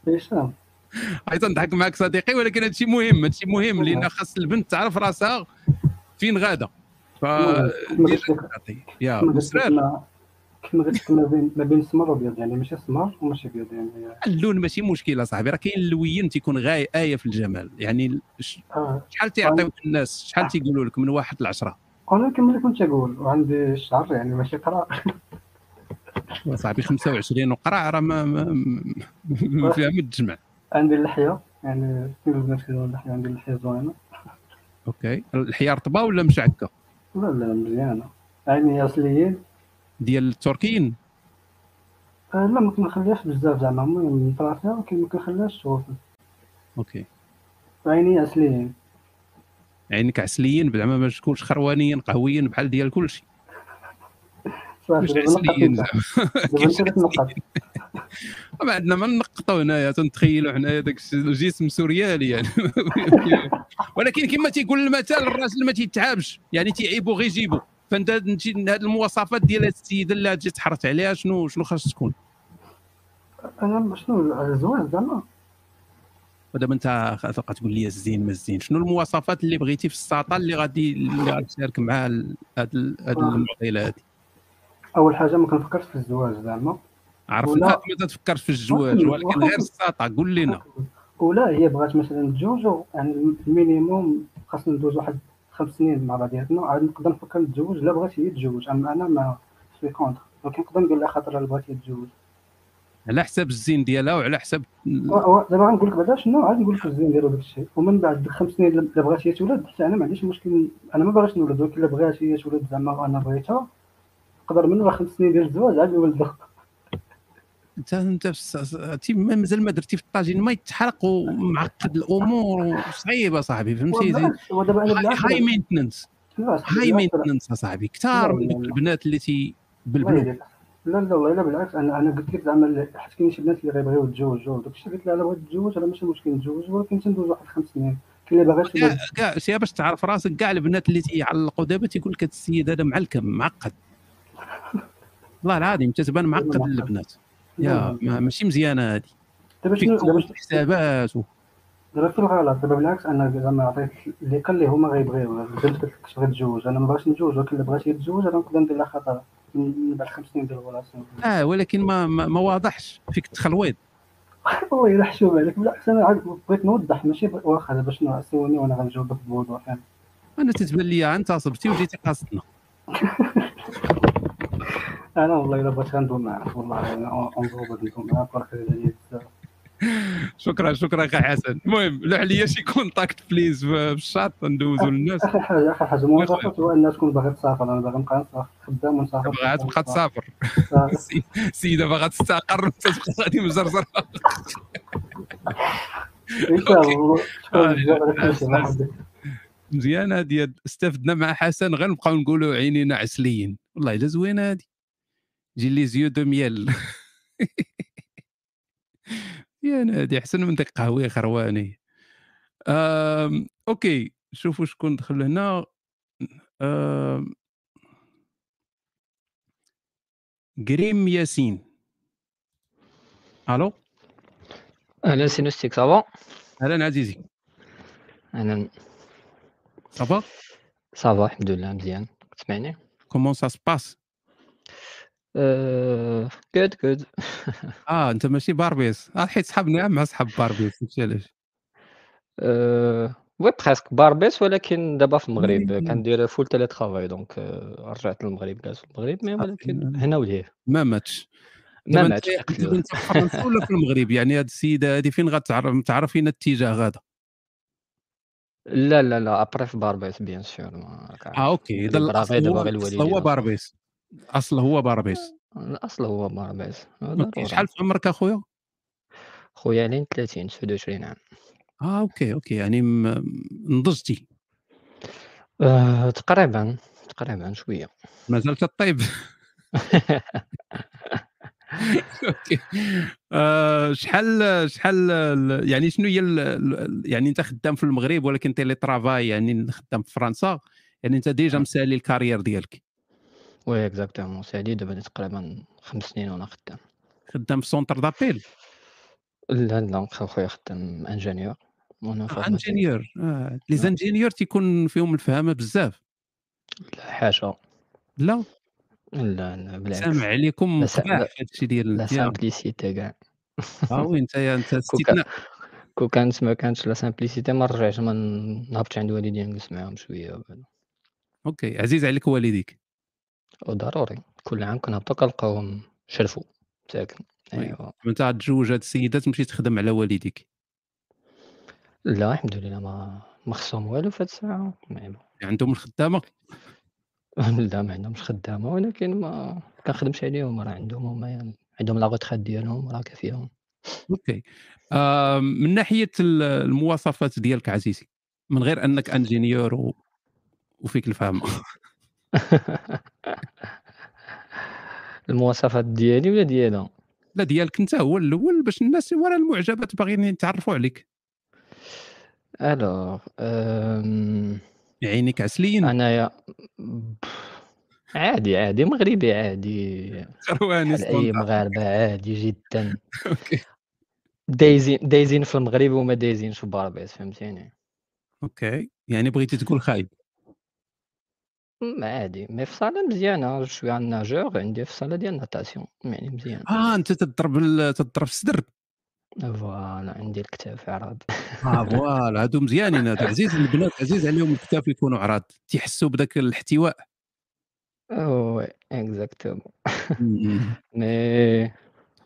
هشام اي تنضحك معك صديقي ولكن هادشي مهم هادشي مهم لان خاص البنت تعرف راسها فين غادا ف يا كما قلت لك مسرار ما- كما قلت لك ما بين ما بين السمر والابيض يعني ماشي سمر وماشي ابيض يعني اللون ماشي مشكله صاحبي راه كاين اللوين تيكون غايه ايه في الجمال يعني ال- ش- اه شحال تيعطيوك الناس شحال تيقولوا لك من واحد لعشره انا كما كنت اقول وعندي الشعر يعني ماشي قرا صاحبي 25 وقرع راه ما ما- ما فيها ما تجمع *laughs* عندي اللحيه يعني كل البنات كيديروا اللحيه عندي اللحيه زوينه اوكي الحياه رطبه ولا مشعكه لا لا مزيانه عيني هي اصليين ديال التركيين آه لا ما كنخليهاش بزاف زعما المهم نطلع فيها ولكن ما كنخليهاش توصل اوكي عيني هي اصليين عينك عسليين زعما ما تكونش خروانيين قهويين بحال ديال كلشي صافي مش دابا نقط عسليين نتا. *laughs* زعما دابا كاينش انت كتنقط ما عندنا ما نقطو هنايا تنتخيلوا حنايا داك الشيء- الجسم سوريالي يعني ولكن كما تيقول المثال الراجل ما تيتعبش يعني تيعيبو غير جيبو فانت هاد المواصفات ديال هاد السيده اللي تجي تحرت عليها شنو شنو خاص تكون انا شنو زوين زعما ودابا انت غتبقى تقول لي الزين ما الزين شنو المواصفات اللي بغيتي في الساطه اللي غادي اللي غادي تشارك معها ال- هاد ال- هاد المعضله هادي اول حاجه ما كنفكرش في الزواج زعما عرفنا ولا- ما تفكرش في الزواج ولكن غير الساطه قول لنا ولا هي بغات مثلا تجوجو يعني المينيموم خاصنا ندوز واحد خمس سنين مع بعضياتنا عاد نقدر نفكر نتزوج لا بغات هي تتزوج اما انا ما سوي كونتر ولكن نقدر نقول لها خاطر الا بغات هي تتزوج على حسب الزين ديالها وعلى حسب و- و- دابا غنقول لك بعدا شنو عاد نقول لك الزين ديالو داك الشيء ومن بعد ديك خمس سنين الا بغات هي تولد حتى انا ما عنديش مشكل انا ما باغيش نولد ولكن الا بغات هي تولد زعما وانا بغيتها نقدر من ورا خمس سنين ديال الزواج عاد نولد انت انت في الس- الس- تي- ما- مازال ما درتي في الطاجين ما يتحرق ومعقد الامور وصعيبه صاحبي فهمتي زي- وبالعكس، ودابا انا بالعكس هاي مينتننس هاي مينتننس صاحبي كثار من لا، لا، دوك لا. البنات اللي تي الله بالبلوك يهديك. لا لا والله لا بالعكس انا انا قلت لك زعما ال- حيت كاين شي بنات اللي غيبغيو يتزوجوا وداك الشيء قلت لها الا بغيت تتزوج راه ماشي مشكل نتزوج ولكن تندوز واحد خمس سنين كاين اللي باغاش كاع كاع سي باش تعرف راسك كاع البنات اللي تيعلقوا دابا تيقول لك هاد السيد هذا معلكم معقد والله العظيم تتبان معقد للبنات يا ما- ماشي مزيانه هذه دابا طيب، شنو- دابا شنو- حسابات و... دابا في الغلط دابا بالعكس انا زعما عطيت اللي قال لي هما غيبغيو البنت قالت لك اش غتزوج انا ما باغاش نتزوج ولكن الا بغات هي تتزوج انا نقدر ندير لها خطر من من بعد خمس سنين ديال *laughs* الغلاصه اه ولكن ما ما, ما واضحش فيك التخلويط الله يلا حشوم عليك بالعكس انا عاد بغيت نوضح ماشي ب- واخا دابا شنو سولني وانا غنجاوبك بوضوح يعني انا تتبان لي انت صبتي وجيتي قاصدنا انا والله الا بغيت غندوي معاك والله انا غنضرب ندوي معاك وراك غادي بزاف شكرا شكرا اخي حسن المهم لوح لي شي كونتاكت بليز في *laughs* الشات ندوزو للناس اخر حاجه اخر حاجه مواصفات هو الناس تكون باغي تسافر انا باغي نبقى نسافر خدام ونسافر باغا تبقى تسافر السي- السيده باغا تستقر وانت تبقى غادي مزرزر ان شاء الله شكرا بزاف على كل شيء الله آه، يحفظك. مزيان هادي هاد- استفدنا مع حسن غنبقاو نقولوا عينينا عسليين والله الا زوينه هادي جي لي زيو دو ميال *laughs* يا نادي احسن من ديك قهوه خرواني أم... اوكي شوفوا شكون دخل هنا أم... كريم ياسين الو اهلا سينوستيك صافا اهلا عزيزي اهلا صافا صافا الحمد لله مزيان تسمعني كومون سا سباس جود جود اه انت ماشي باربيس آه، حيت صحابنا مع صحاب باربيس فهمتي علاش أه، وي بريسك باربيس ولكن دابا في المغرب مم. كندير فول تيلي ترافاي دونك آه، رجعت للمغرب جالس في المغرب مي أه. ولكن هنا وليه ما ماتش ما دابا ماتش انت- حق دابا الله. انت في فرنسا ولا في المغرب يعني هاد السيده هادي فين غتعرف تعرف فين الاتجاه غادا لا لا لا ابري في باربيس بيان سور ما راك عارف. اه اوكي اذا اللي بغا غير الاصل دابا غير الوالدين هو الاصل هو أصلاً. باربيس الاصل هو باربيس الاصل هو باربيس آه، اوكي ضروري شحال في عمرك اخويا خويا علين 30 29 عام اه اوكي اوكي يعني م- نضجتي آه، تقريبا تقريبا شويه مازال تطيب *laughs* اوكي آه، شحال شحال ال- يعني شنو هي ال- ال- يعني انت خدام في المغرب ولكن تيلي ترافاي يعني خدام في فرنسا يعني انت ديجا آه. مسالي الكارير ديالك وي اكزاكتومون سالي دابا لي تقريبا خمس سنين وانا خدام خدام في سونتر دابيل لا لا خويا خدام انجينيور وانا فورماسيون آه، انجينيور آه، لي آه. زانجينيور تيكون فيهم الفهامه بزاف لا حاشا لا لا لا بالعكس سامع عليكم لا سا- قباح لا- في هادشي ديال لا ديال- سامبليسيتي كاع اه وي *laughs* انت انت كو كا- استثناء كو كانت ما كانتش لا سامبليسيتي ما رجعتش ما نهبطش عند والدي نجلس معاهم شويه وهذا. اوكي عزيز عليك والديك وضروري كل عام كنهبطو كنلقاوهم شرفوا ساكن أيوة. ايوا انت غتجوج هاد السيده تمشي تخدم على والديك لا الحمد لله ما ما خصهم والو في هاد الساعه ما- عندهم الخدامه *laughs* لا ما عندهمش خدامه ولكن ما كنخدمش عليهم راه عندهم هما عندهم لا غوتخات ديالهم راه كافيهم اوكي آه من ناحيه ال- المواصفات ديالك عزيزي من غير انك انجينيور و... وفيك *laughs* الفهم المواصفات ديالي ولا ديالها لا ديالك انت هو الاول باش الناس ورا المعجبات باغيين يتعرفوا عليك الوغ أم... عينيك عسليين انايا عادي عادي مغربي عادي خرواني بحال اي مغاربه عادي جدا دايزين دايزين في المغرب وما دايزينش في باربيس فهمتيني اوكي يعني بغيتي تقول خايب أم، عادي مي في صاله مزيانه شويه عن Ah! آه، ناجور عندي في صاله ديال ناتاسيون يعني مزيان اه انت تضرب ال... تضرب الصدر فوالا عندي الكتاف عرض اه *laughs* فوالا هادو مزيانين هادو عزيز البنات عزيز عليهم الكتاف يكونوا عراض تيحسوا بداك الاحتواء وي اكزاكتومون Mmh. *laughs* مي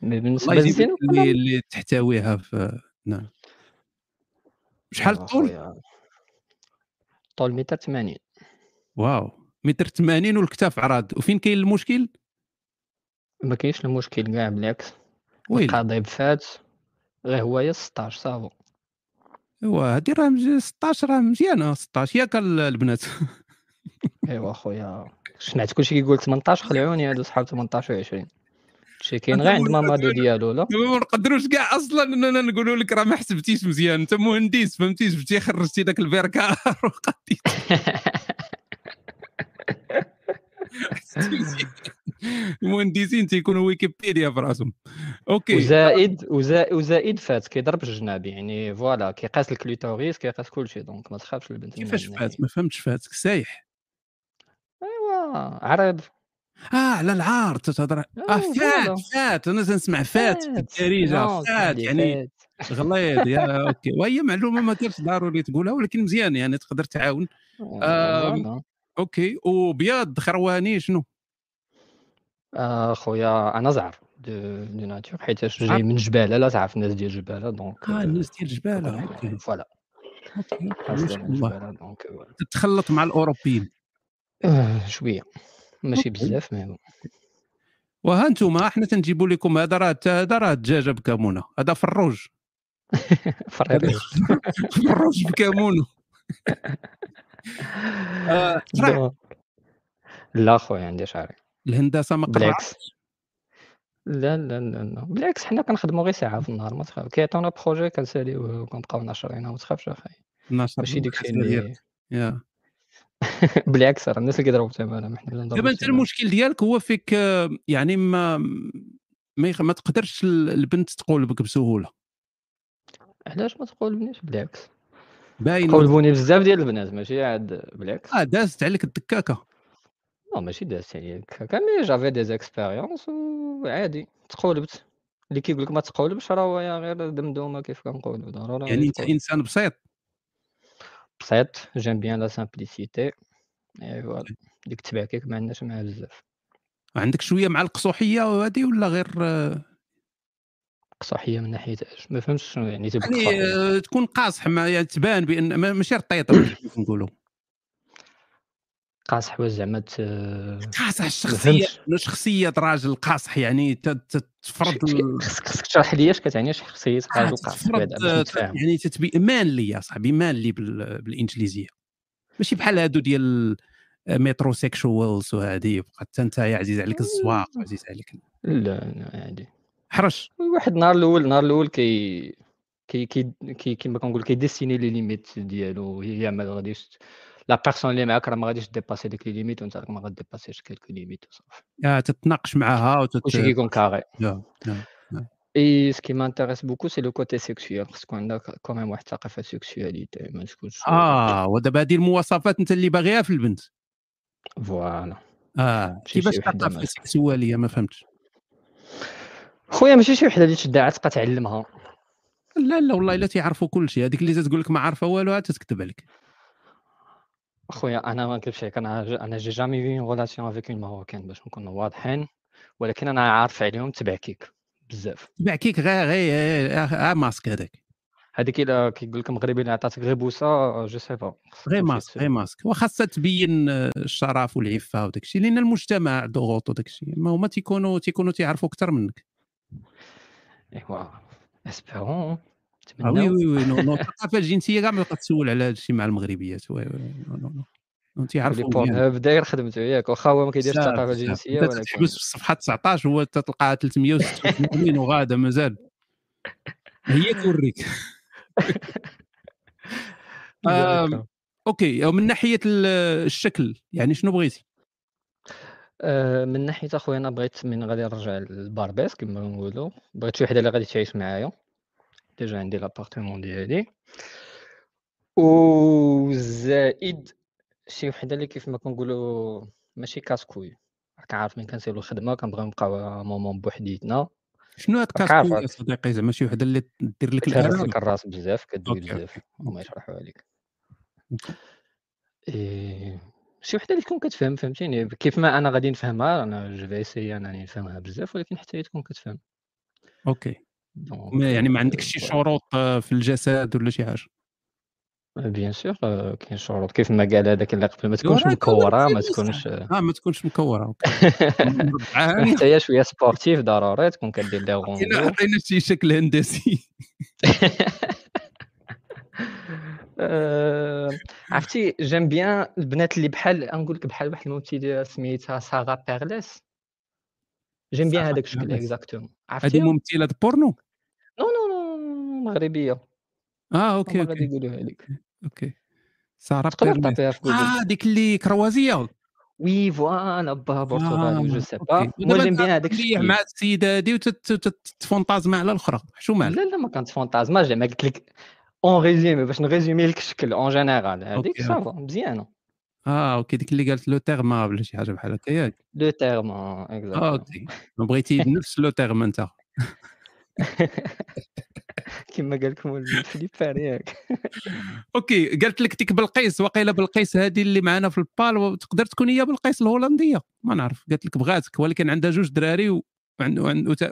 مي بالنسبه الله يجيب للزين لك اللي, اللي تحتويها في نعم شحال الطول؟ Oh, طول متر 80 واو متر 80 والكتاف عراض وفين كاين المشكل؟ ما كاينش المشكل كاع بالعكس ويلي. القضيب فات غير هوايا 16 صافو ايوا أيوة، هادي راه مز- 16 راه مزيانه 16 ياك ال- *laughs* البنات ايوا خويا سمعت أيوة كلشي كيقول 18 خلعوني هادو صحاب 18 و20 شي كاين غير عند ماما دو ديالو لا ما نقدروش كاع اصلا اننا نقولوا لك راه ما حسبتيش مزيان انت مهندس فهمتي جبتي خرجتي داك *laughs* البركار وقديت حسبتي مزيان. المهندسين تيكونوا ويكيبيديا في راسهم اوكي وزائد وزائد وزائد فات كيضرب الجناب يعني فوالا كيقاس الكليتوريس كيقاس كلشي دونك ما تخافش البنت كيفاش فات ما فهمتش فاتك سايح ايوا أيوه، عرض أيوه، اه على العار تتهضر اه فوالا. فات فات انا تنسمع فات في الدارجه نو، فات كان يعني غليظ يا اوكي وهي معلومه ما كانش ضروري تقولها ولكن مزيان يعني تقدر تعاون آم، فوالا. اوكي وبياض خرواني شنو آه، خويا انا زعر دو دو ناتور حيتاش آه. جاي من جباله لا تعرف الناس ديال جباله دونك اه الناس ديال جباله اوكي آه، فوالا ما اصلا شاء من الله جباله دونك فوالا. تتخلط مع الاوروبيين آه، شويه ماشي بزاف مي بون. وها انتم حنا تنجيبوا لكم هذا راه هذا راه دجاجه بكمونه هذا فروج *laughs* فريريش *laughs* فروج *laughs* بكمونه آه، شرح. دونك. لا خويا عندي شعري الهندسه ما بالعكس قرعتش لا لا لا لا بالعكس حنا كنخدموا غير ساعه في النهار ما تخاف كيعطيونا بروجي كنساليوه وكنبقاو ناشرينها ما تخافش اخاي نشر ماشي داك الشيء الحسنة اللي ديالك. يا *laughs* بالعكس راه الناس اللي كيضربوا الثمن حنا اللي دابا نضربوا انت المشكل ديالك هو فيك آه، يعني ما ما, يخ... ما تقدرش ال- البنت تقولبك بسهوله علاش ما تقولبنيش بالعكس باين قولبوني بزاف ديال البنات ماشي عاد بالعكس اه دازت عليك الدكاكه نو ماشي دازت عليا هكا مي جافي دي زيكسبيريونس وعادي تقولبت اللي كيقول لك ما تقولبش راه هو يا غير دمدومه كيف كنقولوا ضروري يعني غير انت تقولب. انسان بسيط بسيط جيم بيان لا سامبليسيتي اي فوالا ديك تبعكيك ما عندناش معاها بزاف عندك شويه مع القصوحيه وهادي ولا غير آه، قصحيه من ناحيه اش ما فهمتش شنو يعني تبقى يعني قصحيه آه، تكون قاصح ما يعني تبان بان ما- ماشي رطيطه *coughs* كيف نقولوا قاصح واش زعما ت- ما قاصح الشخصيه فهمتش شخصيه راجل قاصح يعني ت- ت- تفرض ال- خصك خصك تشرح لي اش كتعني شخصيه آه، راجل قاصح تفرض بعدا باش آه، نتفاهم يعني تتبي مانلي يا صاحبي مانلي بال- بالانجليزيه ماشي بحال هادو ديال مترو سيكشوالز وهادي بقى حتى انت يا عزيز عليك الزواق عزيز عليك ال- لا لا عادي حرش واحد النهار الاول النهار الاول كي كي كي كي كيما كنقول كيديسيني لي ليميت ديالو هي ما غاديش لا بيرسون اللي معاك راه ما غاديش ديباسي ديك لي ليميت وانت راك ما غاديباسيش كيلكو ليميت وصافي آه، تتناقش معاها وتت كلشي كيكون كاري نعم، نعم، نعم. اي سكي مانتيريس بوكو سي لو كوتي سيكسيال خص تكون عندك كوميم واحد الثقافه سيكسياليتي ما تكونش اه ودابا هادي المواصفات انت اللي باغيها في البنت فوالا اه ماشي كيفاش شي وحدة الثقافه مثلا. السكسواليه ما فهمتش خويا ماشي شي وحده اللي تشدها تبقى تعلمها لا لا والله الا تيعرفوا كل شيء هذيك اللي تتقول لك ما عارفه والو عاد تتكذب عليك خويا انا ما نكذبش عليك انا ج- انا جي جامي في اون ريلاسيون افيك اون ماروكان باش نكونوا واضحين ولكن انا عارف عليهم تبعكيك بزاف تبع كيك غير غير غير ماسك هذاك هذيك الا كيقول لك مغربي اللي عطاتك غير آه، بوسه جو سي با خصك غير تمشي ماسك ت- غير ماسك وخاصها تبين آه، الشرف والعفه وداك الشيء لان المجتمع ضغوط وداك الشيء ما هما تيكونوا تيكونوا تيعرفوا اكثر منك ايوا اسبيرون آه وي نتمناو وي وي نو نو الثقافه الجنسيه كاع ما تبقى تسول على هذا الشيء مع المغربيات وي وي نو نو نو نو ولي تيعرفوا بورن مزيان. هاب داير خدمته ياك واخا هو ما كيديرش بزاف الثقافه بزاف الجنسيه انت ولكن تحبس في الصفحه 19 هو تلقاها 386 وغاده مازال هي *laughs* توريك آم، بالظبط. اوكي Euh, من ناحيه ال- الشكل يعني شنو بغيتي *laughs* آه، من ناحيه اخويا انا بغيت من غادي نرجع للباربيس كما نقولوا بغيت شي وحده اللي غادي تعيش معايا ديجا عندي لابارتمون ديالي وزائد شي وحده اللي كيف ما كنقولوا ماشي كاسكوي راك عارف من كنسالو الخدمه كنبغيو نبقاو مومون بوحديتنا شنو هاد راك كاسكو عارف يا صديقي زعما شي وحده اللي دير لك كتهرس الارام لك الراس بزاف كدوي أوكي، بزاف هما يشرحوها لك إيه، شي وحده اللي تكون كتفهم فهمتيني كيف ما انا غادي نفهمها انا جو في اسيي انني نفهمها بزاف ولكن حتى هي تكون كتفهم اوكي دونك ما يعني ما عندكش شي فوالا. شروط آه، في الجسد ولا شي حاجه بيان سور آه، كاين شروط كيف ما قال هذاك اللي قبل ما تكونش راه مكوره ما تكونش آه، اه ما تكونش مكوره أوكي. *laughs* *laughs* حتى هي شويه سبورتيف ضروري تكون كدير دي حطينا غوندو حطينا شي *laughs* شكل هندسي آه، عرفتي جيم بيان البنات اللي بحال نقول لك بحال واحد الممثله سميتها ساغا بيرلس جيم بيان هذاك الشكل بيرلس. اكزاكتومون هذه عرفتيهم ممثله بورنو نو نو نو مغربيه اه اوكي هما غادي اوكي يقولوها لك اوكي ساره تقدر بيرليس. تعطيها في جوجل اه ديك اللي كروازيه وي فوالا باها برتغالي جو سي با اوكي المهم ودابا جيم أنت بيان هذاك تمليح الشكل مع السيده هذه وتتفونتازم على الاخرى شو مالك لا لا ما كانت فونتازما زعما قلت لك اون ريزيمي باش نريزيمي لك الشكل اون جينيرال هذيك أوكي، صافا مزيانه اه *laughs* اوكي ديك اللي قالت لو تيرم ولا شي حاجه بحال هكا ياك لو تيرم آه، اكزاكتومون اوكي بغيتي نفس لو تيرم انت كما قال لكم البنت فيليبان *laughs* ياك اوكي قالت لك ديك بلقيس وقيله بلقيس هذه اللي معنا في البال وتقدر تكون هي بلقيس الهولنديه ما نعرف قالت لك بغاتك ولكن عندها جوج دراري و... وعند... وعند... وت...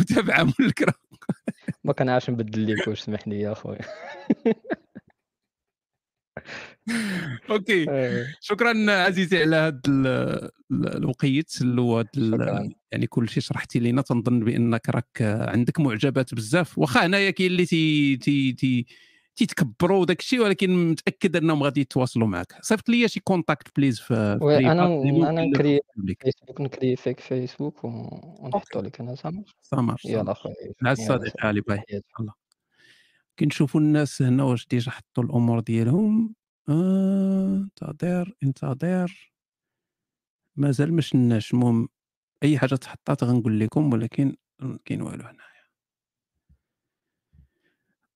وتابعه من الكره ما كنعرفش نبدل ليك واش سمح لي يا اخويا *laughs* اوكي إيه. شكرا عزيزي على هذا الوقيت اللي شكراً. يعني كل شيء شرحتي لينا تنظن بانك راك عندك معجبات بزاف واخا هنايا كاين اللي تي تي تي تيتكبروا وداك الشيء ولكن متاكد انهم غادي يتواصلوا معك صيفط لي شي كونتاكت بليز في وي في انا private انا اللي ممكن نحطو نكري ليك. فيسبوك نكري فيك فيسبوك ون- ونحطو لك انا زعما سامر يلا سامر. اخويا مع يلا الصديق علي باي الله كنشوفوا الناس هنا واش ديجا حطوا الامور ديالهم آه، انتظر انتظر مازال ما شناش المهم اي حاجه تحطات غنقول لكم ولكن ما كاين والو هنايا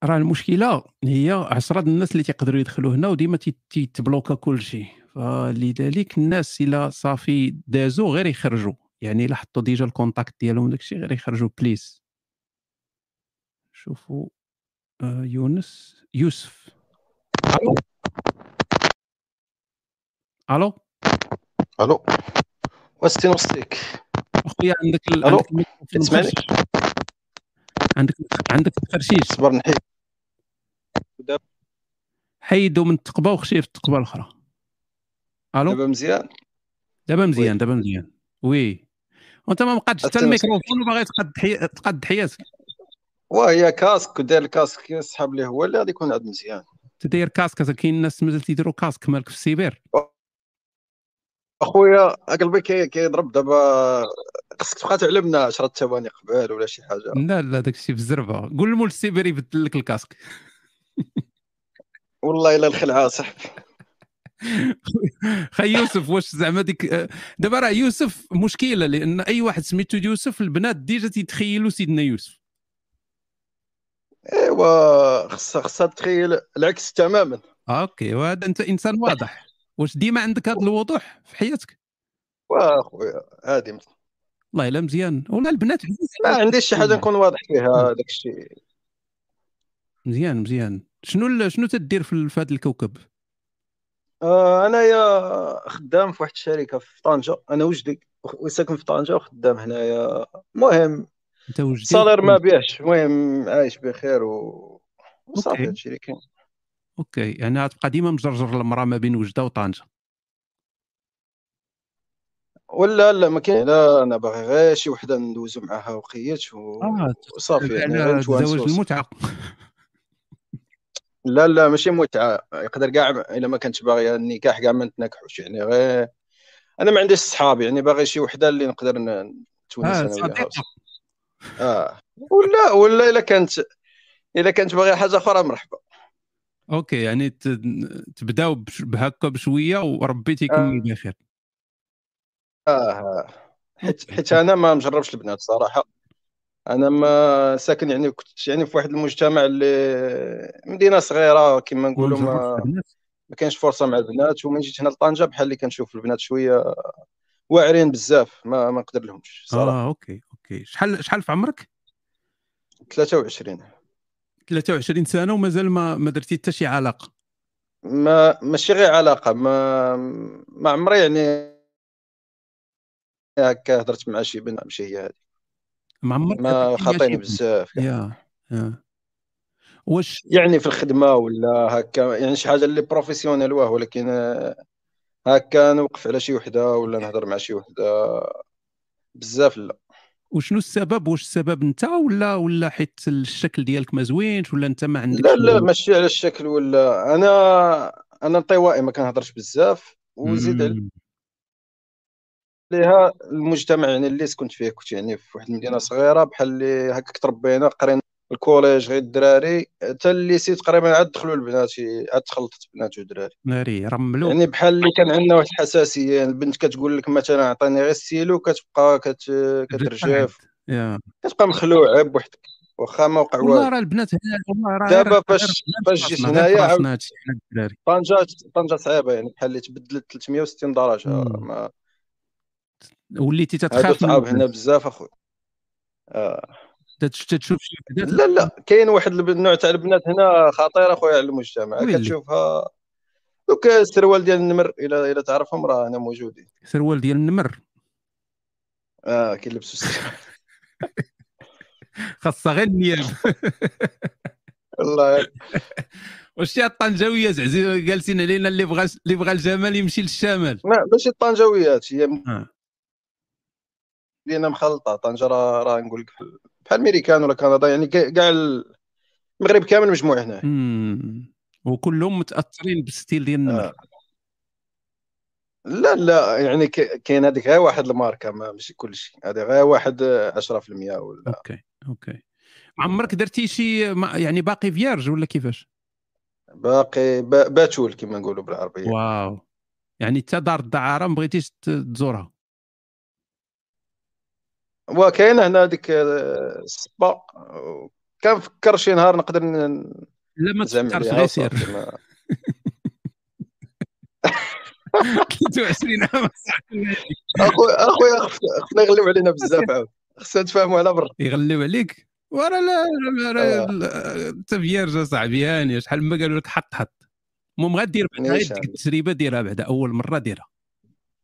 راه المشكله هي عشرة د الناس اللي تيقدروا يدخلوا هنا وديما تي- تيتبلوكا كل شيء فلذلك الناس الا صافي دازو غير يخرجوا يعني الا حطوا ديجا الكونتاكت ديالهم داكشي غير يخرجوا بليز شوفوا آه، يونس يوسف الو الو الو وستي نوصيك اخويا عندك ال... الو عندك الميكروفون تسمعني مخرج. عندك عندك الترشيش صبر نحيد دابا حيدو من التقبه وخشيه في التقبه الاخرى الو دابا مزيان دابا مزيان دابا مزيان وي وانت ما مقادش حتى أنت نسمع. الميكروفون وباغي تقد حي... تقد حياتك وهي كاسك ودير الكاسك يسحب ليه هو اللي غادي يكون عاد مزيان تدير كاسك هذا كاين الناس مازال تيديروا كاسك مالك في السيبير اخويا قلبي كي- كيضرب دابا خصك تبقى تعلمنا 10 ثواني قبل ولا شي حاجه لا لا داك الشيء بالزربه قول المول السيبير يبدل لك الكاسك والله الا الخلعه صاحبي خي يوسف واش زعما ديك آه، دابا راه يوسف مشكله لان اي واحد سميتو يوسف البنات ديجا تيتخيلوا سيدنا يوسف ايوا خصها خصها تخيل العكس تماما اوكي وهذا انت انسان واضح واش ديما عندك هذا الوضوح في حياتك واخويا عادي والله الا مزيان والله البنات عزيز ما عليهم. عنديش شي حاجه نكون واضح فيها داك الشيء مزيان مزيان شنو ال- شنو تدير في ال- في هذا الكوكب آه، انايا خدام في واحد الشركه في طنجه انا وجدي وساكن في طنجه وخدام هنايا المهم انت وجدي الصالير ما بيعش المهم عايش بخير و... وصافي أوكي. هادشي اللي كاين اوكي يعني غتبقى ديما مجرجر المراه ما بين وجده وطنجه ولا لا ما كاين لا انا باغي غير شي وحده ندوزو معاها وقيت و... اه وصافي يعني غير على نتوانسو. تزوج المتعه لا لا ماشي متعه يقدر كاع الا ما كانتش باغيه النكاح كاع ما نتناكحوش يعني غير انا ما عنديش صحاب يعني باغي شي وحده اللي نقدر ن- نتونس اه انا وياها صديقة. اه *laughs* ولا ولا الا كانت الا كانت باغيه حاجه اخرى مرحبا اوكي يعني ت- تبداو بش- بهكا بشويه وربي تيكمل بخير اه حيت حيت انا ما مجربش البنات صراحه انا ما ساكن يعني كنت يعني في واحد المجتمع اللي مدينه صغيره كما نقولوا مجربش ما ما كانش فرصه مع البنات ومن جيت هنا لطنجه بحال اللي كنشوف البنات شويه واعرين بزاف ما ما نقدر لهمش اه اوكي اوكي اوكي شحال شحال في عمرك 23 23 سنه ومازال ما ما درتي حتى شي علاقه ما ماشي غير علاقه ما ما عمري يعني هكا هضرت مع شي بنت ماشي هي هذه ما عمرك ما درتي مع شي خاطيني بنت. بزاف يا يا واش يعني في الخدمه ولا هكا يعني شي حاجه اللي بروفيسيونيل واه ولكن آه، هكا نوقف على شي وحده ولا نهضر مع شي وحده بزاف لا وشنو السبب واش السبب انت ولا ولا حيت الشكل ديالك ما زوينش ولا انت ما عندكش لا لا ماشي على الشكل ولا انا انا انطوائي ما كنهضرش بزاف وزيد مم. عليها المجتمع يعني اللي سكنت فيه كنت يعني في واحد المدينه صغيره بحال اللي هكاك تربينا قرينا الكوليج غير الدراري حتى الليسي تقريبا عاد دخلوا البنات شي- عاد تخلطت بنات ودراري ناري رملو يعني بحال اللي كان عندنا واحد الحساسيه يعني البنت كتقول لك مثلا عطيني غير السيلو كتبقى كت... كترجف يا كتبقى مخلوعه بوحدك واخا ما وقع والله والو راه البنات هنا والله راه غير دابا غير فاش غير في فاش جيت راسنا غير في هنايا عاود راسنا هادشي حنا الدراري طنجه طنجه صعيبه يعني بحال اللي تبدلت 360 درجه مم. ما وليتي هادو تتخاف من صعاب هنا البنات بزاف اخويا آه. تتش- تتشوف شي وحدات لا لا كاين واحد الب- النوع تاع البنات هنا خطير اخويا على المجتمع ويلي. كتشوفها دوك السروال ديال النمر الا الا تعرفهم راه هنا موجودين سروال ديال النمر اه كيلبسوا السروال خاصها غير النياب والله *laughs* واش يا الطنجاويه زعزي جالسين علينا اللي بغى اللي بغى الجمال يمشي للشمال ما ماشي الطنجاويات هي آه. مدينه مخلطه طنجه راه راه نقول لك بحال- بحال الميريكان ولا كندا يعني كا- كاع المغرب كامل مجموع هنا مم. وكلهم متاثرين بالستيل ديال النمر آه. لا لا يعني ك- كاين هذيك غير واحد الماركه ما ماشي كلشي هذه غير واحد آه، 10% ولا اوكي اوكي عمرك درتي شي ما- يعني باقي فيارج ولا كيفاش باقي با- باتول كما نقولوا بالعربيه واو يعني حتى دار الدعاره ما بغيتيش ت- تزورها وكاين هنا هذيك آه، الصبا كنفكر شي نهار نقدر ن- لا ما نزعم تفكرش عليها غير سير وصافي *laughs* ما 23 عام صاحبي. اخويا اخويا خص- خصنا يغلب علينا بزاف عاود خصنا نتفاهموا على برا يغلب عليك ورا لا لا- لا- آه، لا- انت فيرج اصاحبي هاني شحال ما قالوا لك حط حط المهم غدير بعدا غير نيشان ديك التجربه ديرها بعدا اول مره ديرها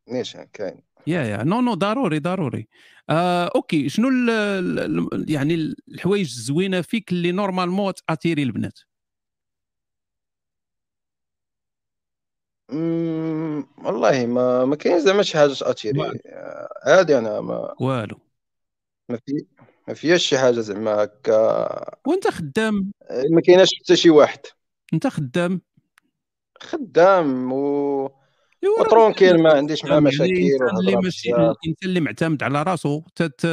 نيشان كاين يا يا نو نو ضروري ضروري آه اوكي شنو ال ال ال- يعني الحوايج الزوينه فيك اللي نورمالمون تاتيري البنات أمم، والله ما ما كاين زعما شي حاجه تاثيري عادي انا ما والو ما في ما فياش شي حاجه زعما هكا إيه، وانت خدام ما كايناش حتى شي واحد انت خدام خدام و إيوا راه وترونكيل ما إنسان عنديش معاه خدام، يعني مشاكل الانسان اللي وهضره ماشي بزاف الانسان اللي معتمد على راسو تت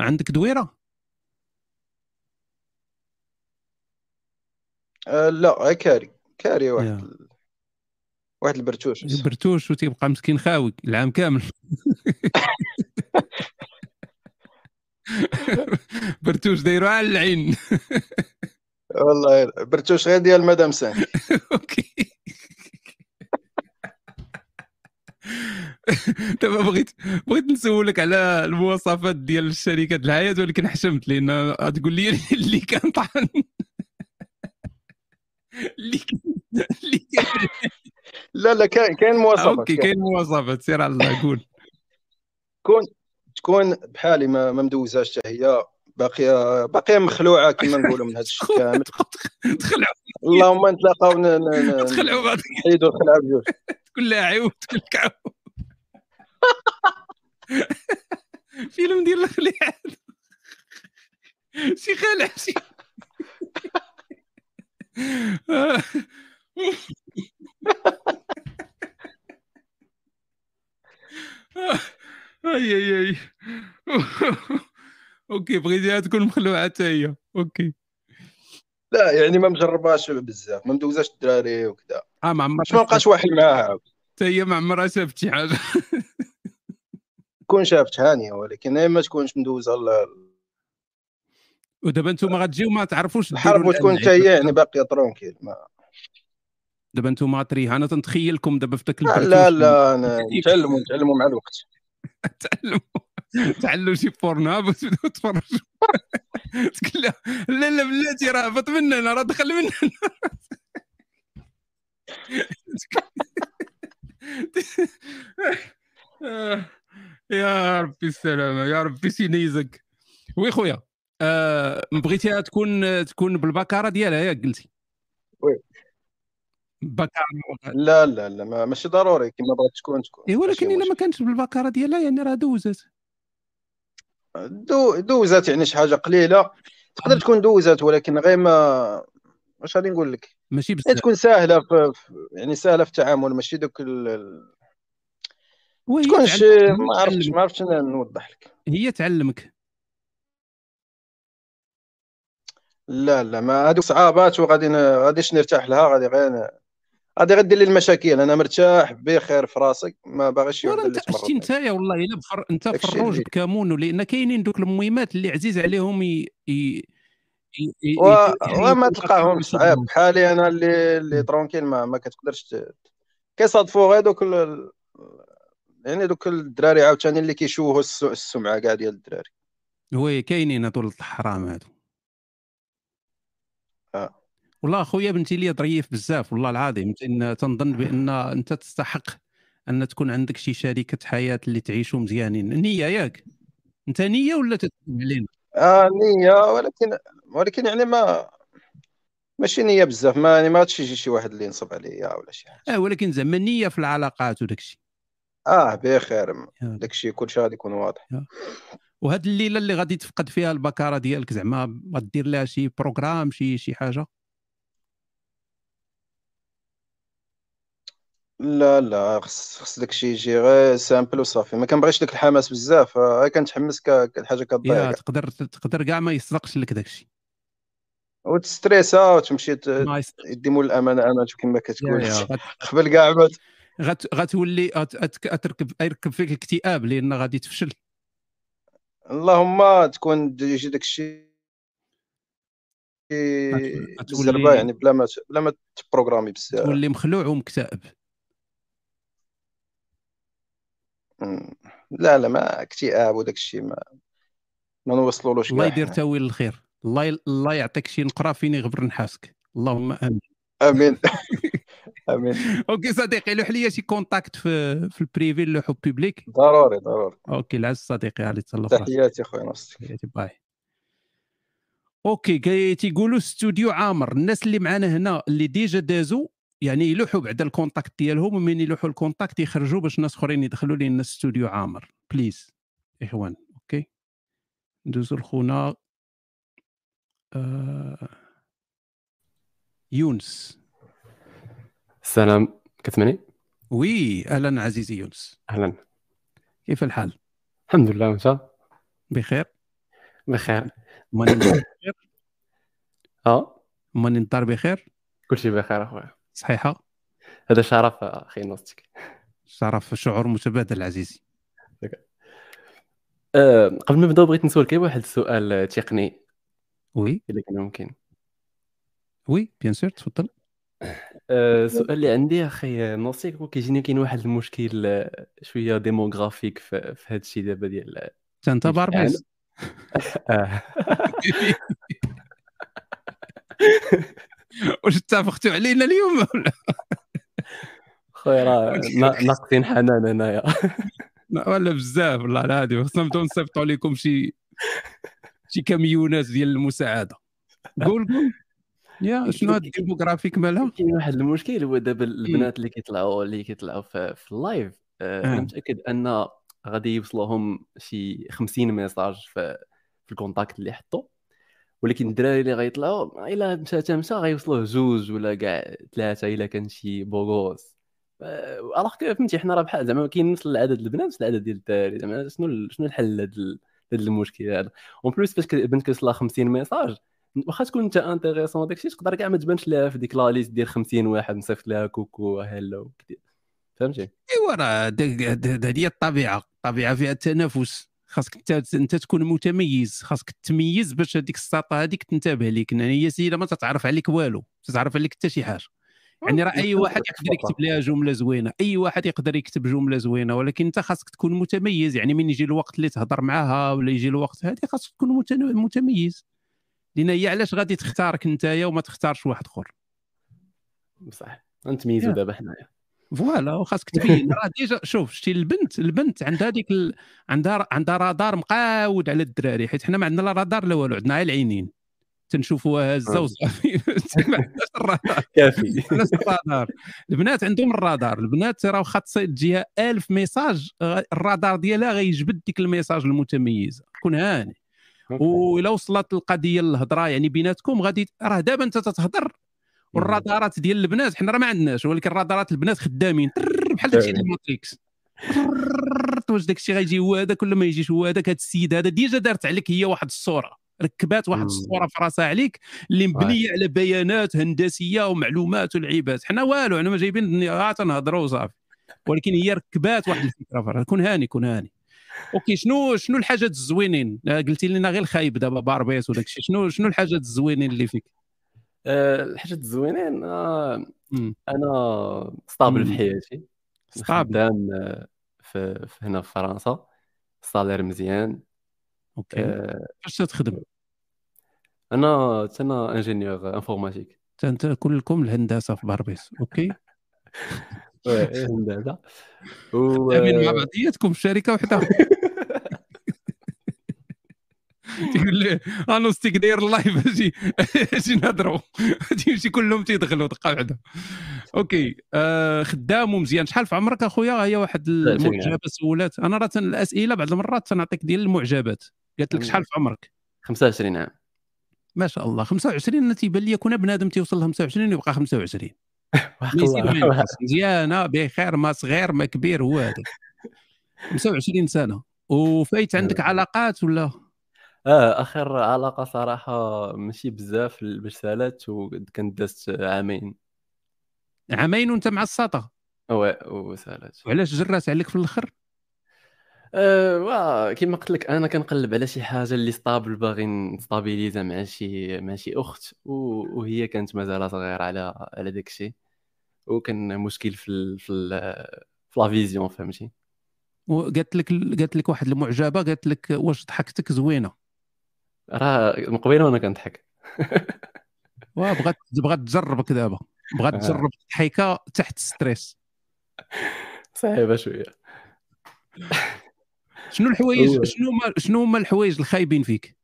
عندك دويره آه، لا غير كاري كاري واحد يا. ال- واحد البرتوش برتوش وتيبقى مسكين خاوي العام كامل *laughs* برتوش دايرو على العين *laughs* والله برتوش غير ديال مدام سانك دابا بغيت بغيت نسولك على المواصفات ديال الشركات الحياه ولكن حشمت لان غتقول لي *laughs* اللي كان طحن اللي كان- اللي كان لا لا كاين كاين مواصفات اوكي كاين مواصفات سير على الله قول تكون تكون بحالي ما, ما مدوزاش حتى هي باقيه باقيه مخلوعه كما نقولوا من هذا *laughs* الشيء كامل تخلعوا اللهم نتلاقاو ن- ن- ن- تخلعوا غادي نحيدوا الخلعه بجوج كلها عيوب تكلكعوا فيلم ديال الخليعه شي خلع شي اي اي اي اوكي بغيتيها تكون مخلوعه حتى هي اوكي لا يعني ما مجرباش بزاف ما مدوزاش الدراري وكذا اه ما عمرها باش ما بقاش واحد معاها عاود حتى هي ما عمرها شافت شي حاجه تكون شافت هانيه ولكن هي ما تكونش مدوزه ل- ودابا انتم غتجيو ما تعرفوش الحرب ديروا وتكون الآن حتى العيب. هي يعني باقيه ترونكيل ما دابا انتم غتريه انا تنتخيلكم دابا في ذاك لا لا, البرتوش لا أنا- نتعلموا نتعلموا مع الوقت تعلوا شي بورناب وتبداو تفرجوا تقول لها لا لا بلاتي راه هبط من هنا راه دخل من هنا آه، يا ربي السلامة يا ربي سينيزك وي خويا آه بغيتيها تكون تكون بالبكاره ديالها ياك قلتي وي بكاره لا لا لا ما ماشي ضروري كما بغات تكون تكون إيه ولكن الا ما كانتش بالبكاره ديالها يعني راه دوزت دو دوزات يعني شي حاجه قليله تقدر تكون دوزات ولكن غير ما واش غادي نقول لك ماشي بزاف تكون سهله في في- يعني سهله في التعامل ماشي دوك ال... ال- وهي تكونش تعلم- ما عرفتش ما عرفتش أنا نوضح لك هي تعلمك لا لا ما هذوك صعابات وغادي ن- غاديش نرتاح لها غادي غير ن- غادي غدير لي المشاكل انا مرتاح بخير في راسي ما باغيش يعود اللي تمرض شتي نتايا والله الا بفر انت داكشي فروج اللي- بكمون لان كاينين دوك الميمات اللي عزيز عليهم ي... ي... ي... ي... يعني و... وما يحيطوا تلقاهمش صعيب بحالي انا اللي اللي ترونكيل ما, ما كتقدرش ت- كيصادفوا غير دوك ال... ال- يعني دوك الدراري عاوتاني اللي كيشوهوا الس- السمعه كاع ديال الدراري وي كاينين هادو الحرام هادو آه. والله خويا بنتي لي ظريف بزاف والله العظيم ان تنظن بان انت تستحق ان تكون عندك شي شركه حياه اللي تعيشوا مزيانين نيه ياك انت نيه ولا تتكلم علينا اه نيه ولكن ولكن يعني ما ماشي نيه بزاف ما يعني ما غاديش يجي شي واحد اللي ينصب عليا ولا شي اه ولكن زعما النيه في العلاقات وداك الشيء اه بخير داكشي كلشي غادي يكون واضح وهاد الليله اللي غادي تفقد فيها البكاره ديالك زعما غدير لها شي بروغرام شي شي حاجه لا لا خص خص داكشي يجي غير سامبل وصافي ما كنبغيش داك الحماس بزاف آه، غير كنتحمس ك- كالحاجه كتضيع يا كاع تقدر تقدر كاع ما يصدقش لك داك الشيء وتستريسا وتمشي ت- آه، يديمو الامانه امانه كما كتقول يا- يا. قبل كاع ما ت- غت غتولي غت- غت- غتركب يركب فيك الاكتئاب لان غادي تفشل اللهم تكون د- يجي داكشي بالزربه غتولي- يعني بلا ما ت- بلا ما تبروغرامي بزاف تولي مخلوع ومكتئب مم. لا لا ما اكتئاب وداك الشيء ما ما نوصلولوش الله كاع يدير تاويل الخير الله ي- الله يعطيك شي نقره فين يغبر نحاسك اللهم *laughs* امين امين آه، امين اوكي صديقي لوح لي شي كونتاكت في في البريفي لوحو بيبليك ضروري ضروري اوكي العز صديقي علي تهلا في راسك. تحياتي خويا نص تحياتي باي اوكي كي تيقولوا استوديو عامر الناس اللي معانا هنا اللي ديجا دازوا يعني يلوحوا بعد الكونتاكت ديالهم ومن يلوحوا الكونتاكت يخرجوا باش ناس اخرين يدخلوا لان الاستوديو عامر بليز اخوان اوكي ندوزو لخونا آه... يونس السلام كتسمعني وي اهلا عزيزي يونس اهلا كيف الحال الحمد لله وانت بخير بخير ماني *coughs* بخير اه ماني الدار بخير كلشي بخير اخويا صحيحه هذا شرف اخي نوستيك شرف شعور متبادل عزيزي أه قبل ما نبدا بغيت نسولك غير واحد السؤال تقني وي اذا كان ممكن وي بيان سور تفضل أه السؤال اللي عندي اخي نوستيك هو كيجيني كاين واحد المشكل آه، شويه ديموغرافيك في, في هذا الشيء دابا ديال تا انت ديال باربيس. العالم. *laughs* آه. واش اتفقتوا علينا اليوم ولا خويا *laughs* راه نا- ناقصين حنان هنايا لا ولا بزاف والله العظيم خصنا نبداو نصيفطوا لكم شي شي كاميونات ديال المساعده قول قول يا شنو هاد الديموغرافيك مالها كاين واحد المشكل هو دابا البنات اللي كيطلعوا اللي كيطلعوا في, في اللايف آه، آه. انا متاكد ان غادي يوصلوهم شي 50 ميساج في, في الكونتاكت اللي حطوا ولكن الدراري اللي غيطلعوا الا مشى تا مشى غيوصلوه زوج ولا كاع ثلاثه الا كان شي بوغوز الوغ فهمتي حنا راه بحال زعما كاين نفس العدد البنات نفس العدد ديال الدراري زعما شنو ال- شنو الحل لهاد ال- لهاد المشكل هذا اون بليس فاش بنت كيوصلها 50 ميساج واخا تكون انت انتيريسون داكشي تقدر كاع ما تبانش لها في ديك لا ليست ديال 50 واحد نصيفط لها كوكو هلو كدي- فهمتي ايوا راه داك- هاد- هادي هي الطبيعه الطبيعه فيها التنافس خاصك انت انت تكون متميز خاصك تميز باش هذيك الساطه هذيك تنتبه ليك يعني هي سيده ما تتعرف عليك والو تتعرف عليك حتى شي حاجه يعني راه اي واحد يقدر يكتب لها جمله زوينه اي واحد يقدر يكتب جمله زوينه ولكن انت خاصك تكون متميز يعني من يجي الوقت اللي تهضر معاها ولا يجي الوقت هذه خاصك تكون متن- متميز لان هي علاش غادي تختارك نتايا وما تختارش واحد اخر بصح نتميزوا يا. دابا حنايا فوالا وخاصك تبين راه ديجا شوف شتي البنت البنت عندها ديك ال... عندها عندها رادار مقاود على الدراري حيت حنا ما عندنا لا رادار لا والو عندنا غير العينين تنشوفوها هازه آه. *laughs* وصافي ما عندناش الرادار *laughs* كافي عندناش الرادار البنات عندهم الرادار البنات راه واخا تصيد تجيها 1000 ميساج غ- الرادار ديالها غيجبد ديك الميساج المتميزه كون هاني وإلا وصلت القضيه للهضره يعني بيناتكم غادي راه دابا انت تتهضر والرادارات ديال البنات حنا راه ما عندناش ولكن رادارات البنات خدامين ترر بحال داكشي ديال الماتريكس ترر، واش داكشي غيجي هو هذاك ولا ما يجيش هو هذاك هاد السيد هذا ديجا دارت عليك هي واحد الصوره ركبات واحد الصوره في راسها عليك اللي مبنيه على بيانات هندسيه ومعلومات ولعيبات حنا والو حنا ما جايبين الدنيا غا تنهضروا وصافي ولكن هي ركبات واحد الفكره في راسها. كون هاني كون هاني اوكي شنو شنو الحاجات الزوينين آه، قلتي لنا غير الخايب دابا باربيس وداك الشيء شنو شنو الحاجات الزوينين اللي فيك آه، الحاجات الزوينين آه، انا ستابل في مم. حياتي ستابل. خدام آه، في في هنا في فرنسا الصالير مزيان اوكي. آه، اش تخدم انا انا انجينيور انفورماتيك انت كلكم الهندسه في باربيس اوكي *laughs* هندسه و تابعين مع آه، بعضياتكم في شركه وحده تقول لي انا ستيك داير اللايف اجي اجي نهضروا تيمشي كلهم تيدخلوا دقه واحده اوكي آه خدام ومزيان شحال في عمرك اخويا هي واحد ثلاثين عام. المعجبه سولات انا راه تن- الاسئله بعض المرات تنعطيك ديال المعجبات قالت لك شحال في عمرك 25 عام ما شاء الله 25 انا تيبان لي كون بنادم تيوصل ل 25 يبقى 25 ما الله. يصير ما ينقص. مزيانه بخير ما صغير ما كبير هو هذا 25 سنه وفايت *laughs* عندك علاقات ولا اه اخر علاقه صراحه ماشي بزاف باش سالات وكانت دازت عامين عامين وانت مع الساطه وي وسالات وعلاش جرات عليك في الاخر أه وا- كيما قلت لك انا كنقلب على شي حاجه اللي ستابل باغي نستابيليزا مع شي مع شي اخت و- وهي كانت مازال صغيره على على داك الشيء وكان مشكل في ال... في ال... في لا فيزيون فهمتي وقالت لك قالت لك واحد المعجبه قالت لك واش ضحكتك زوينه راه من قبيله وانا كنضحك وبغات بغات تجربك دابا بغات آه. تجرب الضحكه تحت ستريس صعيبه شويه *laughs* شنو الحوايج هو- شنو هما شنو هما الحوايج الخايبين فيك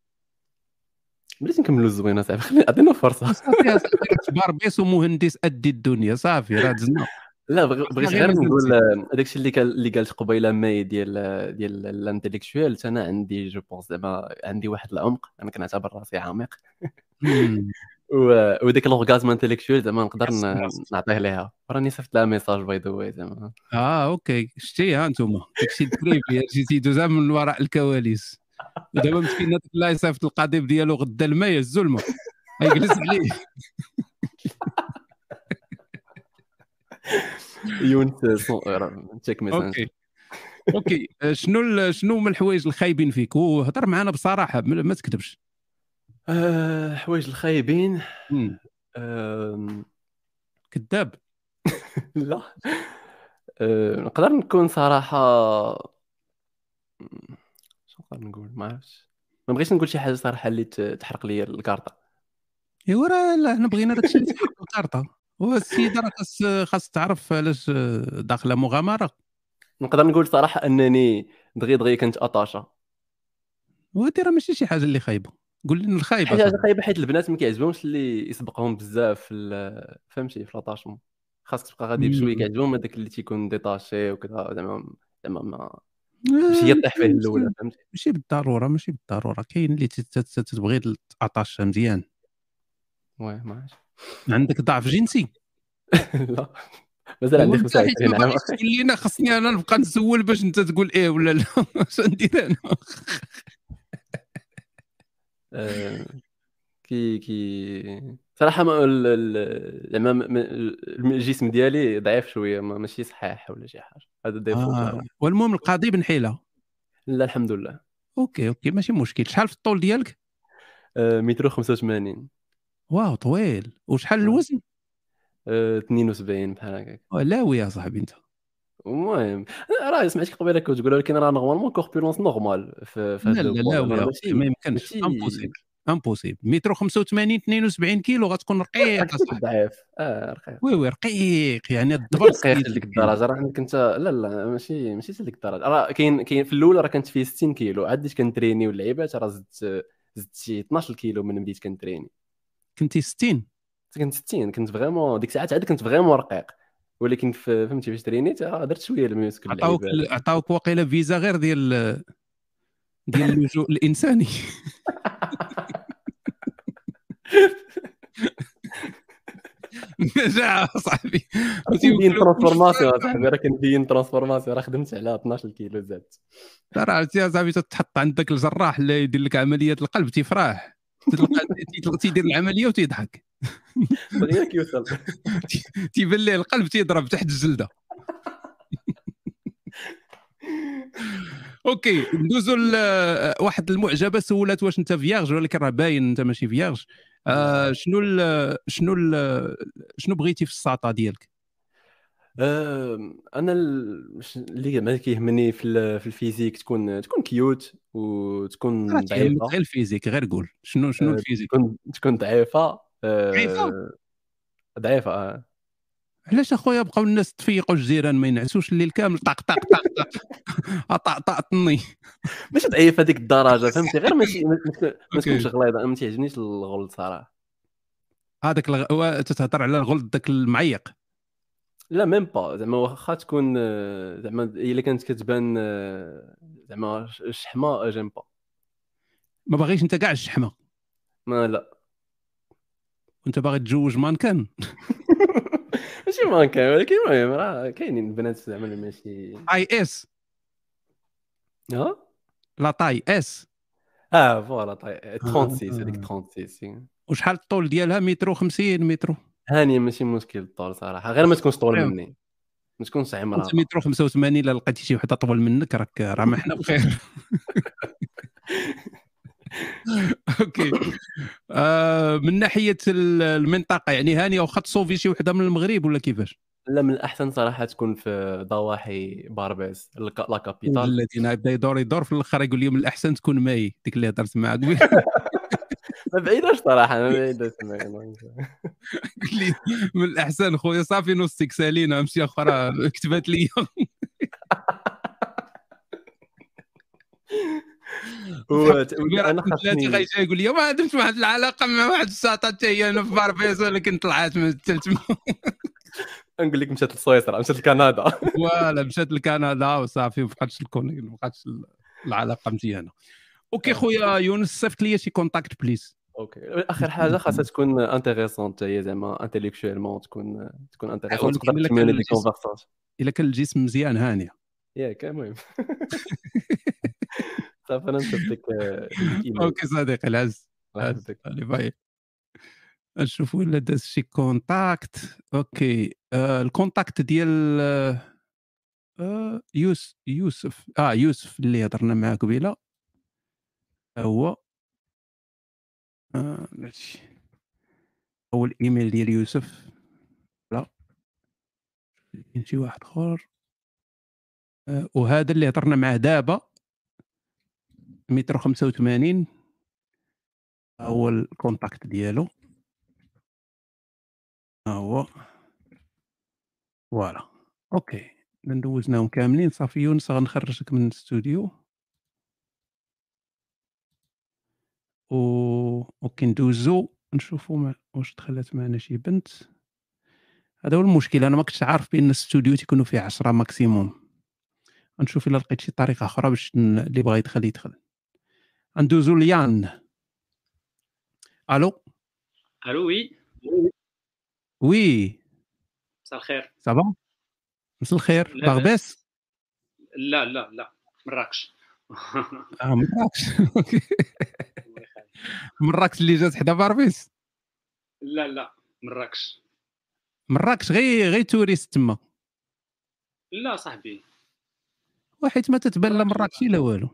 بليت نكملوا الزوينه *laughs* صعيب خلينا عطينا فرصه صافي يا صاحبي، راك باربيس ومهندس ادي الدنيا صافي راه دزنا لا بغ- بغيت غير غير نزيد. نقول آه، داكشي اللي قال اللي قالت قبيله ماي ديال آه، ديال الانتليكشوال انا عندي جو بونس زعما عندي واحد العمق انا كنعتبر راسي عميق آه، و- وديك لورغازم انتليكشوال زعما نقدر ن- نعطيه ليها راني صيفط لها ميساج باي ذا واي زعما اه اوكي شتي ها انتم داكشي الدريبي هادشي تيدوز من وراء الكواليس ودابا مسكين هذاك الله يصيفط القضيب ديالو غدا الماء يهزو الماء يجلس عليه يونت تشيك ميساج اوكي اوكي آه، شنو ال- شنو هما الحوايج الخايبين فيك وهضر معنا بصراحه ما ما تكذبش آه، حوايج الخايبين كذاب *laughs* لا آه، نقدر نكون صراحه مم، شنو نقدر نقول ما عرفتش ما بغيتش نقول شي حاجه صراحه اللي ت- تحرق لي الكارطه ايوا راه لا، حنا بغينا داكشي اللي تحط الكارطه هو السيده راه خاص خاص تعرف علاش آه، داخله مغامره نقدر نقول صراحه انني دغيا دغيا كنت اطاشه وهادي راه ماشي شي حاجه اللي خايبه قول لنا الخايبه حاجه صاحبي. حاجه خايبه حيت البنات ما كيعجبهمش اللي يسبقهم بزاف في ال- فهمتي في لاطاشمون خاصك تبقى غادي بشويه مم. كيعجبهم هذاك اللي تيكون ديتاشي وكذا زعما زعما ما ماشي هي تطيح فيه الاولى فهمتي ماشي بالضروره ماشي بالضروره كاين اللي تت- تت- تتبغي العطاش مزيان واه ما عرفتش عندك ضعف جنسي *laughs* لا مازال عندي وانت حيت 25 ما عام باغيش تقول لينا خصني انا نبقى نسول باش انت تقول ايه ولا لا *laughs* اش ندير انا آه، كي كي صراحه ما ال- ال- زعما م- م- الجسم ديالي ضعيف شويه ما- ماشي صحيح ولا شي حاجه هذا ديفو آه. والمهم القضيب نحيلها طيب، لا الحمد لله اوكي اوكي ماشي مشكل شحال في الطول ديالك آه، مترو 85 واو طويل وشحال الوزن آه، 72 بحال هكاك لا يا صاحبي انت المهم راه سمعتك قبيله كتقول ولكن راه نورمالمون كوربولونس نورمال في في لا هاد لا البوان. لا راه ويا ماشي- أخي، ما يمكنش ماشي- امبوسيبل امبوسيبل مترو 85 72 كيلو غتكون *laughs* رقيق ضعيف اه رقيق وي وي رقيق يعني الضبر دابا رقيق لديك الدرجه راه عندك انت لا لا *laughs* ماشي ماشي لديك الدرجه راه كاين كاين في الاول راه كنت فيه 60 كيلو عاد بديت كنتريني واللعيبات راه زدت زدت شي 12 كيلو من بديت كنتريني كنتي 60 كنت 60 كنت فريمون ديك الساعات عاد كنت فريمون رقيق ولكن في- فهمتي فاش ترينيت راه درت شويه الميوسك عطاوك باللعيبات عطاوك واقيلا فيزا غير ديال *laughs* ديال اللجوء الانساني جا صاحبي *laughs* كندين ترانسفورماسيون اصاحبي راه كندين ترانسفورماسيون راه خدمت على 12 كيلو زاد ترى عرفتي يا صاحبي تتحط عند ذاك الجراح اللي يدير لك عمليه القلب تيفرح تلقى تيتل- تيدير العمليه وتيضحك دغيا كيوصل تيبان ليه القلب تيضرب تحت الجلده اوكي ندوزو لواحد المعجبه سولات واش انت فيارج ولكن راه باين انت ماشي فيارج آه شنو ال شنو ال شنو بغيتي في الساطه ديالك أم، انا ال- مش- اللي ما كيهمني في ال- في الفيزيك تكون تكون كيوت وتكون راه تيهمك ضعيفه غير آه، الفيزيك غير قول شنو شنو أه، الفيزيك تكون تكون ضعيفه أه، ضعيفة؟ ضعيفه آه. علاش اخويا بقاو الناس تفيقوا الجيران ما ينعسوش الليل كامل طق طق طق *laughs* طق طقطقطني ماشي ضعيفه ديك الدرجه فهمتي غير *laughs* ماشي ما تكون- ما أوكي. تكونش غليظه ما تيعجبنيش الغلط صراحه هذاك آه، الغ... هو تتهضر على الغلط ذاك المعيق لا ميم با زعما واخا تكون آه، زعما الا كانت كتبان آه، زعما ش- شحمه آه، جيم با ما باغيش انت كاع الشحمه ما لا وانت باغي تزوج مانكان ماشي مانكان ولكن المهم راه كاينين بنات زعما اللي ماشي اي اس ها لا طاي اس اه فوالا طيب 36 هذيك 36 وشحال الطول ديالها مترو 50 مترو هاني ماشي مشكل الطول صراحه غير ما تكونش طول أيوة. مني ما تكونش عمرها انت مترو 85 الا لقيتي شي وحده طول منك راك راه ما حنا بخير اوكي آه من ناحيه ال- المنطقه يعني هانيه واخا تصوفي شي وحده من المغرب ولا كيفاش لا من الاحسن صراحه تكون في ضواحي باربيس الك- لا كابيتال الذين يبدا يدور يدور في الاخر يقول لي من الاحسن تكون ماي ديك اللي هضرت معاك *laughs* قبيل ما بعيداش صراحه ما بعيداش ما- قال لي من الاحسن خويا صافي نصك سالينا امشي اخرى كتبات *laughs* لي هو انا ثلاثه غيجي يقول لي ما درت واحد العلاقه مع واحد الساطه حتى هي انا في باربيس ولكن طلعت من الثلث نقول لك مشات لسويسرا مشات لكندا فوالا مشات لكندا وصافي ما بقاتش الكون ما بقاتش ال- العلاقه مزيانه اوكي خويا يونس صيفط لي شي كونتاكت بليز اوكي اخر حاجه خاصها تكون انتيريسون حتى هي زعما انتيليكشوالمون تكون تكون انتيريسون ولكن تقدر إلا كان تميني دي الجسم- *laughs* *laughs* كونفرساسيون الا كان الجسم مزيان هانيه ياك المهم صافي انا نشوف ديك آه، ديك إيميل. اوكي صديقي العز الله يحفظك. اللي باي نشوف ولا داز شي كونتاكت اوكي آه الكونتاكت ديال آه، آه يوس يوسف اه يوسف اللي هضرنا معاه قبيله ها هو آه ماشي هو الايميل ديال يوسف لا كاين شي واحد اخر آه وهذا اللي هضرنا معاه دابا متر 85 ها هو الكونتاكت ديالو ها هو فوالا اوكي إذن دوزناهم كاملين صافي يونس غنخرجك من الاستوديو و اوكي ندوزو نشوفو مع... واش دخلت معنا شي بنت هذا هو المشكل انا ما كنتش عارف بان الاستوديو تيكونوا فيه 10 ماكسيموم نشوف الا لقيت شي طريقه اخرى باش ن- اللي بغى يدخل يدخل ندوزو ليان الو آه. الو وي وي مساء الخير صافا مساء الخير لاباس. بغباس لا لا لا مراكش *laughs* اه مراكش أوكي. *laughs* مراكش اللي جات حدا باربيس لا لا مراكش مراكش غير غير توريست تما لا صاحبي وحيت ما تتبان لا مراكش لا والو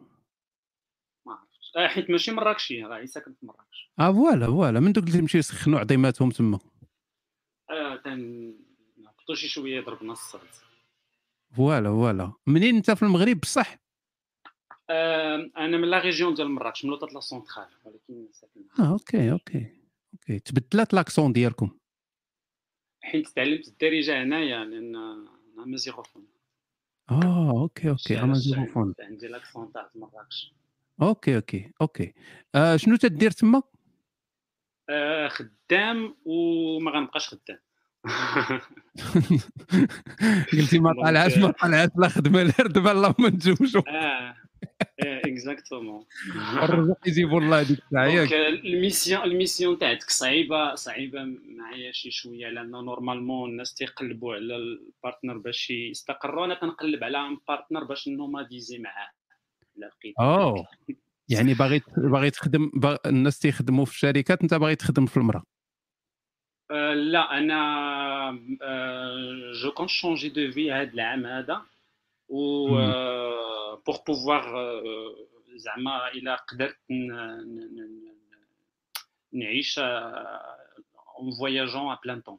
ما عرفتش آه، حيت ماشي Ah, مراكشي راه عيسى كنت في مراكش اه فوالا فوالا من دوك اللي مشيو يسخنوا عظيماتهم تما آه تن نهبطوا شي شويه ضربنا الصوت فوالا فوالا منين انت في المغرب بصح آه انا من لا ريجيون ديال مراكش من لوطه لا سونترال ولكن ساكن اه اوكي اوكي اوكي تبدلات لاكسون ديالكم حيت تعلمت الدارجه هنايا لان انا مزيغوفون اه اوكي اوكي امازيغوفون عندي لاكسون تاع مراكش اوكي اوكي اوكي آه شنو تدير تما آه خدام وما غنبقاش خدام *laughs* قلتي ما طالعاش ما طالعاش لا خدمه لا ردمه لا ما نتزوجوا اه اكزاكتومون الرزق يجيبوا الله هذيك الساعه دونك ياك الميسيون الميسيون تاعتك صعيبه صعيبه معايا شي شويه لان نورمالمون الناس تيقلبوا على البارتنر باش يستقروا انا كنقلب على ان بارتنر باش نوماديزي معاه لا لقيت اوه يعني باغي باغي تخدم باغ... الناس تيخدموا في الشركات انت باغي تخدم في المراه آه، لا انا جو كون شونجي دو في هذا العام هذا و بور بوفوار زعما الا قدرت ن- ن- ن- نعيش euh, اون فواياجون ا بلان طون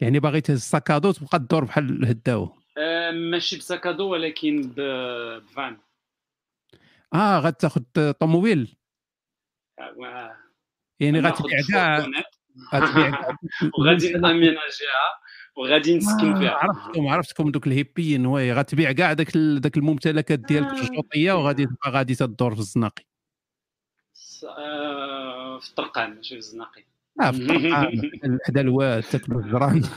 يعني باغي تهز الساكادو تبقى تدور بحال الهداوه آه، ماشي بساكادو ولكن ب- بفان اه غتاخذ طوموبيل Ah, آه، يعني أنا غتبيع آخذ كاع فورتونات. *laughs* غتبيع وغادي ناميناجيها وغادي Ah. نسكن فيها عرفتكم عرفتكم آه، دوك الهيبيين وي غتبيع كاع داك ال- داك الممتلكات آه. ديالك في الشوطيه وغادي تبقى غادي تدور في الزناقي س- آه، في الطرقان ماشي في الزناقي *laughs* اه في الطرقان حدا الواد تاكل الجران *laughs*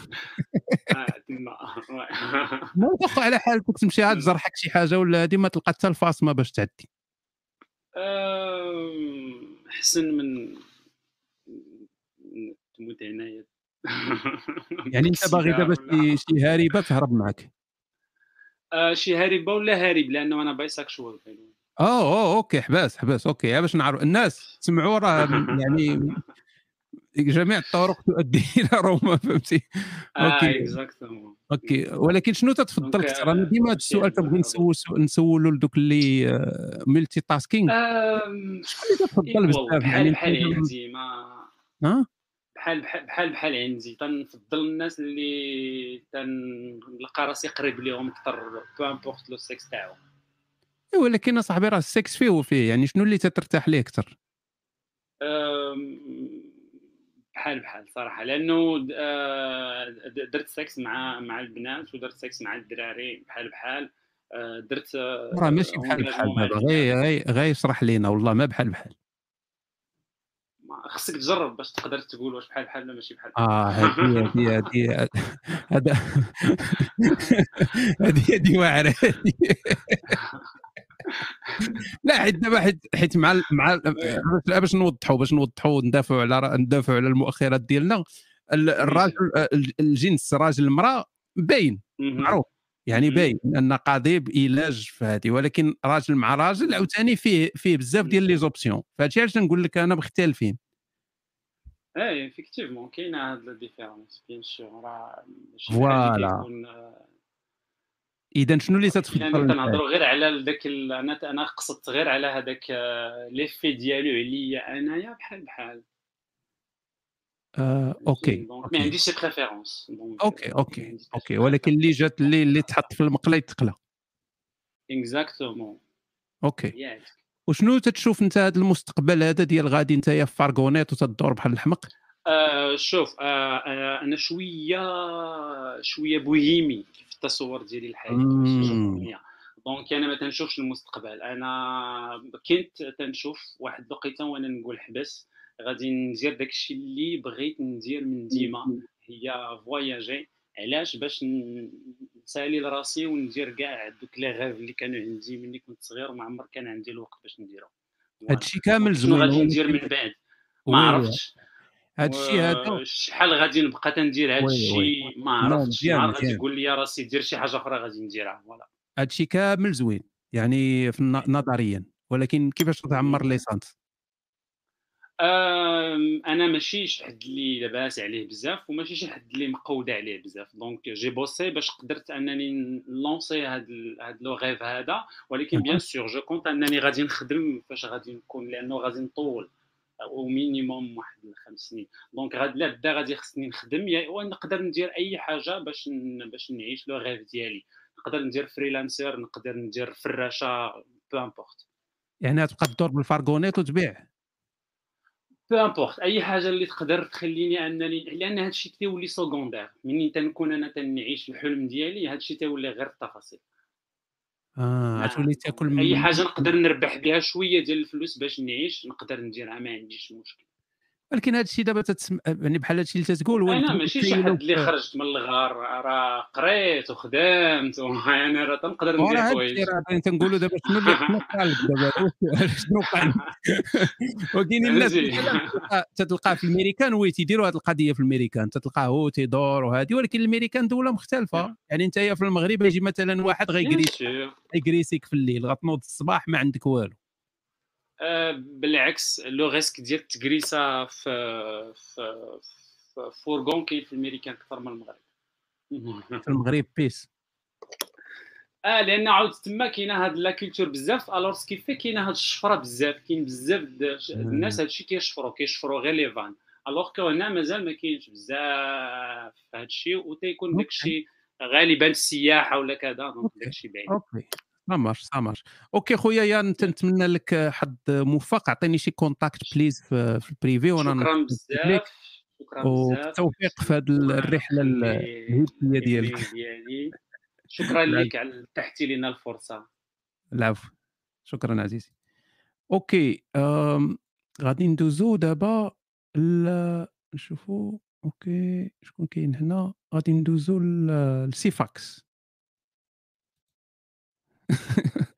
آه، تما. واه. ما تاخذ على حالك تمشي عاد تجرحك شي حاجه ولا هادي ما تلقى حتى الفاصمه باش تعدي آم، احسن آه، من من تموت هنايا يعني *laughs* انت باغي دابا شي- شي هاربه تهرب معك آه، شي هاربه ولا هارب لانه انا بايسكشوال اه اوه اوكي حباس حباس اوكي غير باش نعرف الناس سمعوا راه م- يعني جميع الطرق تؤدي *laughs* الى روما فهمتي اوكي اوكي اكزاكتومون اوكي ولكن شنو تتفضل دونك، اكثر انا ديما هذا السؤال كنبغي نسول نسولو لدوك اللي آه، ملتي تاسكينغ شكون اللي تفضل بزاف بحال يعني بحال أنت- عندي ما ها بحال بحال بحال بحال عندي تنفضل الناس اللي تنلقى راسي قريب ليهم اكثر بو امبورت لو سيكس تاعهم إيه، ولكن اصاحبي راه السكس فيه وفيه يعني شنو اللي تترتاح ليه اكثر أم، بحال بحال صراحه لانه د- آه، د- درت سكس مع مع البنات ودرت سكس مع الدراري بحال بحال آه، درت آه، راه ماشي بحال بحال engagement مع دابا غير غير غير يشرح لينا والله ما بحال بحال ما- خصك تجرب باش تقدر تقول واش بحال بحال ولا ماشي بحال بحال. اه هادي هادي هادي *laughs* هذا *laughs* هادي هادي واعره هادي. لا حيت دابا حيت حيت مع ال- مع ال- آه، باش- باش نوضحوا باش نوضحوا وندافعوا على رأ- ندافعوا على المؤخرات ديالنا ال- الراجل آه، ال- الجنس راجل المراه باين معروف يعني باين ان قضيب علاج في هذه ولكن راجل مع راجل عاوتاني فيه فيه بزاف ديال لي زوبسيون فهادشي علاش نقول لك انا مختلفين ايه افكتيفمون كاينه هاد لا ديفيرونس بيان سور راه ماشي بحال اللي فوالا. كيكون، آه، اذا شنو اللي يعني تتفضل تنهضروا غير على داك ال- انا انا قصدت غير على هذاك آه، ليفي ديالو عليا انايا بحال بحال آه، اوكي دونك ما اوكي عنديش شي بريفيرونس دونك اوكي اوكي اوكي ولكن اللي جات اللي اللي تحط في المقله تقلى اكزاكتومون اوكي وشنو تتشوف انت هذا المستقبل هذا ديال غادي انت في فارغونيت وتدور بحال الحمق آه شوف آه آه انا شويه شويه بوهيمي في التصور ديالي الحالي ماشي جبروتية. دونك انا ما تنشوفش المستقبل انا كنت تنشوف واحد الوقيته وانا نقول حبس غادي ندير داكشي اللي بغيت ندير من ديما هي فواياجي علاش باش ن- نسالي لراسي وندير كاع دوك لي غيف اللي كانوا عندي ملي كنت صغير ما عمر كان عندي الوقت باش نديرهم هادشي كامل شنو زوين غادي وي- ندير من بعد ما وي- عرفتش هادشي هذا و- شحال غادي نبقى تندير هذا وي- الشيء وي. ما نو، عرفتش مزيان- نهار غادي مزيان. تقول لي راسي دير شي حاجه اخرى غادي نديرها فوالا هادشي كامل زوين يعني في الن- نظريا ولكن كيفاش تعمر ليسانس أم، انا ماشي شي Euh, حد اللي لاباس عليه بزاف وماشي شي حد اللي مقود عليه بزاف دونك جي بوسي باش قدرت انني نلونسي هاد ال- هاد لو غيف هذا ولكن بيان سور جو كونت انني غادي نخدم فاش غادي نكون لانه غادي نطول او مينيموم واحد الخمس سنين دونك غاد لا بدا غادي خصني نخدم يا ونقدر ندير اي حاجه باش ن... باش نعيش لو غيف ديالي نقدر ندير فريلانسر نقدر ندير فراشه بو امبورت يعني تبقى تدور بالفارغونيت وتبيع بو امبورت اي حاجه اللي تقدر تخليني انني لان هذا الشيء تيولي سكوندير مني تنكون انا تنعيش الحلم ديالي هذا الشيء تيولي غير التفاصيل اه غتولي تاكل من- اي حاجه نعم. نقدر نربح بها شويه ديال الفلوس باش نعيش نقدر نديرها ما عنديش مشكل ولكن هذا الشيء دابا تتسم... يعني بحال هذا الشيء اللي تتقول آه. هو انا اللي نعم، ماشي شي كاين حد اللي في- خرجت من الغار راه قريت وخدمت يعني راه تنقدر وراه ندير هاد حوايج الشيء راه غادي تنقولوا دابا شنو اللي شنو قالب دابا شنو قالب وكاين الناس فهمتي؟ تتلقى- تتلقى في الميريكان وي تيديروا هذه القضيه في الميريكان تتلقاه هو تيدور وهذه ولكن الميريكان دوله مختلفه يعني انت في المغرب يجي مثلا واحد غيجريسك ماشي. غيجريسك في الليل غتنوض الصباح ما عندك والو آه، بالعكس لو ريسك ديال التكريسه في في في فورغون كاين في الميريكان اكثر من المغرب في المغرب بيس اه لان عاود تما كاينه هاد لا كولتور بزاف الوغ سكيفي كاينه هاد الشفره بزاف كاين بزاف د- ش- الناس هادشي كيشفروا كيشفروا غير لي فان الوغ كو هنا مازال ما كاينش بزاف هادشي وتيكون داكشي غالبا السياحه ولا كذا دونك داكشي بعيد اوكي سامر سامر اوكي خويا يان تنتمنى لك حظ موفق عطيني شي كونتاكت بليز في في البريفي وانا شكرا نتواصل بزاف بك. شكرا بزاف وبالتوفيق في هذه الرحله ال- الهبيه ديالك ديالي شكرا لك على تحتي لنا الفرصه العفو شكرا عزيزي اوكي أم... غادي ندوزو دابا ل... نشوفو اوكي شكون كاين هنا غادي ندوزو ل- لسيفاكس *laughs*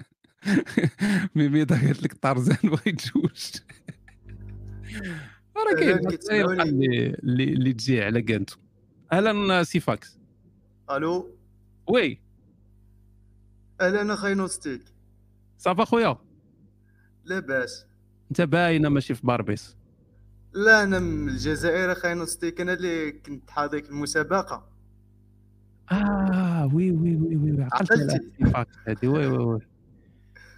ميمي قالت لك طرزان *laughs* بغيت تجوج راه أهلاً، كاين الناس يبقى اللي اللي اللي تجي على كانتو اهلا سيفاكس الو وي اهلا اخي نوستيك صافا خويا لاباس انت باينه ماشي في باربيس لا انا من الجزائر اخي نوستيك انا اللي كنت حاضر في المسابقه اه وي وي وي وي عقلت على عقلتي. الاتفاق هذه وي وي وي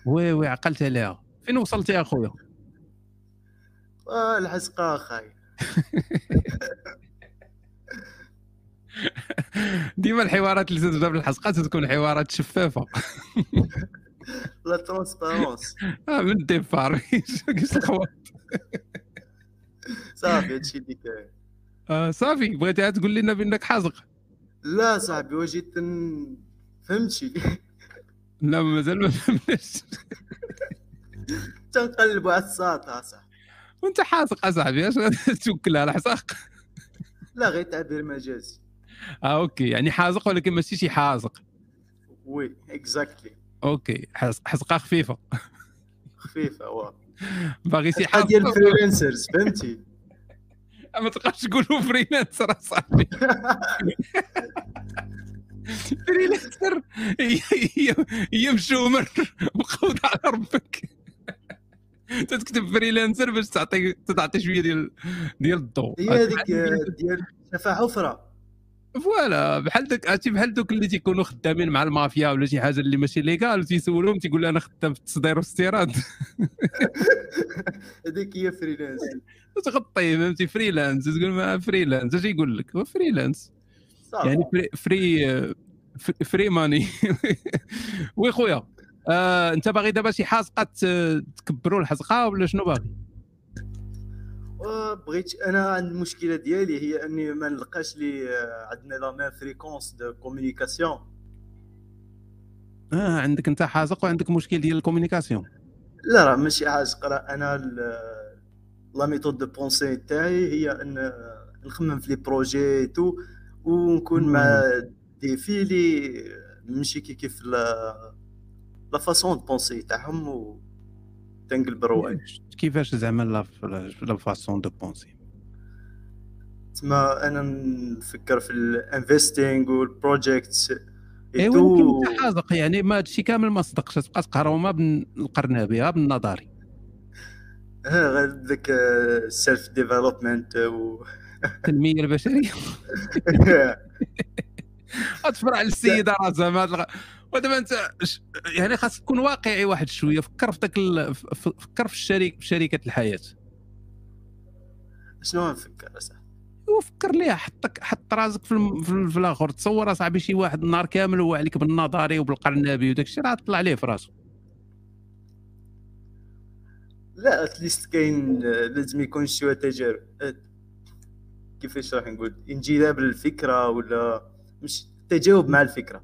وي وي عقلت عليها فين وصلت يا اخويا آه الحسقه اخي ديما الحوارات اللي تتبدا بالحسقات تكون حوارات شفافه لا ترونسبارونس *laughs* آه، من *laughs* الديبار كيش الخواط صافي هادشي اللي كاين آه، صافي بغيتي عاد تقول لنا بانك حازق لا صاحبي وجيت ن... فهمتي *laughs* لا مازال ما *laughs* فهمناش تنقلبوا على الساطه صاحبي وانت حازق اصاحبي *laughs* اش غادي توكل على الحسق لا غير تعبير مجازي اه اوكي يعني حازق ولكن ماشي شي حازق وي اكزاكتلي اوكي حس- حسقه خفيفه خفيفه واه باغي شي الحلقة ديال حازق الفريلانسرز فهمتي ما تبقاش تقولوا فريلانسر *laughs* اصاحبي *laughs* فريلانسر هي هي هي مشومر مقود على ربك تتكتب فريلانسر باش تعطي تعطي شويه ديال ديال الضوء هي هذيك آه، ديال شفا حفره فوالا بحال داك عرفتي بحال دوك اللي تيكونوا خدامين مع المافيا ولا شي حاجه اللي ماشي ليغال تيسولهم تيقول انا خدام في التصدير والاستيراد هذيك هي فريلانسر تغطي فهمتي فريلانس تقول ما فريلانس اش يقول لك هو فريلانس صافي. يعني فري فري فري ماني *laughs* وي خويا آه انت باغي دابا شي حاسقه ت- تكبروا الحسقه ولا شنو باغي بغيت انا عن المشكله ديالي هي اني ما نلقاش لي آه، عندنا لا ميم فريكونس دو كومونيكاسيون اه عندك انت حاسق وعندك مشكل ديال الكوميونيكاسيون لا راه ماشي حاجه قرا انا ال- آه، لا ميثود دو بونسي تاعي هي ان آه، نخمم في لي بروجي تو ونكون مع دي في لي آه، ماشي كي كيف لا لا فاسون دو بونسي تاعهم و تنقلب روايح كيفاش زعما لا لا فاسون دو بونسي تما انا نفكر في الانفستينغ والبروجيكت اي إيه، ولكن انت حاسق يعني ما هادشي كامل ما صدقش تبقى تقرا ما بالقرنابي ها بالنظري ها غير ذاك السيلف ديفلوبمنت و التنميه *laughs* البشريه غتفرع للسيده راه زعما تلقى- ودابا انت ش- يعني خاص تكون واقعي واحد شويه فكر في داك ال- ف- ف- فكر في الشريك في شركه الحياه شنو نفكر اصاحبي وفكر ليه حطك حط راسك في الم- في, ال- في الاخر تصور اصاحبي شي واحد النهار كامل هو عليك بالنظري وبالقرنبي وداك الشيء راه طلع ليه في راسه لا اتليست كاين لازم يكون شويه تجارب أه، كيفاش راح نقول انجذاب للفكره ولا مش تجاوب مع الفكره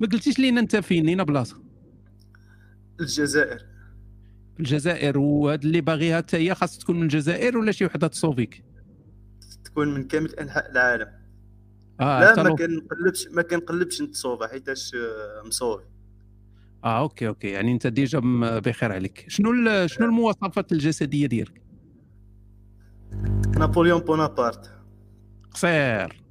ما قلتيش لينا انت فين لينا بلاصه الجزائر في الجزائر وهاد اللي باغيها حتى هي خاص تكون من الجزائر ولا شي وحده تصوفيك تكون من كامل انحاء العالم اه لا حتى ما لو- كنقلبش ما كنقلبش نتصوفى حيتاش آه، مصوفي اه اوكي اوكي يعني انت ديجا م- بخير عليك شنو ال- شنو المواصفات الجسديه ديالك نابليون بونابرت قصير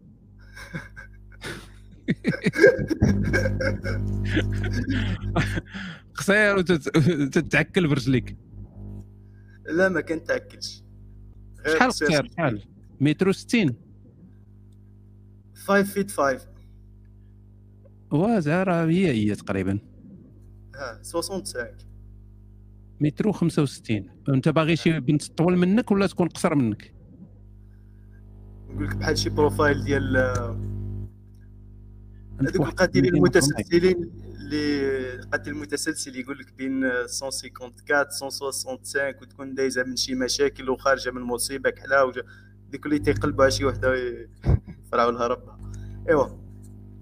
*laughs* قصير وتتعكل برجليك لا ما كنتاكلش غير شحال قصير. قصير شحال متر 60 5 فيت 5 واه راه هي هي تقريبا ها 65 متر 65 انت باغي شي بنت طول منك ولا تكون قصر منك نقول لك بحال شي بروفايل ديال آه، عندك هذوك واحد القاتلين 200 المتسلسلين اللي القاتل المتسلسل يقول لك بين 154 165 وتكون دايزه من شي مشاكل وخارجه من مصيبه كحله وج- ديك اللي تيقلبوا على شي وحده يفرعوا لها ربها آه، ايوا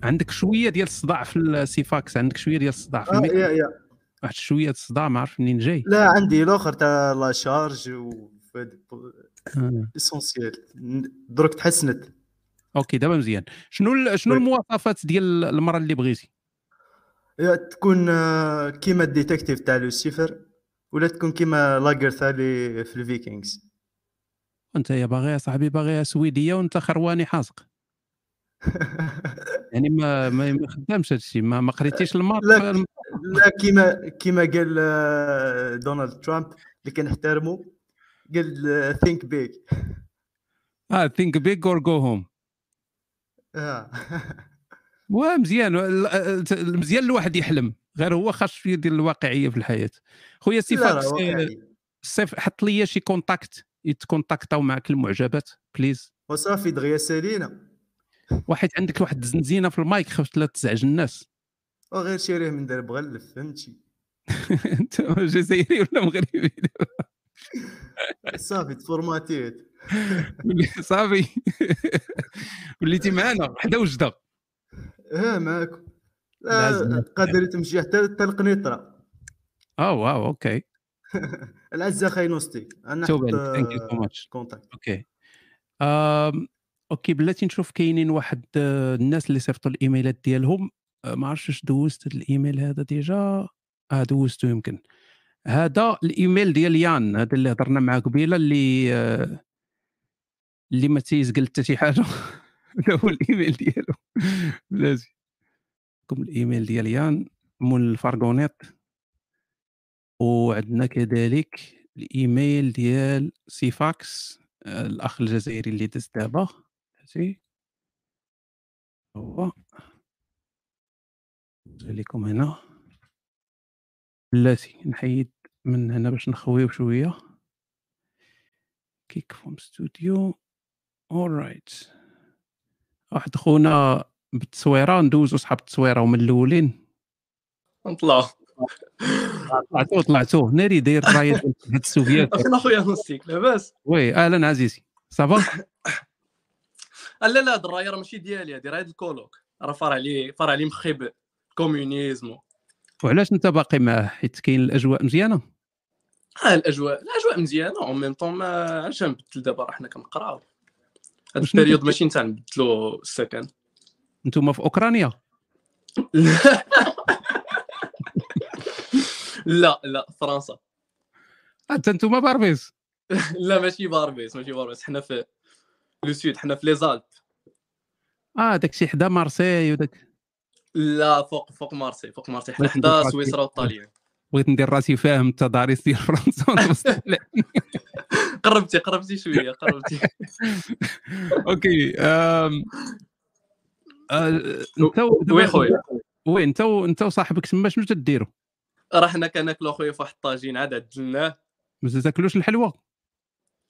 عندك شويه ديال الصداع في السيفاكس عندك شويه ديال الصداع في آه، الميكرو. يا يا واحد شويه ديال الصداع ما عرف منين جاي لا عندي الاخر تاع لا شارج و آه. اسونسيال درك تحسنت اوكي دابا مزيان شنو ال- طيب. شنو المواصفات ديال المراه اللي بغيتي يا تكون آه، كيما الديتكتيف تاع لوسيفر ولا تكون كيما لاغرثا اللي في الفيكينغز انت يا باغي يا صاحبي باغي سويديه وانت خرواني *laughs* حاسق يعني ما ما ما خدامش هذا الشيء ما, ما قريتيش المارك لا لا كيما كيما قال آه، دونالد ترامب اللي كنحترمو قال آه، ثينك بيج آه، اه ثينك بيج اور جو هوم ومزيان ال- ال- مزيان الواحد يحلم غير هو خاص شويه ديال الواقعيه في الحياه خويا لا، راه سيفاكس واقعي. سيف حط لي شي كونتاكت يتكونتاكتاو معك المعجبات بليز *laughs* وصافي دغيا سالينا واحد عندك واحد الزنزينه في المايك خفت لا تزعج الناس وغير شريه من درب غلف فهمتي *laughs* انت جزائري ولا مغربي *laughs* صافي تفورماتيت *laughs* صافي وليتي معانا حدا وجده ها معاك لا، زين. قادر تمشي حتى حتى *laughs* القنيطره اه واو اوكي العزه خاينوستي انا توب عليك. Thank you so much. كونتاكت اوكي آم، اوكي بلاتي نشوف كاينين واحد آه، الناس اللي صيفطوا الايميلات ديالهم آه، ما عرفتش واش دوزت هاد الايميل هذا ديجا اه دوزتو يمكن هذا الايميل ديال يان هذا اللي هضرنا معاه قبيله اللي آه، اللي ما تيزقل حتى شي حاجه *laughs* هذا هو الايميل ديالو بلاتي كم الايميل ديال يان مول الفارغونيت وعندنا كذلك الايميل ديال سيفاكس آه، الاخ الجزائري اللي دز دابا ماشي هو لكم هنا بلاتي نحيد من هنا باش نخويو شويه كيك فروم ستوديو اورايت واحد خونا بالتصويره ندوزو صحاب التصويره هما الاولين نطلع طلعتوه طلعتوه ناري داير الرايه ديال هاد *laughs* السوفيات اخنا خويا نسيك لاباس وي اهلا عزيزي صافا *laughs* آه لا لا هاد الرايه راه ماشي ديالي هادي راه هاد الكولوك راه فار عليه فار عليه مخيب كومونيزم و- وعلاش انت باقي معاه حيت كاين الاجواء مزيانه اه الاجواء الاجواء مزيانه اون ميم طون ما علاش نبدل دابا راه حنا كنقراو هاد وشنو البيريود كدير؟ ماشي نتاع نبدلو السكن انتم في اوكرانيا لا لا فرنسا حتى انتم باربيس *laughs* لا ماشي باربيس ماشي باربيس حنا في لو سود حنا في ليزالب اه داكشي حدا مارسي وداك لا فوق فوق مارسي فوق مارسي حنا بغيت ندير حدا راسي- سويسرا *laughs* وطاليان بغيت ندير راسي فاهم التضاريس ديال فرنسا ونوصل لها. *laughs* قربتي قربتي شويه قربتي اوكي آم، آه، انت و- وي خويا. وي انت و- انت وصاحبك تما شنو تديروا؟ راه حنا كناكلو اخويا في واحد الطاجين عاد عدلناه *laughs* ما تاكلوش الحلوه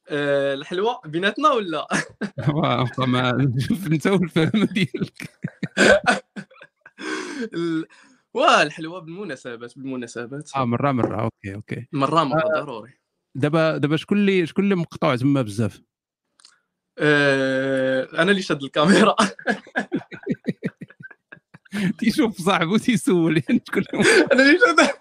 آه، الحلوه بيناتنا ولا *laughs* واه، آه، ما *laughs* انت والفهم ديالك ال- واه الحلوه بالمناسبات بالمناسبات اه مره مره اوكي اوكي مره مره آه، ضروري دابا دابا شكون اللي شكون اللي مقطوع تما بزاف آه، انا اللي شاد الكاميرا تيشوف صاحبو تيسول يعني شكون اللي انا اللي شاد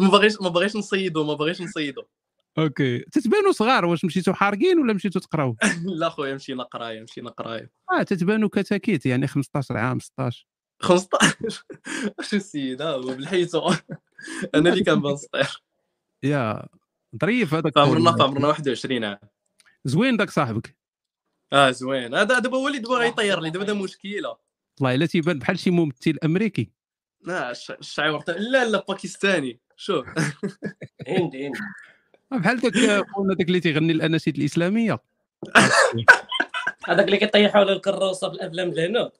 ما باغيش ما باغيش نصيدو ما باغيش نصيدو *laughs* مقطوع. اوكي تتبانوا صغار واش مشيتوا حارقين ولا مشيتوا *laughs* تقراو لا خويا مشينا قرايه مشينا *laughs* قرايه اه تتبانوا كتاكيت يعني 15 عام 16 15 اش السيد ها هو *laughs* بالحيتو انا اللي كنبان صغير يا ظريف هذاك فعمرنا فعمرنا 21 عام زوين داك صاحبك اه زوين هذا دابا هو اللي دابا غيطير لي دابا هذا مشكله والله الا تيبان بحال شي ممثل امريكي لا الش- الشعير تاع- لا لا باكستاني شوف هندي هندي *laughs* بحال داك خونا داك اللي تيغني الاناشيد الاسلاميه هذاك اللي كيطيح حول الكروسه في الافلام *laughs* الهنود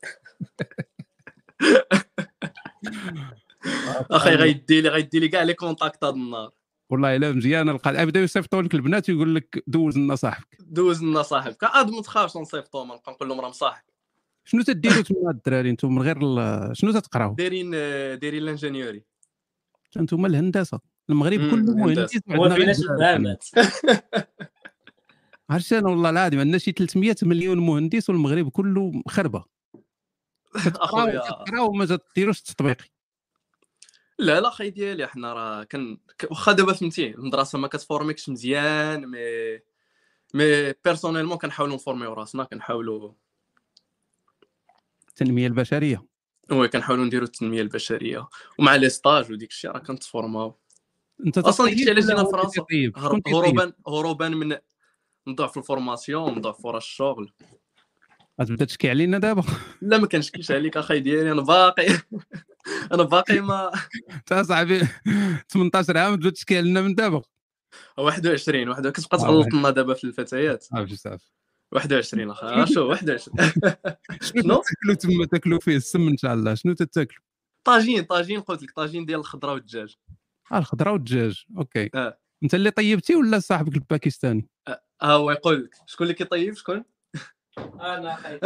اخي غيدي لي غيدي لي كاع لي كونتاكت هاد النهار والله الا مزيان القى بداو يصيفطوا لك البنات ويقول لك دوز لنا صاحبك دوز لنا صاحبك آه، عاد ما تخافش نصيفطو ما نبقى نقول لهم راه مصاحب شنو تديروا تما هاد الدراري نتوما من غير ال- شنو تتقراو دايرين آه، دايرين الانجينيوري نتوما الهندسه المغرب مم، كله الهندسة. مهندس هو فيناش البامات. عرفتي انا والله العظيم عندنا شي 300 مليون مهندس والمغرب كله مخربه اخويا تقراو ما تديروش التطبيقي *laughs* لا لا خي ديالي حنا راه كن ك- واخا دابا فهمتي المدرسه ما كتفورميكش مزيان مي مي بيرسونيلمون كنحاولوا نفورميو راسنا كنحاولوا التنميه البشريه وي كنحاولوا نديروا التنميه البشريه ومع لي ستاج وديك الشيء راه كنتفورماو انت اصلا تطيب ديك الشيء علاش ولا جينا هو لفرنسا تطيب؟ هر- شكون تطيب؟ هروبا هروبا من نضعفوا الفورماسيون نضعفوا راه الشغل غتبدا تشكي علينا دابا لا ما كنشكيش عليك اخي ديالي انا باقي *laughs* انا باقي ما انت صاحبي 18 عام تبدا تشكي علينا من دابا 21 واحد كتبقى آه، تغلط واحد. لنا دابا في الفتيات عرفتي صافي 21 اخي آه، شوف 21 شنو تاكلوا تما تاكلوا فيه السم ان شاء الله شنو تتاكلوا *laughs* طاجين طاجين قلت لك طاجين ديال الخضره والدجاج آه الخضره والدجاج اوكي آه. انت اللي طيبتي ولا صاحبك الباكستاني ها هو يقول آه، لك شكون اللي كيطيب شكون انا *laughs* خايف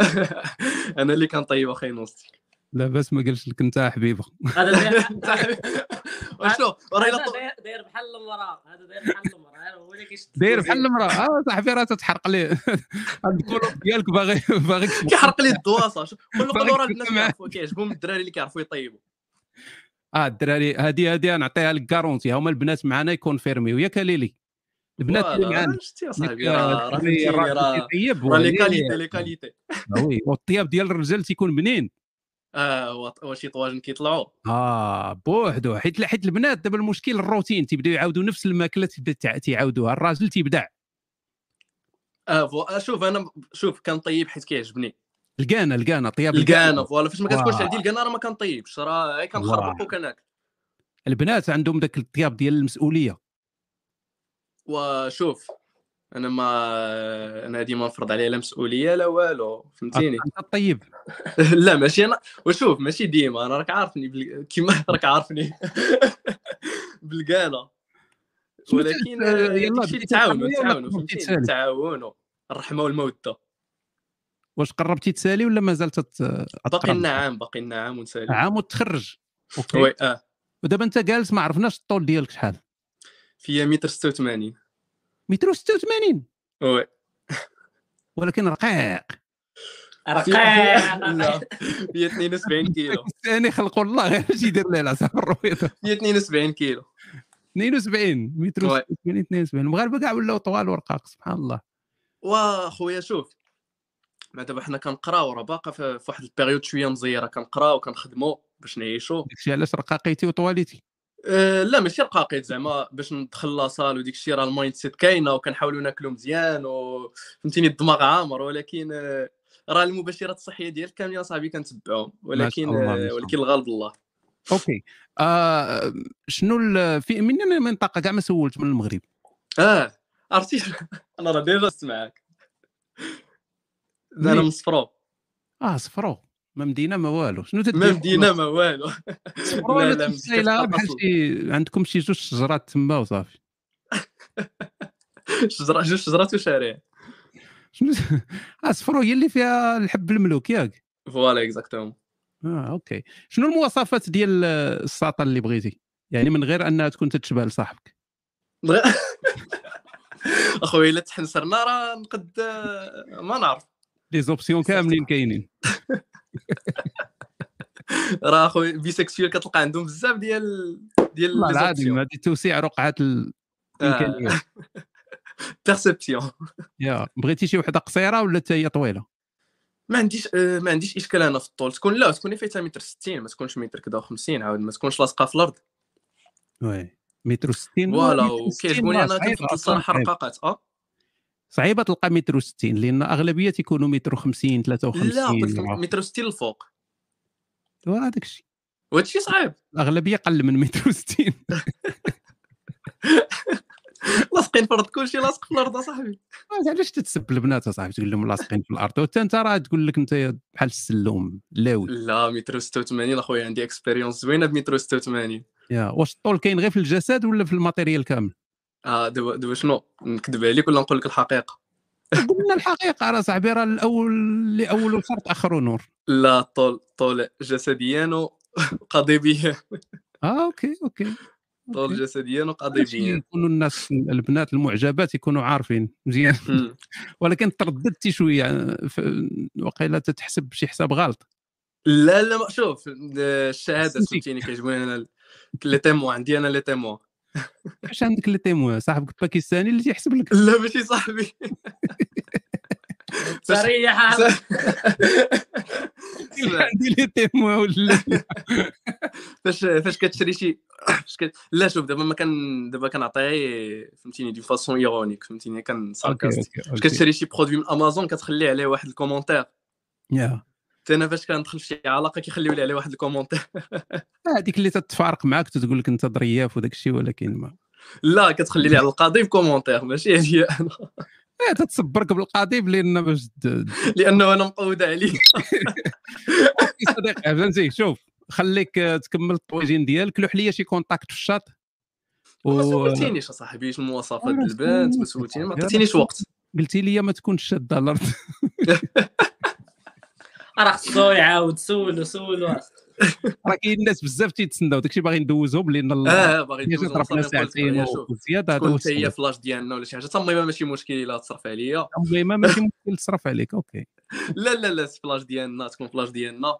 انا اللي كنطيب اخي نوصي لا بس ما قالش لك انت يا حبيبه هذا *laughs* طيب. *laughs* وشو راه داير الا طو- داير- داير بحال المراه هذا داير بحال المراه هو اللي كيشد داير بحال المراه اه صاحبي راه تتحرق ليه الكولوب ديالك باغي باغيك *laughs* كيحرق لي الدواسه شوف قول طيب. له قول له راه باغيك الناس تسمع. كيعرفوا كيعجبهم الدراري اللي كيعرفوا يطيبوا اه الدراري هادي هادي نعطيها لك كارونتي هما البنات معنا يكونفيرميو ياك ليلي البنات اللي فوالا، معنا شتي يا صاحبي، ياك، راه- آه، راه الدراري فهمتيني، الراجل راه- تيطيب، راه لي وهي- كاليتي، لي كاليتي. آه، وي والطياب ديال الرجال تيكون بنين اه وط- وشي طواجن كيطلعوا اه بوحدو حيت حيت البنات دابا المشكل الروتين تيبداو يعاودوا نفس الماكله تيبدا تع- تيعاودوها الراجل تيبدع اه فو- آه، شوف انا شوف كنطيب حيت كيعجبني لقانا لقانا طياب الكانه فوالا فاش ما كتكونش واه. عندي الكانه راه ما طيب. كنطيبش راه غير كنخربق الله. وكناكل البنات عندهم داك الطياب ديال المسؤوليه وشوف انا ما انا هادي ما نفرض عليها لا مسؤوليه لا والو فهمتيني انت طيب *laughs* لا ماشي انا وشوف ماشي ديما انا راك عارفني بال... كيما *laughs* راك عارفني بالقاله ولكن آه، آه، يلا داكشي اللي بديتي تعاونوا القضية تعاونوا ولا قربتي فهمتيني تسالي؟ تعاونوا الرحمه والموده واش قربتي تسالي ولا مازال تت باقي نعم. أتقرب؟ نعم، لنا عام باقي لنا عام ونسالي عام وتخرج وي اه ودابا انت جالس ما عرفناش الطول ديالك شحال فيا متر 86 متر 86 وي ولكن رقيق فيا- *laughs* لا فيا 72 كيلو الثاني خلق الله غير باش يدير ليه العصا في الرويضه فيا 72 كيلو 72 متر 86 72 المغاربه كاع ولاو طوال ورقاق سبحان الله واخويا شوف ما دابا حنا كنقراو راه باقا في في واحد البيريود شويه مزيره كنقراو كنخدموا باش نعيشوا داكشي علاش رقاقيتي وطواليتي أه لا ماشي رقاقيت زعما باش ندخل لاصال وديك الشيء راه المايند سيت كاينه وكنحاولوا ناكلوا مزيان و فهمتيني الدماغ عامر ولكن آه، راه المباشرات الصحيه ديال كاملين صاحبي كنتبعهم ولكن الله، ما آه، شاء ولكن الغالب الله اوكي آه شنو ال- في من أنا منطقه كاع ما سولت من المغرب اه عرفتي انا راه ديجا معاك انا منين؟ من صفرو اه صفرو ما مدينه ما والو شنو تدير ما مدينه ما والو صفرو لا، ولا لا، تمشي لها كتبقى بحال أصل. شي عندكم شي جوج شجرات تما وصافي شجره جوج شجرات وشارع شنو *laughs* الصفرو آه، هي اللي فيها الحب الملوك ياك فوالا *laughs* اكزاكتومون اه اوكي شنو المواصفات ديال الساطه اللي بغيتي يعني من غير انها تكون تتشبه لصاحبك اخويا الا تحنسرنا راه نقد آه، ما نعرف لي زوبسيون كاملين كاينين *laughs* راه اخويا بيسكسويل كتلقى عندهم بزاف ديال ديال والله les العظيم options. آه. هذه توسيع رقعه ال- الامكانيات *laughs* بيرسبسيون يا بغيتي شي وحده قصيره ولا حتى هي طويله ما عنديش آه، ما عنديش اشكال انا في الطول تكون لا تكون فيتها متر 60 ما تكونش متر كدا 50 عاود ما تكونش لاصقه في الارض وي متر 60 فوالا متر 60 وكيعجبوني راه انا صعيب كنفضل أصلاً، الصراحه صعيب. الرقاقات اه صعيبه تلقى متر 60 لان اغلبيه تيكونوا متر 50 53 لا قلت لك متر 60 الفوق وراه داك الشيء وهادشي صعيب الاغلبيه قل من متر *laughs* 60 لاصقين في الارض كلشي لاصق في الارض اصاحبي علاش تتسب البنات اصاحبي تقول لهم لاصقين في الارض وحتى انت راه تقول لك انت بحال السلوم لاوي لا متر 86 اخويا عندي اكسبيريونس زوينه بمتر 86 يا واش الطول كاين غير في الجسد ولا في الماتيريال كامل اه دابا دابا شنو نكذب عليك ولا نقول لك الحقيقه قلنا الحقيقه راه صاحبي راه الاول اللي اوله شرط اخره نور لا طول طول جسديا *laughs* وقضي به اه اوكي اوكي طول جسديا وقضي ماشي به يكونوا الناس البنات المعجبات يكونوا عارفين مزيان *laughs* مم. *laughs* ولكن ترددتي شويه ف- وقيلا تتحسب بشي حساب غلط لا لا ما شوف الشهاده فهمتيني كيعجبوني انا لي تيمو عندي انا لي تيمو واش عندك لي تيموان صاحبك الباكستاني اللي تيحسب لك لا ماشي صاحبي سريع *laughs* عندي لي تيموان ولا فاش فاش كتشري شي فاش كت... لا شوف دابا ما كان دابا كنعطيه فهمتيني دي فاسون ايرونيك فهمتيني كان أوكي، ساركاستيك أوكي. فاش كتشري شي برودوي من امازون كتخلي عليه واحد الكومونتير يا حتى انا فاش كندخل في شي علاقه كيخليو لي عليه واحد الكومونتير *laughs* هذيك اللي تتفارق معك تتقول لك انت ظرياف وداك الشيء ولكن ما لا كتخلي لي على القضيب كومونتير ماشي هي انا *laughs* إيه، تتصبرك بالقضيب لان باش د- لانه انا مقود عليه يا صديقي فهمتي آه، شوف خليك آه، تكمل الطويجين ديالك لوح ليا شي كونتاكت في الشاط ما و- سولتينيش اصاحبي شنو مواصفات أنا البنت ما سولتك سولتيني ما أصاحبي، أنا عطيتينيش سولتك. وقت قلتي لي ما تكونش شاده على الارض *laughs* راه خصو يعاود سولو سولو راه كاين ناس بزاف تيتسناو داكشي باغي ندوزهم لان ال- اه باغي الحاجة ندوز ضربنا ساعتين وزياده هذا تكون هو حتى هي السبب. فلاش ديالنا ولا شي حاجه تما ما ماشي مشكل الا تصرف عليا *laughs* المهم ماشي مشكل تصرف عليك اوكي لا لا لا فلاش ديالنا تكون فلاش ديالنا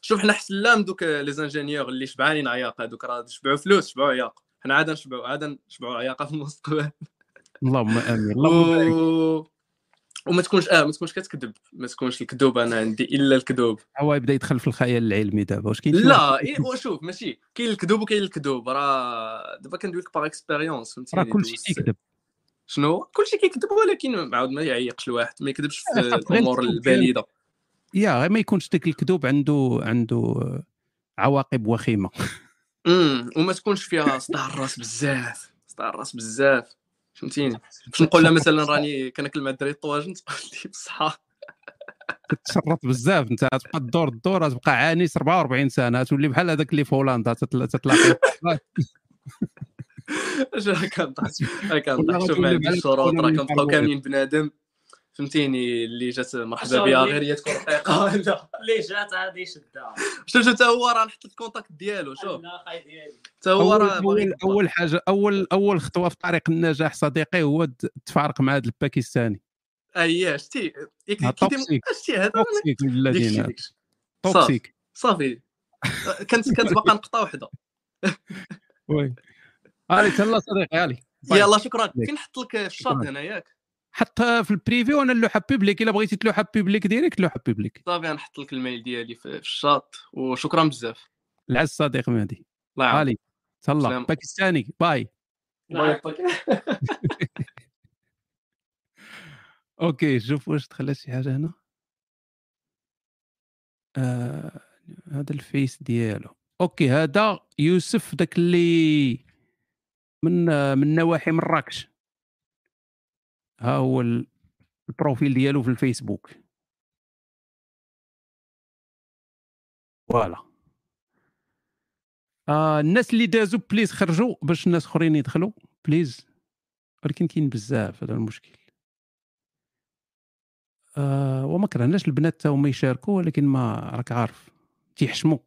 شوف حنا حسلام دوك لي زانجينيور اللي شبعانين عياق هذوك راه شبعوا فلوس شبعوا عياق حنا عاد نشبعوا عاد نشبعوا عياقه في المستقبل اللهم امين اللهم بارك و... وما تكونش اه ما تكونش كتكذب ما تكونش الكذوب انا عندي الا الكذوب هو يبدا يدخل في الخيال العلمي دابا واش كاين شي لا واحد- إيه، وشوف ماشي كاين الكذوب وكاين الكذوب راه دابا كندوي لك باغ اكسبيريونس فهمتيني راه كلشي دوزت- تيكذب شنو كلشي كيكذب ولكن عاود ما يعيقش الواحد ما يكذبش في آه، خاص غير الامور الكذوب البليده يا غير ما يكونش ديك الكذوب عنده عنده آه، عواقب *laughs* وخيمه امم وما تكونش فيها صداع الراس بزاف صداع الراس بزاف فهمتيني باش نقول لها مثلا راني كناكل مع الدراري الطواجن *laughs* تقول لي بصحه تتشرط بزاف انت تبقى الدور الدور تبقى عانيس 44 سنه تولي بحال هذاك اللي في هولندا تتل- تتلاقى اش راه كنضحك راه والله كنضحك شوف ما غتولي عنديش بحال شروط الكورونا راه من كنبقاو الحرب. كاملين بنادم فهمتيني اللي جات مرحبا أصاحبي. بها غير هي تكون رقيقه *laughs* لا اللي جات عادي شدها شوف حتى هو راه نحط الكونتاكت ديالو شوف اخي ديالي حتى هو أول- راه باغي اول اول حاجه اول اول خطوه في طريق النجاح صديقي هو ت- تفارق مع هذا الباكستاني آه، اييه آه، شتي ها، كيدير توكسيك *laughs* شتي هذا توكسيك ديكشي الذين ديكشي توكسيك صافي آه، كانت كانت باقا نقطه واحده وي علي تهلا صديقي علي باي. يلا شكرا فين نحط لك في الشارت هنا ياك حط في البريفي وانا اللوحه بيبليك الا بغيتي تلوحه بيبليك ديريكت لوحه بيبليك صافي نحط لك الميل ديالي في في الشاط وشكرا بزاف العز صديق مهدي الله يعاونك. علي تهلا سلام. باكستاني باي الله يعطيك اوكي شوف واش دخلت شي حاجه هنا آه، هذا الفيس ديالو اوكي هذا يوسف داك اللي من آه، من نواحي مراكش ها هو ال- البروفيل ديالو في الفيسبوك فوالا آه الناس اللي دازوا بليز خرجوا باش الناس اخرين يدخلوا بليز ولكن كاين بزاف هذا المشكل آه وما كرهناش البنات تا هما يشاركوا ولكن ما راك عارف تيحشموا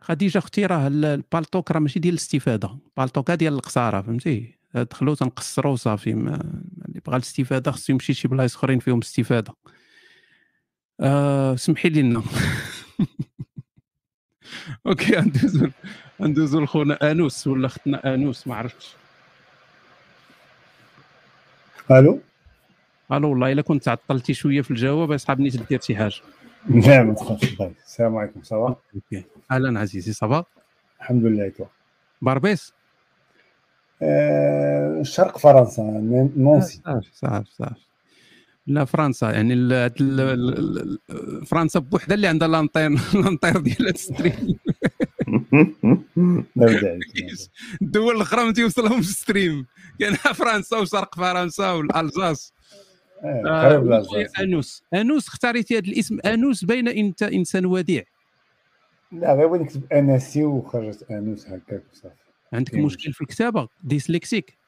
خديجه اختي راه ال- البالطوك راه ماشي ديال الاستفاده البالطوك ديال القصاره فهمتي دخلوا تنقصروا صافي ما- اللي بغى الاستفاده خصو يمشي شي بلايص اخرين فيهم استفاده آه سمحي لنا *laughs* اوكي ندوزو ندوزو لخونا انوس ولا اختنا انوس ما عرفتش الو الو والله الا كنت تعطلتي شويه في الجواب اصحابني تدير شي حاجه لا ما تخافش باي نعم، السلام عليكم صباح اوكي اهلا عزيزي صباح الحمد لله تو باربيس آه، شرق فرنسا نان- نانسي صافي صافي صافي *laughs* لا فرنسا يعني ال- هاد ال- ال- ال- فرنسا بوحدها اللي عندها لانطير *laughs* لانطير ديال هاد الستريم الدول الاخرى ما تيوصلهمش الستريم كاين فرنسا وشرق فرنسا والالزاس آه، قريب ويا للألزاس. انوس انوس اختاريتي هذا الاسم انوس بين انت انسان وديع لا غير بغيت نكتب اناسي وخرجت انوس هكاك وصافي عندك كاين مشكل في الكتابه ديسلكسيك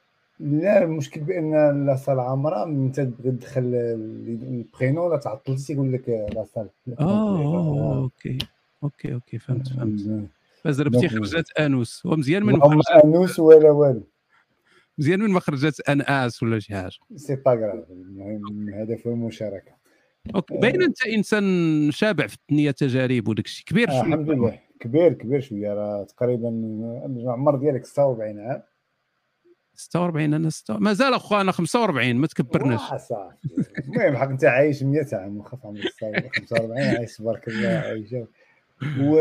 لا المشكل بان لا صال عامره من انت تبغي تدخل البرينو ولا تعطل تيقول لك لا صال اه اوكي اوكي اوكي فهمت آه، فهمت فزربتي دونك- خرجت انوس ومزيان من ما اللهم خرجت انوس ولا والو مزيان من ما خرجت اناس ولا شي حاجه سي يعني با غراف المهم الهدف هو المشاركه آه، اوكي باين انت انسان شابع في الدنيا تجارب وداك الشيء كبير آه، شوية. الحمد لله كبير كبير شويه راه تقريبا العمر ديالك 46 عام 46 انا 6 مازال اخو انا 45 ما تكبرناش آه، صافي المهم حق انت عايش 100 عام وخاف عمرك 45 عايش تبارك الله عايشه و...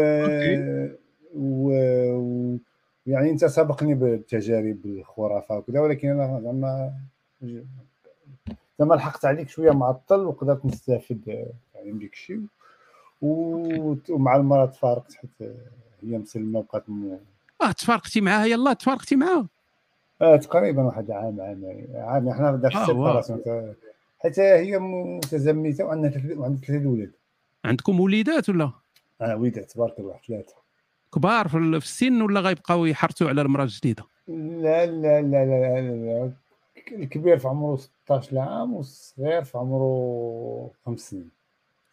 و... و يعني انت سابقني بالتجارب الخرافه وكذا ولكن انا زعما زعما لحقت عليك شويه معطل وقدرت نستافد آه، يعني من ديك الشيء و- ومع المراه تفارقت حيت آه، هي مسلمه وبقات م- اه تفارقتي معاها يلا تفارقتي معاها آه تقريبا واحد عام عام يعني عام احنا داك آه، السيباراسيون حتى هي متزمته وعندها ثلاث- وعندها ثلاثه اولاد عندكم وليدات ولا اه وليدات تبارك الله ثلاثه كبار في ال- في السن ولا غيبقاو يحرصوا على المراه الجديده لا لا لا لا, لا, لا. الكبير في عمره 16 عام والصغير في عمره خمس سنين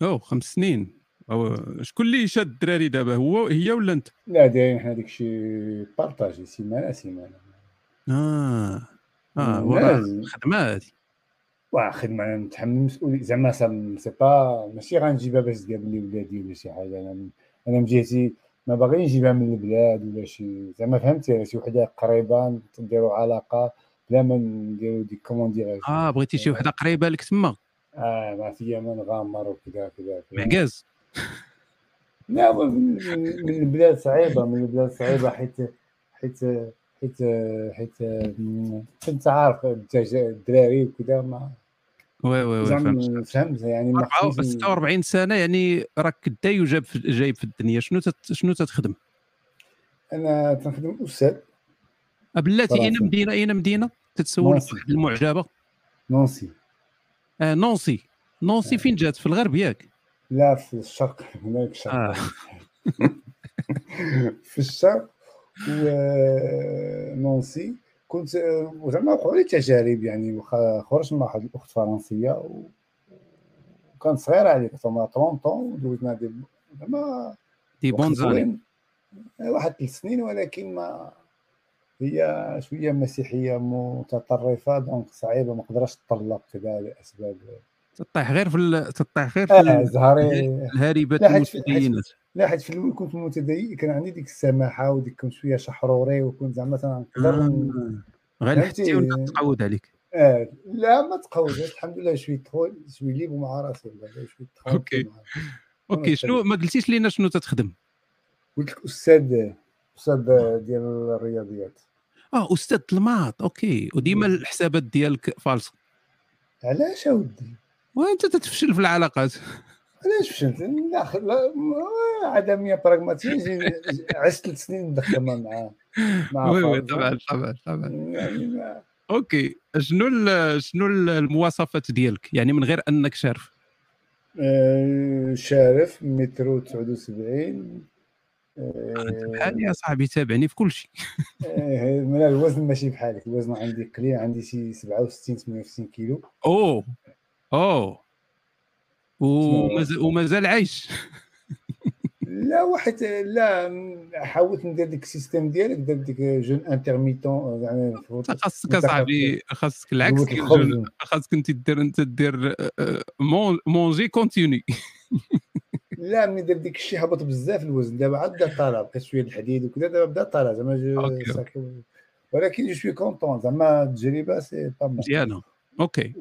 او خمس سنين أو شكون اللي شاد الدراري دابا هو هي ولا انت لا يعني دايرين حنا داكشي بارطاجي سيمانه سيمانه اه اه مم، وراه لازم. خدمه هادي واه خدمه انا متحمل مسؤولي زعما سا- سي با ماشي غنجيبها باش تقابل لي ولادي ولا شي حاجه انا من- انا من جهتي ما باغي نجيبها من البلاد ولا شي زعما فهمتي شي وحده قريبه نديروا علاقه بلا ما نديروا ديك كومون دير اه بغيتي شي وحده قريبه لك تما اه ما فيا ما نغامر وكذا كذا كذا. معكاز لا هو من من البلاد صعيبه من البلاد صعيبه حيت حيت حيت حيت م- انت عارف الدجا- الدراري وكذا ما وي وي وي فهمت زعما فهمت يعني ما أربعة- خصنيش ن- 46 سنه يعني راك دا يجاب في جايب في الدنيا شنو تت شنو تتخدم انا تنخدم استاذ آه، بلاتي اين فرنسا. مدينه اين مدينه تتسولك نونسي. واحد المعجبه نونسي آه نونسي نونسي فين جات في الغرب ياك لا في الشرق هناك شرق آه. *laughs* في الشرق ونونسي كنت آه، زعما وقعوا لي تجارب يعني وخا- خرجت مع واحد الاخت فرنسيه و- وكان صغير عليك عمرها 30 طون ودوزنا دي زعما دي وقت *laughs* بون زاني زوين آه، واحد ثلاث سنين ولكن ما هي شويه مسيحيه متطرفه دونك صعيبه ما قدرتش تطلق كذا لاسباب تطيح غير في ال... تطيح غير في اه ال- زهري الهاربات لا حيت في- حيت المتدينات لا حيت في الاول كنت متدين كان عندي ديك السماحه وديك كنت شويه شحروري وكنت زعما تنقدر ن- آه. غير حتي وانت فهمتي تتعود عليك اه لا ما تقوزش الحمد لله شويه تخول شويه ليب مع راسي والله شويه تخول *laughs* اوكي اوكي أنا شنو ما قلتيش لينا شنو تتخدم قلت لك استاذ استاذ ديال الرياضيات اه استاذ الماط اوكي وديما الحسابات ديالك فالصه علاش اودي وانت تتفشل في العلاقات علاش فشلت لا خ- لا آه، ما- عدميه براغماتيه جي- جي- عشت ثلاث سنين نخدمها مع مع *laughs* وي وي فرنسا. طبعا طبعا طبعا يعني ما- اوكي شنو ال- شنو ال- المواصفات ديالك يعني من غير انك شارف آه، شارف مترو 79 بحالي يا صاحبي تابعني في كل شيء إيه، من الوزن ماشي بحالك الوزن عندي قليل عندي شي 67 68 كيلو اوه اوه ومازال- ومازال عايش لا واحد لا م- حاولت ندير ديك السيستيم ديالك درت ديك جون انترميتون يعني زعما خاصك يا صاحبي خاصك العكس دوت كي الخبز. الجن- خاصك انت دير انت دير آه، آه، مون- *laughs* مونجي كونتيني لا ملي درت ديك الشيء هبط بزاف الوزن دابا عاد بدا طالع بقيت شويه الحديد وكذا دابا بدا طالع زعما جو- صافي. ولكن جو شوي كونتون زعما التجربه سي با مون مزيانه اوكي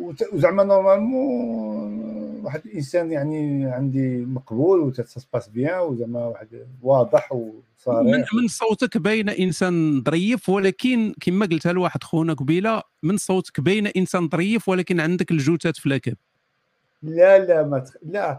وت- وزعما نورمالمون واحد الانسان يعني عندي مقبول وتتسباس بيان وزعما واحد واضح من, وصريح من صوتك باين انسان ظريف ولكن كما قلتها لواحد خونا قبيله من صوتك باين انسان ظريف ولكن عندك الجوتات في الكب لا لا ما تخ... لا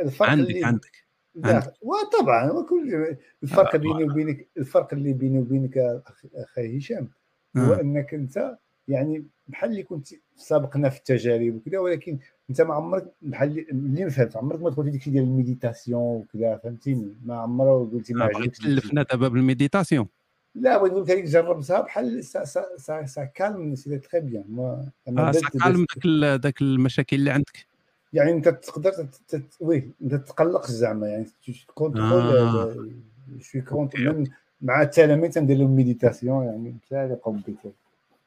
الفرق عندك- اللي... عندك. لا عندك. آه، وطبعا وكل الفرق بيني وبينك الفرق اللي بيني وبينك أخ- اخي هشام هو آه. انك انت يعني بحال اللي كنت سابقنا في التجارب وكذا ولكن انت ما عمرك بحال اللي- اللي ما فهمت عمرك ما دخلتي ديك ديال الميديتاسيون وكذا فهمتيني ما عمره قلتي ما آه، بغيت عجبتني تلفنا دابا بالميديتاسيون لا بغيت نقول لك هذيك جربتها بحال سا سا سا, سا كالم سي تري بيان ما- أنا آه، درت- سقال داك ال- داك المشاكل اللي عندك يعني انت تقدر تت- تت- وي انت تقلق زعما يعني آه. كونترول شوي كونترول مع التلاميذ تندير لهم ميديتاسيون يعني مثال يقوم بك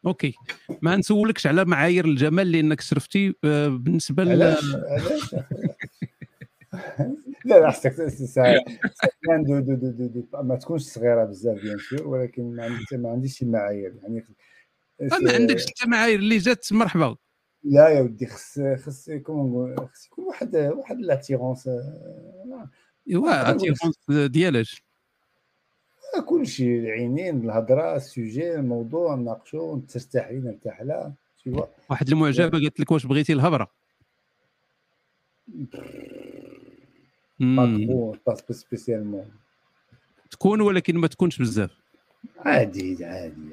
اوكي ما نسولكش على معايير الجمال لانك شرفتي آه، بالنسبه ل علاش علاش *laughs* لا لا حسك كان دو دو دو دو دو ما تكونش صغيره بزاف بيان سور ولكن ما عندي ما عنديش شي معايير يعني آه، ما عندكش انت معايير اللي جات مرحبا لا يا ودي خص خص يكون نقول- خص يكون واحد واحد آه، لاتيرونس ايوا الريفيرونس ديالاش كل شيء آه، العينين الهضره السوجي الموضوع نناقشوا ترتاحي نرتاح لها سوا واحد المعجبه قالت لك واش بغيتي الهبره مم. باسكو سبيسيالمون تكون ولكن ما تكونش بزاف عادي عادي عادي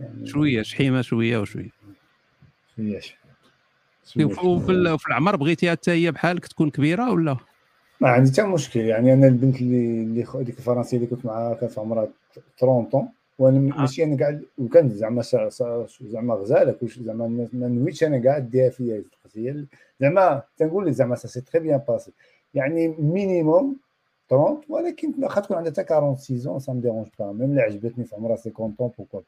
يعني شويه شحيمه شويه وشويه شويه شويه وفي ال- في العمر بغيتيها حتى هي بحالك تكون كبيره ولا ما عندي حتى مشكل يعني انا البنت اللي اللي خ- ديك الفرنسيه اللي كنت معاها كانت عمرها 30 طون وانا م- ماشي انا قاعد وكان زعما سا- سا- زعما غزاله كلشي زعما ما ما نويتش انا قاعد ديها فيا هاد القضية اللي- زعما تنقول لك زعما سا سي تري بيان باسي يعني مينيموم 30 ولكن واخا تكون عندها حتى 46 سا مي ديرونج با ميم لا عجبتني في عمرها 50 طون بوكو با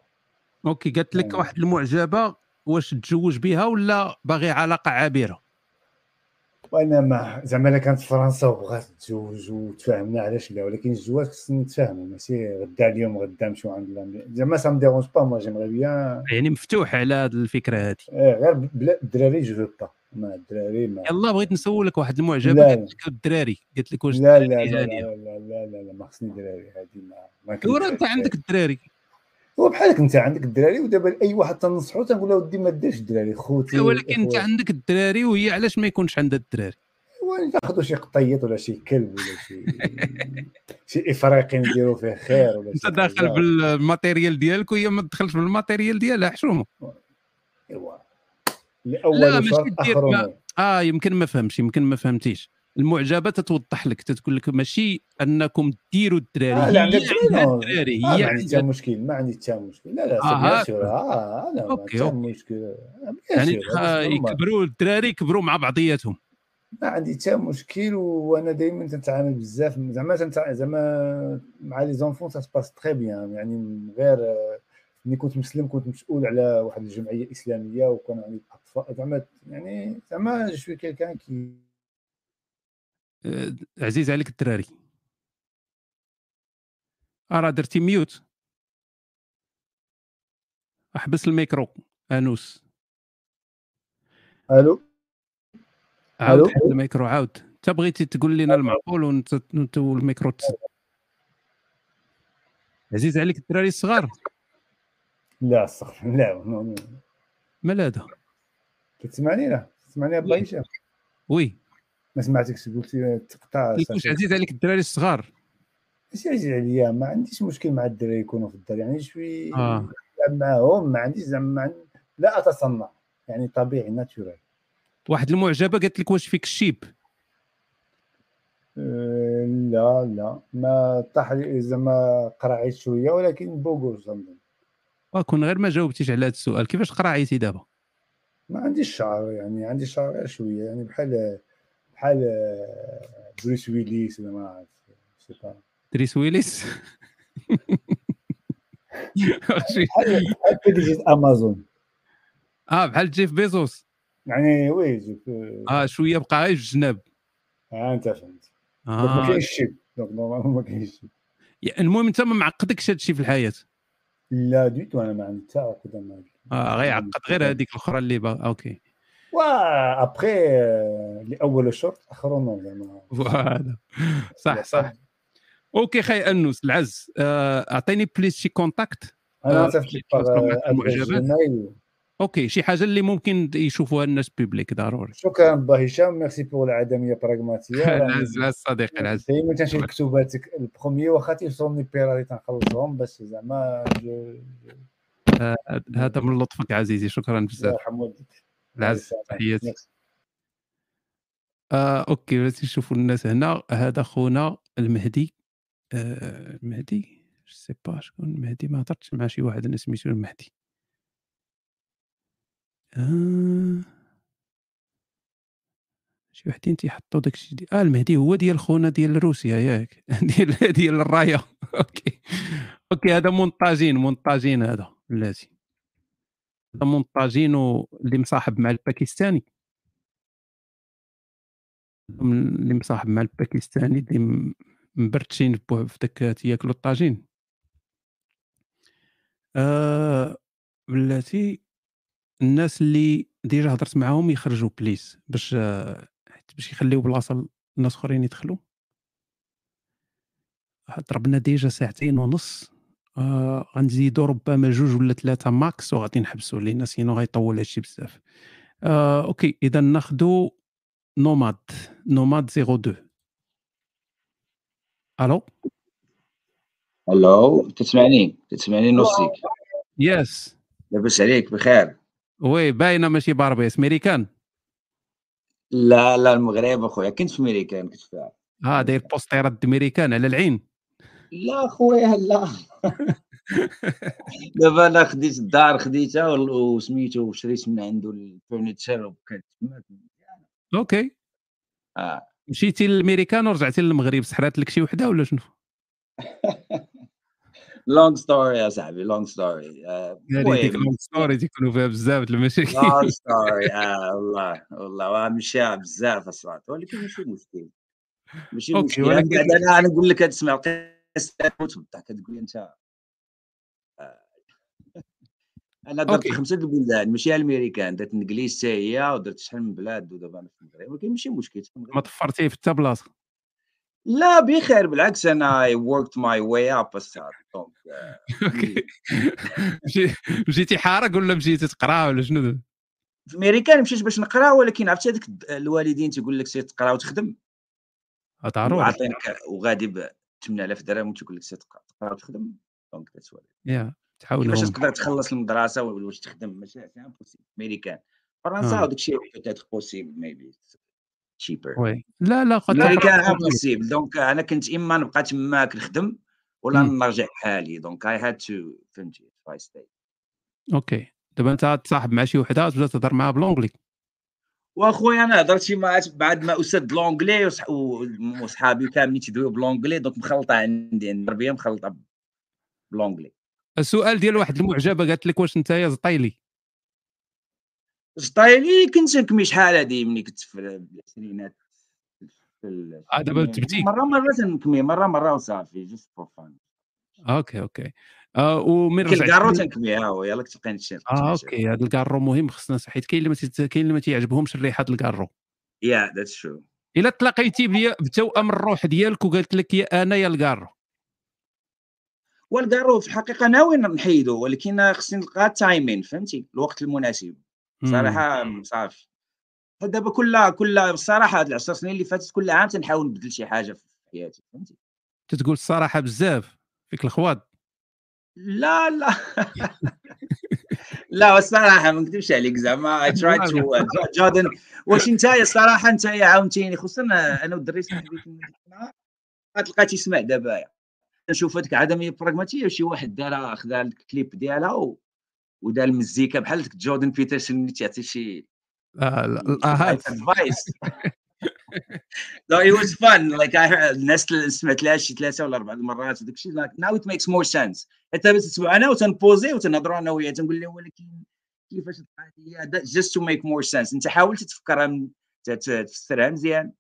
اوكي قالت لك يعني- واحد المعجبه واش تتزوج بها ولا باغي علاقه عابره وانا ما زعما الا كانت فرنسا وبغات تتزوج وتفاهمنا علاش لا ولكن الزواج خصنا نتفاهموا ماشي غدا اليوم غدا نمشيو عند لا- زعما سا مديرونج با موا جيمري بيان يعني مفتوح على هذه الفكره هذه إيه، غير بلا الدراري جو فو با ما الدراري ما يلا بغيت نسولك واحد المعجبه لا، قالت لك الدراري قالت لك واش لا لا لا الدراري لا هادية؟ لا لا لا لا, لا ما خصني دراري هذه ما ما ورا انت عندك الدراري هو بحالك انت عندك الدراري ودابا اي واحد تنصحو تنقول له ودي ما ديرش الدراري خوتي ولكن انت إخواتي. عندك الدراري وهي علاش ما يكونش عندها الدراري وين تاخذوا شي قطيط ولا شي كلب ولا *laughs* شي شي افريقي نديروا فيه خير ولا انت شي داخل حاجة. بالماتيريال ديالك وهي ما تدخلش بالماتيريال ديالها حشومه ايوا لاول لا شرط ماشي دير أيوة. آخر ما... أمور. اه يمكن ما فهمش يمكن ما فهمتيش المعجبه تتوضح لك تتقول لك ماشي انكم ديروا الدراري آه هي لا عندك عندها الدراري آه هي ما عندي حتى عندها مشكل ما عندي حتى مشكل لا لا آه، سي بيان هاك. سور اه انا ما أوكي، حتى أوكي. مشكل يعني يعني آه، يكبروا الدراري يكبروا مع بعضياتهم ما عندي حتى مشكل وانا دائما تنتعامل بزاف زعما تنتع- زعما مع لي زونفون سا سباس تري بيان يعني من غير آه، ملي كنت مسلم كنت مسؤول على واحد الجمعيه اسلاميه وكان عندي اطفال زعما يعني زعما جو شوي كيلكان كي آه، عزيز عليك الدراري ارا درتي ميوت احبس الميكرو انوس الو عاود ألو؟ حل الميكرو عاود انت بغيتي تقول لنا المعقول وانت وانت الميكرو تسد عزيز عليك الدراري الصغار لا استغفر الله نو- نو. مال هذا كتسمعني لا تسمعني ابا هشام وي ما سمعتكش قلتي تقطع قلت واش عزيز عليك الدراري الصغار ماشي عزيز عليا ما عنديش مشكل مع الدراري يكونوا في الدار يعني شوي آه. نلعب معاهم ما عنديش زعما ما عن- لا اتصنع يعني طبيعي ناتشورال واحد المعجبه قالت لك واش فيك الشيب أه لا لا ما طاح لي زعما قرعيت شويه ولكن بوغو زنظن وكون آه، غير ما جاوبتيش على هذا السؤال كيفاش قراعيتي دابا ما عنديش شعر يعني عندي شعر غير شويه يعني بحال بحال بروس ويليس ولا ما عرفت سي *laughs* با دريس ويليس *laughs* بحال بحال بيدجيت امازون اه بحال جيف بيزوس يعني وي جيف اه شويه بقى غير في الجناب اه انت فهمت آه. دونك ما كاينش شي دونك نورمالمون ما كاينش شي يعني المهم انت ما معقدكش هذا الشيء في الحياه لا دوتو انا ما عندي حتى عقده مع هاد اه غير عقد غير هذيك الاخرى اللي با اوكي و ابخي لاول الشرط اخرون زعما فوالا صح صح اوكي خي انوس العز آه، اعطيني بليز شي كونتاكت انا آه، صيفط لك شي كونتاكت مع المعجبات الجميل اوكي شي حاجه اللي ممكن يشوفوها الناس بيبليك ضروري شكرا با هشام ميرسي بور العدميه براغماتيه *laughs* العز العز صديقي العز دائما تنشوف كتوباتك البروميي واخا تيوصلني بيراري تنخلصهم بس زعما جو- آه، هذا من لطفك عزيزي شكرا الله بزاف يرحم والديك العز تحياتي آه اوكي بغيت نشوفوا الناس هنا هذا خونا المهدي آه المهدي جو سي با شكون المهدي ما هضرتش مع شي واحد انا سميتو المهدي آه شي وحدين تيحطوا داكشي دي اه المهدي هو ديال خونا ديال روسيا ياك *laughs* ديال ديال *laughs* الرايه اوكي اوكي هذا مونتاجين مونتاجين هذا بلاتي هذا مونتاجين و- اللي مصاحب مع الباكستاني من- اللي مصاحب مع الباكستاني اللي م- مبرتشين بوه- في داك تياكلو الطاجين آه بلاتي الناس اللي ديجا هضرت معاهم يخرجوا بليز باش آه، حيت باش يخليو بلاصه الناس اخرين يدخلوا ضربنا ديجا ساعتين ونص آه غنزيدو ربما جوج ولا ثلاثه ماكس وغادي نحبسوا لينا سينو غيطول هادشي بزاف آه اوكي اذا ناخدو نوماد نوماد 02 الو الو تسمعني تسمعني نصيك يس لاباس عليك بخير وي باينه ماشي باربيس ميريكان لا لا المغرب اخويا كنت في امريكا كنت فيها ها آه، داير بوستيرات ميريكان على العين لا خويا لا دابا انا خديت الدار خديتها وال- وسميتو وشريت من عنده الفورنيتشر وكانت تماك اوكي آه. اه مشيتي للميريكان ورجعتي للمغرب سحرات لك شي وحده ولا شنو لونغ ستوري يا صاحبي آه، لونغ ستوري يعني ديك ستوري تيكونوا فيها *laughs* بزاف د المشاكل لونغ ستوري اه والله والله واه مشاها بزاف اصلا ولكن ماشي مشكل ماشي أوكي، مشكل ولكن- بعد انا انا نقول لك تسمع قصه تموت بالضحك تقول لي انت آه، انا درت أوكي. خمسه د البلدان ماشي الميريكان درت انجليز حتى هي ودرت شحال من بلاد ودابا انا في المغرب ولكن ماشي مشكل في المغرب ما طفرتيه في حتى بلاصه لا بخير بالعكس انا I worked my way up الصاد دونك آه، مشي- مشيتي حارق ولا مشيتي تقرا ولا شنو في الميريكان مشيت باش نقرا ولكن عرفتي هذيك الد- الوالدين تيقول لك سير تقرا وتخدم آه، ضروري وعاطينك وغادي ب 8000 درهم وتقول لك سير تقرا تقرا وتخدم دونك ذاتس وات يا كيفاش تحاولهم تقدر تخلص المدرسه ولا واش تخدم ماشي سي امبوسيبل ميريكان فرنسا آه. وداك الشيء بوتيت بوسيبل ميبي cheaper وي لا لا قد ميريكان تقرأ كتير. امبوسيبل دونك انا كنت اما نبقى تماك نخدم ولا نرجع بحالي دونك اي هاد تو فهمتي باي ستاي اوكي دابا انت تصاحب مع شي وحده تبدا تهضر معاها بالونجلي واخويا انا هضرت شي مرات بعد ما استاذ لونجلي وصحابي كاملين تيدويو بلونجلي دونك مخلطه عندي عندي العربيه مخلطه بلونجلي السؤال ديال واحد المعجبه قالت لك واش انت يا زطيلي ستايلي كنت نكمي شحال هادي ملي كنت في العشرينات في ال- آه، دابا تبتي. مره مره تنكمي مره مره وصافي جست فور فان اوكي اوكي آه ومن كل رجعت كارو لي- تنكمي ها هو يلا تلقاني شي اه اوكي هذا الكارو مهم خصنا حيت كاين اللي ما تيت- كاين اللي ما تيعجبهمش الريحه ديال الكارو يا ذاتس ترو الا تلاقيتي بيا- بتوأم الروح ديالك وقالت لك يا انا يا الكارو والكارو في الحقيقه ناوي نحيدو ولكن خصني نلقى تايمين فهمتي الوقت المناسب مم. صراحه صافي حتى دابا كل كل بصراحه هاد العشر سنين اللي فاتت كل عام تنحاول نبدل شي حاجه في حياتي فهمتي تتقول الصراحه بزاف فيك الخواض لا لا *laughs* لا الصراحه ما نكذبش عليك زعما اي تراي لا، تو جادن واش انت الصراحه انت عاونتيني خصوصا انا والدري صاحبي كنا ديك النهار غتلقى تسمع دابا نشوف هذيك عدم براغماتيه شي واحد دارها خدا الكليب ديالها و- ودار المزيكا بحال ديك جوردن بيترسون اللي تعطي شي آه، الاهات *laughs* ادفايس لا اي واز فان لايك الناس اللي سمعت لها شي ثلاثه ولا اربع مرات وداك الشيء ناو ات ميكس مور سنس حتى باش تسمع انا وتنبوزي وتنهضروا انا وياه تنقول له ولكن كيفاش جاست تو ميك مور سنس انت حاول تفكرها من- ت- ت- تفسرها مزيان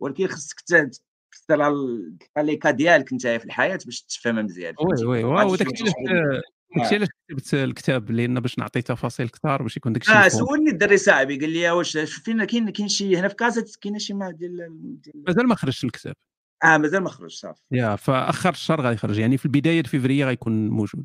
ولكن خصك ت- تفسرها ال- الطريقه ديالك انت في الحياه باش تفهمها مزيان وي وي غادي واو تشوف داكشي علاش شكون- داكشي علاش كتبت الكتاب لان باش نعطي تفاصيل كثار باش يكون داكشي اه مفهوم. سولني الدري صاحبي قال لي واش شوف فين كاين كاين شي هنا في كازا كاين شي ما ديال ديال- مازال ما خرجش الكتاب اه مازال ما خرج صافي يا فاخر الشهر غيخرج يعني في بدايه فيفري غيكون موجود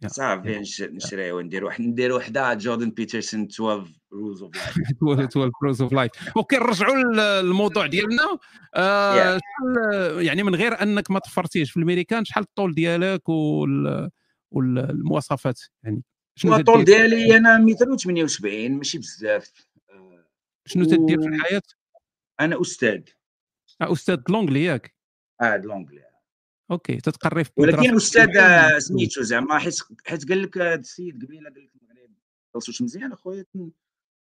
*laughs* صافي نش- نشري وندير واحد ندير وحده جوردن بيترسون 12 رولز اوف لايف بروز اوف لايف اوكي نرجعوا للموضوع ديالنا آه Yeah. شحال- يعني من غير انك ما تفرتيش في الميريكان شحال الطول ديالك وال والمواصفات يعني *laughs* شنو الطول تدير- ديالي انا 278 ماشي بزاف شنو تدير في الحياه؟ انا استاذ آه، استاذ لونجلي ياك اه لونجلي اوكي تتقري في ولكن مدرسة- استاذ آه، سميتو زعما حيت حيت قال لك هذا السيد قبيله قال لك المغرب ما خلصوش مزيان اخويا تن-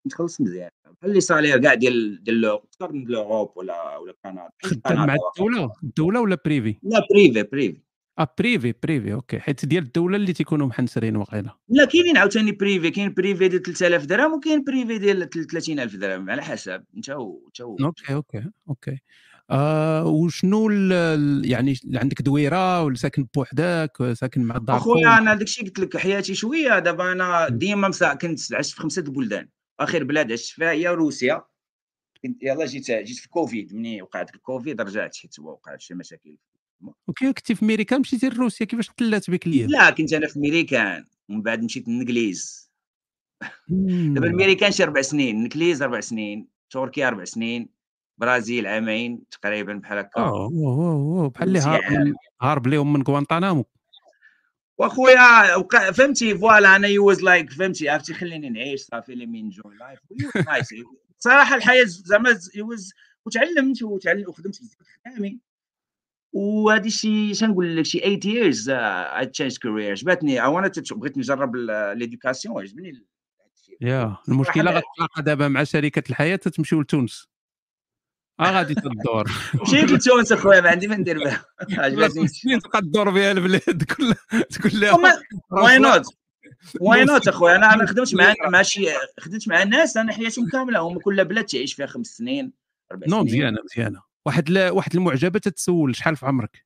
نتخلص مزيان بحال اللي صالير كاع ديال ديال الأوروب، اكثر من الاوروب ولا ولا كندا بحال خدام مع كندا الدوله الدوله ولا بريفي؟ لا بريفي بريفي اه بريفي بريفي اوكي حيت ديال الدوله اللي تيكونوا محنسرين وقيله لا كاينين عاوتاني بريفي كاين بريفي ديال 3000 درهم وكاين بريفي ديال 30000 درهم على حسب انت و انت و- اوكي اوكي اوكي آه وشنو ال- ال- يعني اللي عندك دويره ولا ساكن بوحدك ولا ساكن مع الداركون اخويا انا داكشي قلت لك حياتي شويه دابا انا ديما مسا كنت عشت في خمسه د البلدان اخر بلاد عشت فيها هي روسيا كنت يلا جيت جيت في كوفيد مني وقع داك الكوفيد رجعت حيت هو وقع شي مشاكل اوكي كنتي في امريكا مشيتي لروسيا كيفاش تلات بك ليا لا كنت انا في ميريكان ومن بعد مشيت للانجليز دابا الميريكان شي اربع سنين الانجليز اربع سنين تركيا اربع سنين برازيل عامين تقريبا بحال هكا اوه آه، أوه، أوه، بحال اللي روسيا هارب من- عام. هارب ليهم من غوانتانامو واخويا وقع- فهمتي فوالا انا يو واز لايك فهمتي عرفتي خليني نعيش صافي لي مين جوي لايف نايس صراحه الحياه زعما يوز وتعلمت وتعلمت وخدمت بزاف د خدامي وهادي شي شنقول لك شي 8 years uh, I changed careers بعتني I wanted to بغيت نجرب ليدوكاسيون عجبني يا المشكله غتلاقى دابا مع شركه الحياه تمشيو لتونس اه غادي تدور *laughs* مشيت لتونس اخويا ما عندي ما ندير *laughs* بها عجبتني سنين تبقى تدور بها البلاد كلها تقول لها واي نوت واي نوصل. نوت اخويا انا انا خدمت مع مع شي خدمت مع ناس انا حياتهم كامله هما كل بلاد تعيش فيها خمس سنين اربع نو سنين مزيانه مزيانه واحد لا واحد المعجبه تتسول شحال في عمرك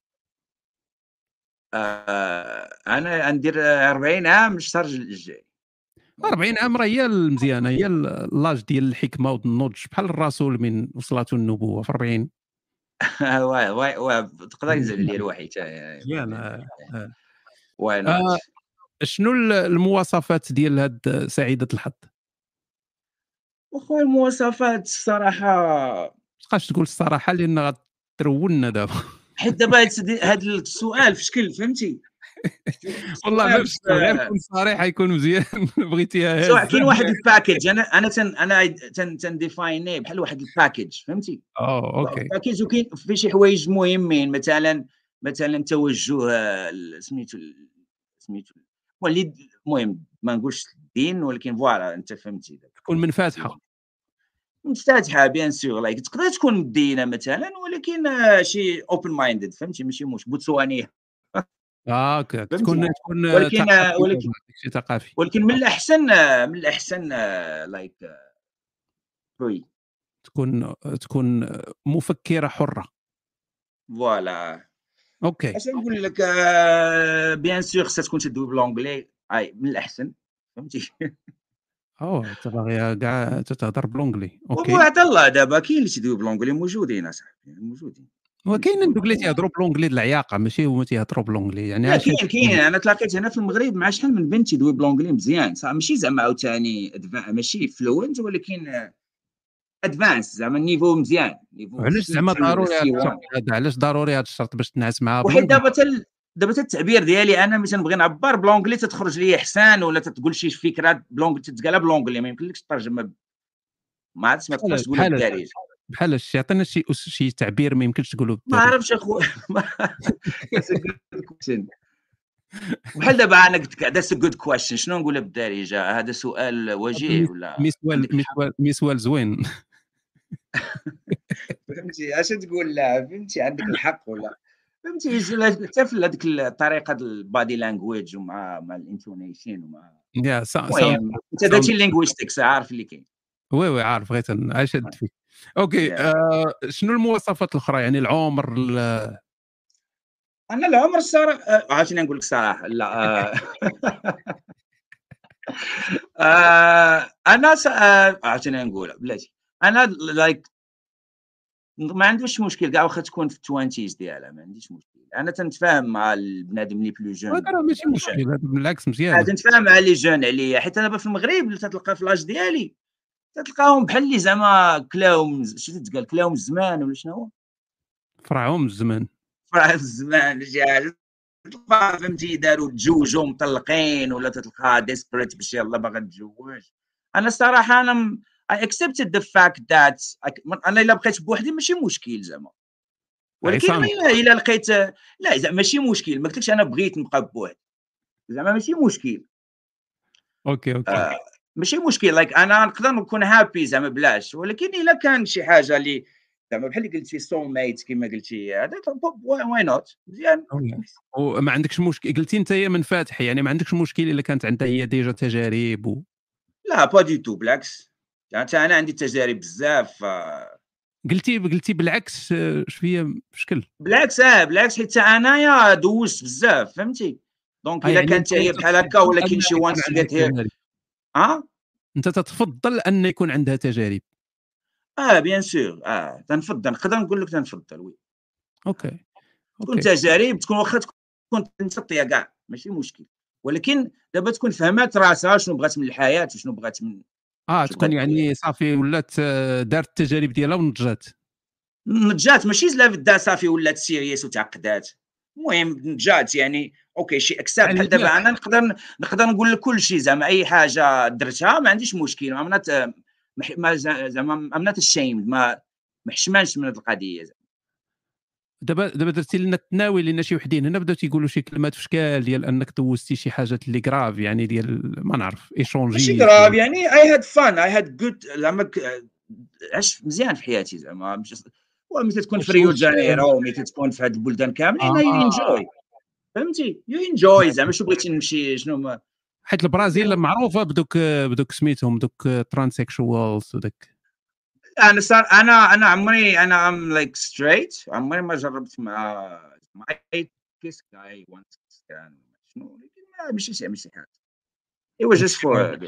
آه انا ندير 40 عام الشهر الجاي 40 عام راه هي المزيانه هي ال- لاج ديال الحكمه والنضج بحال الرسول من وصلته النبوه في 40 *laughs* واي واي واي تقدر ينزل عليا الوحي حتى مزيانه واي نوت آه، شنو ال- المواصفات ديال هاد سعيده الحظ اخويا المواصفات الصراحه مابقاش تقول الصراحه لان غترولنا دابا حيت دابا هذا السؤال في شكل فهمتي *laughs* والله ما السؤال بشتو، في- غير كون صريح يكون مزيان *laughs* بغيتيها سواء هازة. كاين واحد الباكج انا انا تن انا تن تنديفايني بحال واحد الباكج فهمتي اه اوكي باكج وكاين في شي حوايج مهمين مثلا مثلا توجه آه، ال- سميتو ال- سميتو ال- هو اللي د- المهم ما نقولش الدين ولكن فوالا انت فهمتي تكون منفتحه مفتتحه بيان سور لايك تقدر تكون مدينه مثلا ولكن آه، شي اوبن مايندد فهمتي ماشي مش بوتسوانيه اه اوكي تكون تكون ولكن- آه، ثقافي ولكن- دابا، شي ثقافي ولكن من الاحسن آه، من الاحسن لايك فري تكون تكون مفكره حره فوالا اوكي اش نقول لك آه، بيان سور خصها تكون تدوي بالونجلي اي من الاحسن فهمتي اوه انت باغي كاع تتهضر بالونجلي ومو اوكي عطا الله Oh, دابا كاين اللي تيدوي بالونجلي موجودين اصاحبي موجودين وكاين دوك اللي تيهضروا بالونجلي د العياقه ماشي هما تيهضروا بالونجلي يعني لا عارفين كاين كاين انا تلاقيت هنا في المغرب مع شحال من بنت تيدوي بالونجلي مزيان صح ماشي زعما عاوتاني adva- ماشي فلوينت ولكن ادفانس زعما النيفو مزيان نيفو *laughs* علاش سي- زعما سي- ضروري هذا سي واحد. الشرط هذا علاش ضروري هذا الشرط باش تنعس معاه وحيت بالونجلي دابا تل دابا تا التعبير ديالي انا ملي تنبغي نعبر بلونجلي تتخرج لي احسن ولا تتقول شي فكره بلونجلي تتقالها بلونجلي ما يمكنلكش تترجمها ب- ما عرفتش ما بحال- تقدرش تقولها بحال- بالدارجه بحال شي عطينا شي أس- شي تعبير ما يمكنش تقولوا ما عرفتش *laughs* اخويا بحال دابا انا قلت لك ذاتس ا جود كويشن شنو نقولها بالدارجه هذا سؤال وجيه ولا مسوال مسوال مسوال زوين فهمتي اش تقول لها فهمتي عندك الحق ولا فهمتي ج- حتى في هذيك الطريقه ديال البادي لانجويج ومع مع الانتونيشن ومع *laughs* يا سا- المهم، ساوند- انت داتي ساوند- لينغويستكس عارف اللي كاين وي وي عارف غير تن- عايش طيب. هاد فيك اوكي آه شنو المواصفات الاخرى يعني العمر ال- انا العمر الصراحه آه، عاوتاني نقول لك صراحه لا آه. آه، انا س- آه، عاوتاني نقولها بلاتي انا لايك ما عندوش مشكل كاع واخا تكون في التوانتيز ديالها ما عنديش مشكل انا تنتفاهم مع البنادم اللي بلو جون هذا راه ماشي مشكل هذا بالعكس مزيان عاد نتفاهم مع لي جون عليا حيت انا دابا في المغرب اللي تتلقى في لاج ديالي تتلقاهم بحال اللي زعما كلاهم شنو تقال كلاهم الزمان ولا شنو هو فرعهم الزمان فرع الزمان رجال تلقى فهمتي داروا تزوجوا مطلقين ولا تتلقى ديسبريت باش يلا باغا تتزوج انا الصراحه انا م... I accepted the fact that I... من- انا الا بقيت بوحدي ماشي مشكل زعما ولكن عصام. الا إلا لقيت لا زعما ماشي مشكل ما قلتلكش انا بغيت نبقى بوحدي زعما ماشي مشكل اوكي اوكي آه، ماشي مشكل لايك انا نقدر نكون هابي زعما بلاش ولكن الا كان شي حاجه اللي زعما بحال اللي قلتي سول ميت كما قلتي هذا واي نوت مزيان وما عندكش مشكل قلتي انت هي من فاتح يعني ما عندكش مشكل الا كانت عندها هي ديجا تجارب و... لا با دي تو بالعكس يعني تا انا عندي تجارب بزاف آه، قلتي قلتي بالعكس آه، شويه مشكل بالعكس اه بالعكس حيت تا انايا دوزت بزاف فهمتي دونك آه، الا يعني كانت أنت هي بحال هكا ولكن تتفضل شي أن وانس يكون جات عندها هي تجارب. ها انت تتفضل ان يكون عندها تجارب اه بيان سور اه تنفضل نقدر نقول لك تنفضل وي اوكي تكون تجارب تكون واخا تكون تنطيا كاع ماشي مشكل ولكن دابا تكون فهمات راسها شنو بغات من الحياه وشنو بغات من اه تكون يعني صافي ولات آه، دارت التجارب ديالها ونجات نجات ماشي لا بدا صافي ولات سيريس وتعقدات المهم نجات يعني اوكي شي اكساب بحال دابا انا نقدر نقدر نقول لك كل شيء زعما اي حاجه درتها ما عنديش مشكل ما منات ما ز- زعما منات الشيم ما ما حشمانش من هذه القضيه زعما. دابا دابا درتي لنا التناوي لان شي وحدين هنا بداو تيقولوا شي كلمات في شكال ديال انك دوزتي شي حاجات اللي كراف يعني ديال ما نعرف ماشي ايشونجي كراب يعني اي هاد فان اي هاد جود زعما ك- عشت مزيان في حياتي زعما مش- ومثل تكون في ريو دي جانيرو ملي تكون في هاد البلدان كاملين آه. اي انجوي فهمتي يو انجوي زعما شو بغيتي نمشي شنو ما حيت يعني البرازيل معروفه بدوك آه، بدوك سميتهم دوك ترانسيكشوالز وداك انا صار انا انا عمري انا ام لايك ستريت عمري ما جربت مع مع اي كيس جاي وانس كان شنو ما- ماشي شي ماشي حاجه it was just for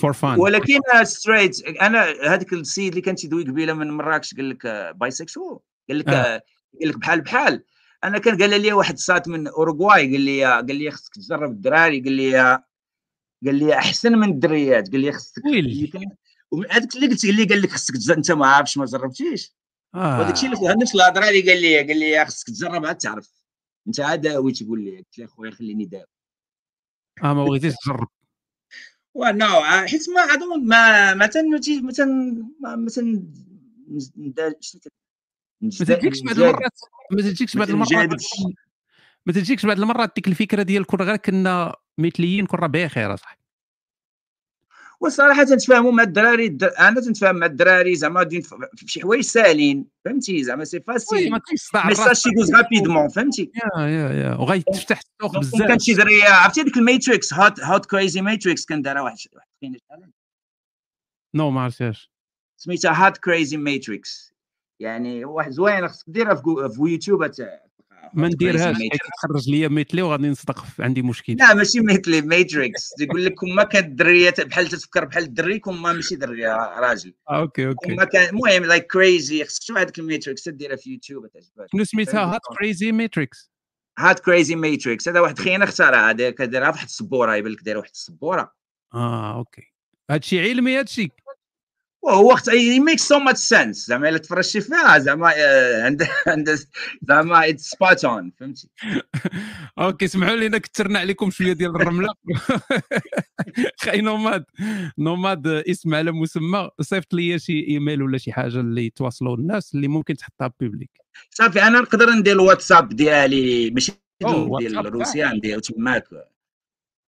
فور فان ولكن ستريت انا هذاك السيد اللي كان تيدوي قبيله من مراكش قال لك بايسكشوال قال لك آه. آه، قال لك بحال بحال انا كان قال لي واحد صات من اوروغواي قال لي قال لي خصك تجرب الدراري قال لي قال لي احسن من الدريات قال لي خصك هذاك اللي قلت اللي قال لك خصك تز- انت ما عارفش ما جربتيش آه. وهذاك الشيء اللي نفس الهضره اللي قال لي قال لي خصك تجرب عاد تعرف انت عاد داوي تقول لي قلت له خويا خليني داوي اه ما بغيتيش *laughs* تجرب ونو حيت ما عندهم ما ما تنجي ما تن ما ما تن ندا- شنو كت- ما نجد- تجيكش بعد نجادل. المرات ما تجيكش بعد مثل المرات جادبش. ما تجيكش بعد المرات ديك الفكره ديال كون غير كنا مثليين كون راه بخير اصاحبي والصراحه تنتفاهموا مع الدراري الد- انا تنتفاهم مع الدراري زعما غادي نف- في شي حوايج ساهلين فهمتي زعما سي وي، فاسيل ما كاينش صداع ميساج الراس. تيدوز رابيدمون فهمتي يا يا يا وغيتفتح السوق دونك كانت شي بزاف دريه عرفتي ديك الماتريكس هات هات كريزي ماتريكس كان دارها واحد واحد القينة شحال نو ما عرفتهاش سميتها هات كريزي ماتريكس يعني واحد زوينه خصك ديرها في, جو- في يوتيوب تاع- إيه. ما Hot Crazy نديرهاش Matrix. حيت تخرج ليا مثلي وغادي نصدق في- عندي مشكل لا ماشي مثلي ماتريكس يقول لك كون ما كانت الدريه بحال تفكر بحال الدري كون ما ماشي دري راجل آه، اوكي كون اوكي ما كان المهم لايك كريزي خصك تشوف هذيك الماتريكس ديرها في يوتيوب تعجبك شنو سميتها هات كريزي ماتريكس هاد كريزي ماتريكس هذا واحد خينا اختارها هذا كديرها في واحد آه، السبوره يبان لك داير واحد السبوره اه اوكي هادشي علمي هادشي وهو اخت ميك سو ماتش سنس زعما الا تفرجتي فيها زعما آه، عندها عندها زعما اتس سبوت اون *laughs* فهمتي اوكي سمحوا لينا كثرنا عليكم شويه ديال *laughs* الرمله خاي نوماد نوماد اسم على مسمى صيفط لي شي ايميل ولا شي حاجه اللي يتواصلوا الناس اللي ممكن تحطها بيبليك صافي انا نقدر ندير الواتساب ديالي ماشي أوه، ديال واتساب الروسيان ديال تماك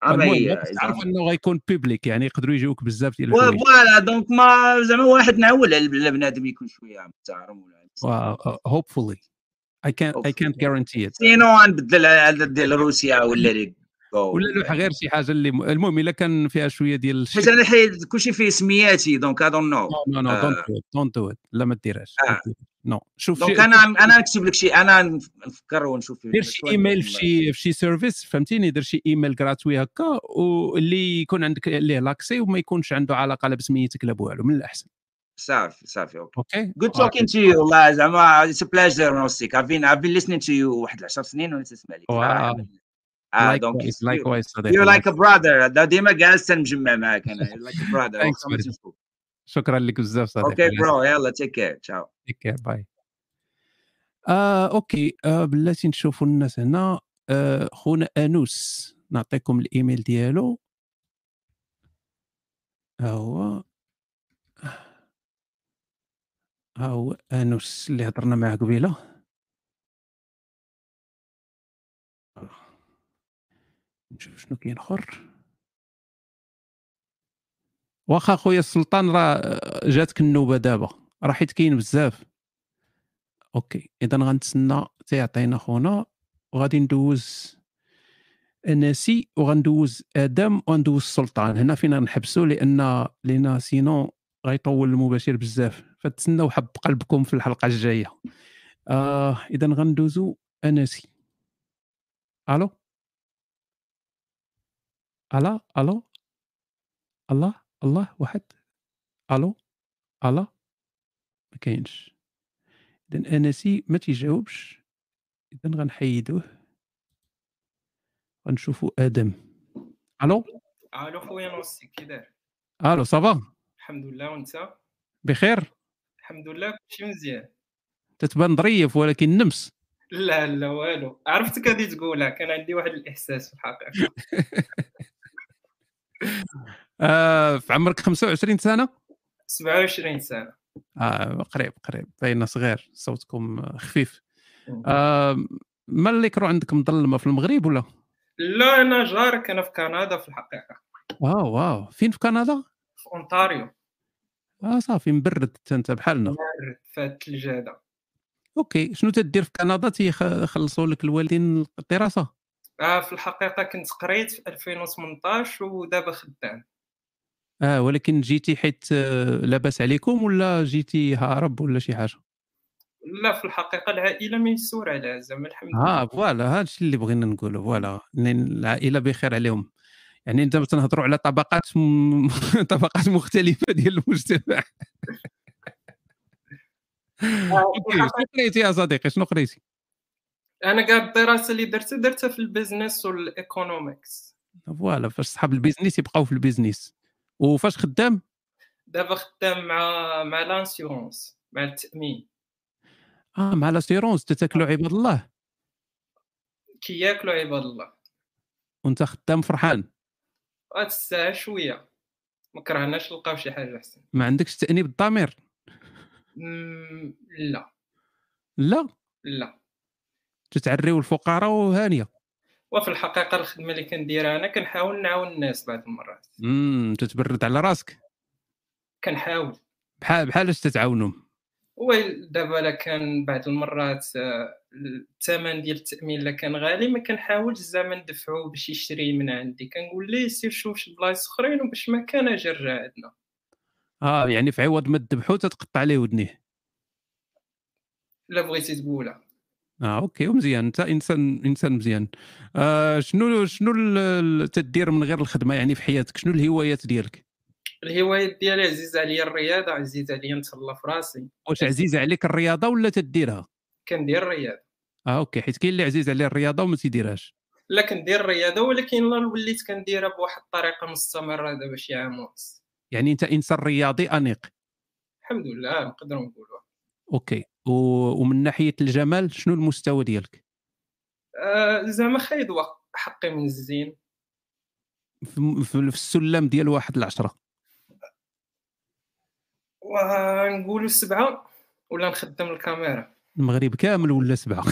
Ah, المهم euh, بس *laughs* تعرف انه غيكون بيبليك يعني يقدروا يجيوك بزاف ديال الحوايج فوالا دونك ما زعما واحد نعول على البنادم يكون شويه متعرم *laughs* ولا آه، هوبفولي اي كان اي كانت guarantee it سينو غنبدل على ديال روسيا ولا لي ولا لوحه غير شي حاجه اللي المهم الا كان فيها شويه ديال حيت انا حيت كلشي فيه سمياتي دونك اي دون نو نو نو دونت دو دونت دو لا ما ديرهاش آه. نو شوف شي دونك انا انا نكتب لك شي انا نفكر ونشوف دير شي ايميل في شي في شي سيرفيس فهمتيني دير شي ايميل غراتوي هكا واللي يكون عندك ليه لاكسي وما يكونش عنده علاقه لا بسميتك لا بوالو من الاحسن صافي صافي اوكي اوكي جود توكين تو يو والله زعما اتس بلاجر نوستيك اف بين اف بين listening to you واحد 10 سنين وانا تسمع لك صراحة. آه، دونك Oh, Likewise- likewise صديقي. يو لايك ا براذر ديما جالس تنجمع معاك انا لايك ا براذر Thanks very much. شكرا لك بزاف صديقي اوكي برو يلا تيك كير تشاو تيك كير باي آه، اوكي آه، بلاتي نشوفوا الناس هنا آه، خونا انوس نعطيكم الايميل ديالو ها هو ها هو انوس اللي هضرنا معاه قبيله نشوف شنو كاين اخر واخا خويا السلطان راه جاتك النوبه دابا راه حيت كاين بزاف اوكي اذا غنتسنى تيعطينا خونا وغادي ندوز ناسي وغندوز ادم وغندوز السلطان هنا فينا نحبسو لان لان سينو غيطول المباشر بزاف فتسناو حب قلبكم في الحلقه الجايه آه اذا غندوزو اناسي الو الا الو الله الله واحد الو الا ما كاينش اذا انسي ما تيجاوبش اذا غنحيدوه غنشوفوا ادم الو الو خويا نوصي كي داير الو صافا الحمد لله وانت بخير الحمد لله كلشي مزيان تتبان ظريف ولكن نمس لا لا والو عرفتك غادي تقولها كان عندي واحد الاحساس في *laughs* الحقيقه آه في عمرك 25 سنه 27 سنه آه قريب قريب باين صغير صوتكم خفيف آه ما الليكرو عندك مظلمه في المغرب ولا لا انا جارك انا في كندا في الحقيقه واو واو فين في كندا في اونتاريو اه صافي مبرد حتى انت بحالنا مارد فات الجاده اوكي شنو تدير في كندا تيخلصوا لك الوالدين الدراسه آه في الحقيقه كنت قريت في 2018 ودابا خدام اه ولكن جيتي حيت آه، لاباس عليكم ولا جيتي هارب ولا شي حاجه لا في الحقيقه العائله ميسور عليها زعما الحمد اه فوالا هذا الشيء اللي بغينا نقوله فوالا لأن العائله بخير عليهم يعني انت تنهضروا على طبقات م... *laughs* طبقات مختلفه ديال المجتمع *laughs* اوكي شنو قريتي يا صديقي شنو قريتي انا كاع الدراسه اللي درتها درتها في البيزنس والايكونوميكس فوالا فاش صحاب البيزنس يبقاو في البيزنس وفاش خدام دابا خدام مع مع لانسيورونس مع التامين اه مع لاسيرونس تتاكلوا عباد الله كياكلوا عباد الله وانت خدام فرحان هاد الساعه شويه ما كرهناش نلقاو شي حاجه احسن ما عندكش تانيب الضمير مم، لا لا لا تتعريو الفقراء وهانيه وفي الحقيقه الخدمه اللي كنديرها انا كنحاول نعاون الناس بعض المرات امم تتبرد على راسك كنحاول بحال بحال اش تتعاونهم ويل دابا لا كان بعض المرات آه، الثمن ديال التامين لا كان غالي ما كنحاولش زعما ندفعو باش يشري من عندي كنقول ليه سير شوف شي بلايص اخرين وباش ما كان اجي رجع عندنا اه يعني في عوض ما تذبحو تتقطع ليه ودنيه الا بغيتي تقولها اه اوكي ومزيان انت انسان انسان مزيان آه شنو شنو ال- ال- تدير من غير الخدمه يعني في حياتك شنو الهوايات ديالك الهوايات ديالي عزيزه عليا الرياضه عزيزه عليا نتهلا في راسي واش عزيزه عليك الرياضه ولا تديرها كندير الرياضه اه اوكي حيت كاين اللي عزيز عليه الرياضه وما تيديرهاش لا كندير الرياضه ولكن لا وليت كنديرها بواحد الطريقه مستمره دابا شي عام ونص يعني انت انسان رياضي انيق الحمد لله نقدروا نقولوها اوكي و... ومن ناحيه الجمال شنو المستوى ديالك آه، زعما خايد وق- حقي من الزين في, في السلم ديال واحد العشرة ونقولوا سبعة ولا نخدم الكاميرا المغرب كامل ولا سبعه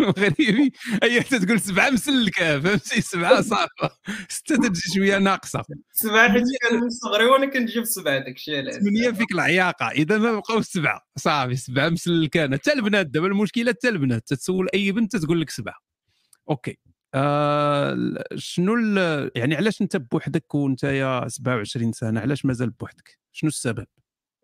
المغربي اي حتى تقول سبعه مسلكه فهمتي سبعه صعبه سته تجي شويه ناقصه سبعة حيت كان من صغري وانا كنجيب سبعة داكشي علاش ثمانيه فيك العياقه اذا ما بقاو سبعه صافي سبعه مسلكانه حتى البنات دابا المشكله حتى البنات تتسول اي بنت تقول لك سبعه اوكي آه ال- شنو ال- يعني علاش انت بوحدك وانت يا 27 سنه علاش مازال بوحدك شنو السبب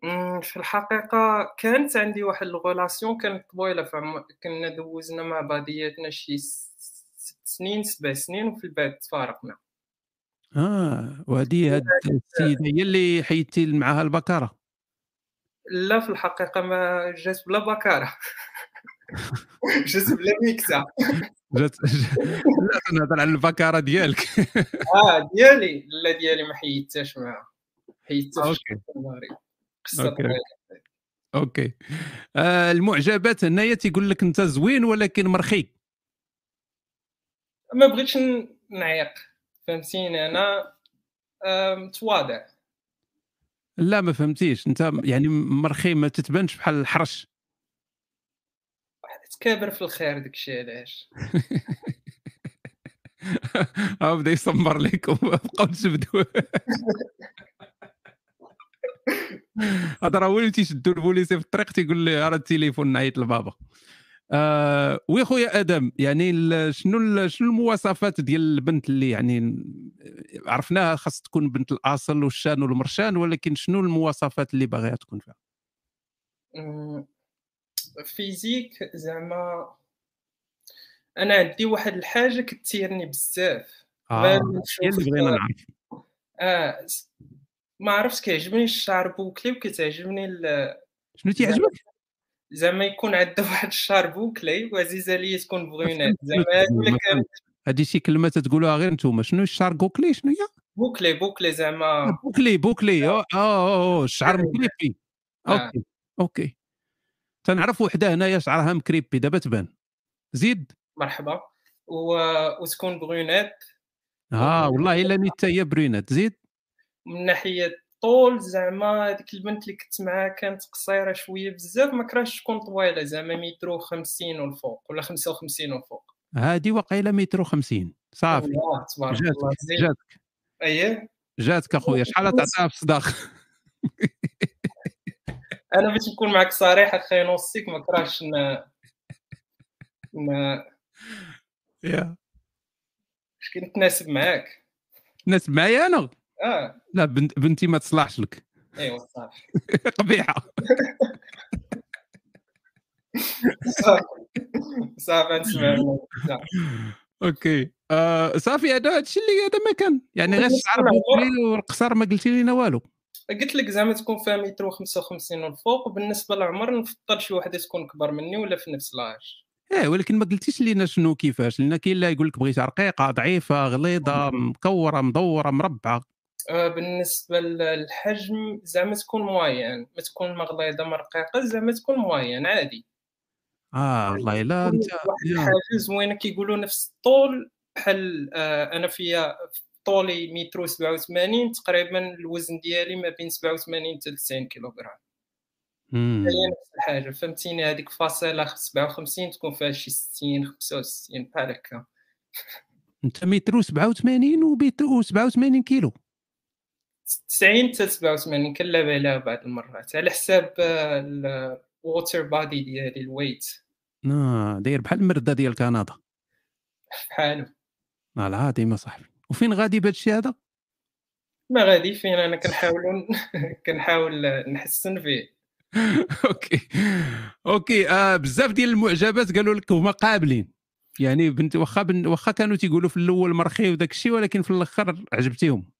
مم، في الحقيقة كانت عندي واحد الغولاسيون كانت طويلة فعم... كنا دوزنا مع بعضياتنا شي س- ست سنين سبع سنين وفي بعد تفارقنا اه وهذه هاد السيده هي اللي حيدتي معاها البكاره لا في الحقيقة ما جات بلا بكارة *laughs* جات بلا ميكسة جات *laughs* لا تنهضر على البكاره ديالك *laughs* اه ديالي لا ديالي ما حيدتهاش معاها حيدتها في أوكي. الشهر النهاري. قصة أوكي، طويلة. اوكي آه المعجبات هنايا تيقول لك انت زوين ولكن مرخي ما بغيتش ن- نعيق فهمتيني انا آه، متواضع لا ما فهمتيش انت يعني مرخي ما تتبانش بحال الحرش تكابر في الخير داكشي *laughs* علاش ها بدا اه، يصمر لك *laughs* وما بقاوش تبدو هذا راه ولتي يشدوا البوليسي في الطريق تيقول لي راه التليفون نعيط لبابا آه وي خويا ادم يعني ال- شنو ال- شنو المواصفات ديال البنت اللي يعني ن- عرفناها خاص تكون بنت الاصل والشان والمرشان ولكن شنو المواصفات اللي باغيها تكون فيها مم، فيزيك زعما انا عندي واحد الحاجه كتيرني بزاف اه بان هي اللي نشوف- بغينا نعرف اه س- ما عرفتش كيعجبني الشعر بوكلي وكتعجبني ال- شنو تيعجبك زعما يكون عندها *laughs* واحد الشعر بوكلي وعزيزه عليا تكون بغيونات زعما هادي اللي كان- هذه شي كلمه تتقولوها غير نتوما شنو الشعر كوكلي شنو هي بوكلي بوكلي زعما بوكلي بوكلي اه اه *laughs* آه، الشعر مكريبي آه. اوكي اوكي تنعرف وحده هنايا شعرها مكريبي دابا تبان زيد مرحبا و... وتكون بغيونات اه والله الا نيت هي برينات زيد من ناحيه الطول زعما هذيك البنت اللي كنت معاها كانت قصيره شويه بزاف ما كرهتش تكون طويله زعما مترو 50 والفوق ولا 55 والفوق هادي واقيلا مترو 50 صافي الله تبارك جاتك الله زين. جاتك ايه *laughs* جاتك اخويا شحال تعطيها في الصداق *laughs* انا باش نكون معك صريح اخي نوصيك ما كرهتش ن... ن... يا. باش نتناسب معاك الناس معايا انا اه لا بنت بنتي ما تصلحش لك *laughs* ايوا صافي قبيحه صافي صافي نسمع منك. اوكي آه صافي هذا هادشي اللي هذا ما كان يعني غير الشعر نسمع. بوكلي والقصر ما قلتي لينا والو قلت لك زعما تكون فيها مترو 55 والفوق وبالنسبه للعمر نفضل شي وحده تكون كبر مني ولا في نفس لاج ايه ولكن ما قلتيش لينا شنو كيفاش لان كاين اللي يقول لك بغيتها رقيقه ضعيفه غليظه مكوره مدوره مربعه بالنسبه أه، للحجم زعما تكون موين ما تكون مغليظه ما رقيقه زعما تكون موين عادي اه والله لا انت واحد يا. الحاجه زوينه كيقولوا نفس الطول بحال آه، انا فيا طولي مترو 87 تقريبا الوزن ديالي ما بين 87 حتى 90 كيلوغرام مم. هي نفس الحاجه فهمتيني هذيك فاصله 57 تكون فيها شي 60 65 بحال هكا انت مترو 87 ومترو 87 كيلو 90 حتى 87 كنلعب عليها بعض المرات على حساب آه، الووتر بادي ديالي الويت اه داير بحال المرده ديال كندا بحالو آه، العظيم يا صاحبي وفين غادي بهادشي هذا ما غادي فين انا كنحاول *laughs* كنحاول نحسن فيه اوكي آه بزاف ديال المعجبات قالوا لك هما قابلين يعني بنت واخا بن- واخا كانوا تيقولوا في الاول مرخي وداك الشيء ولكن في الاخر عجبتيهم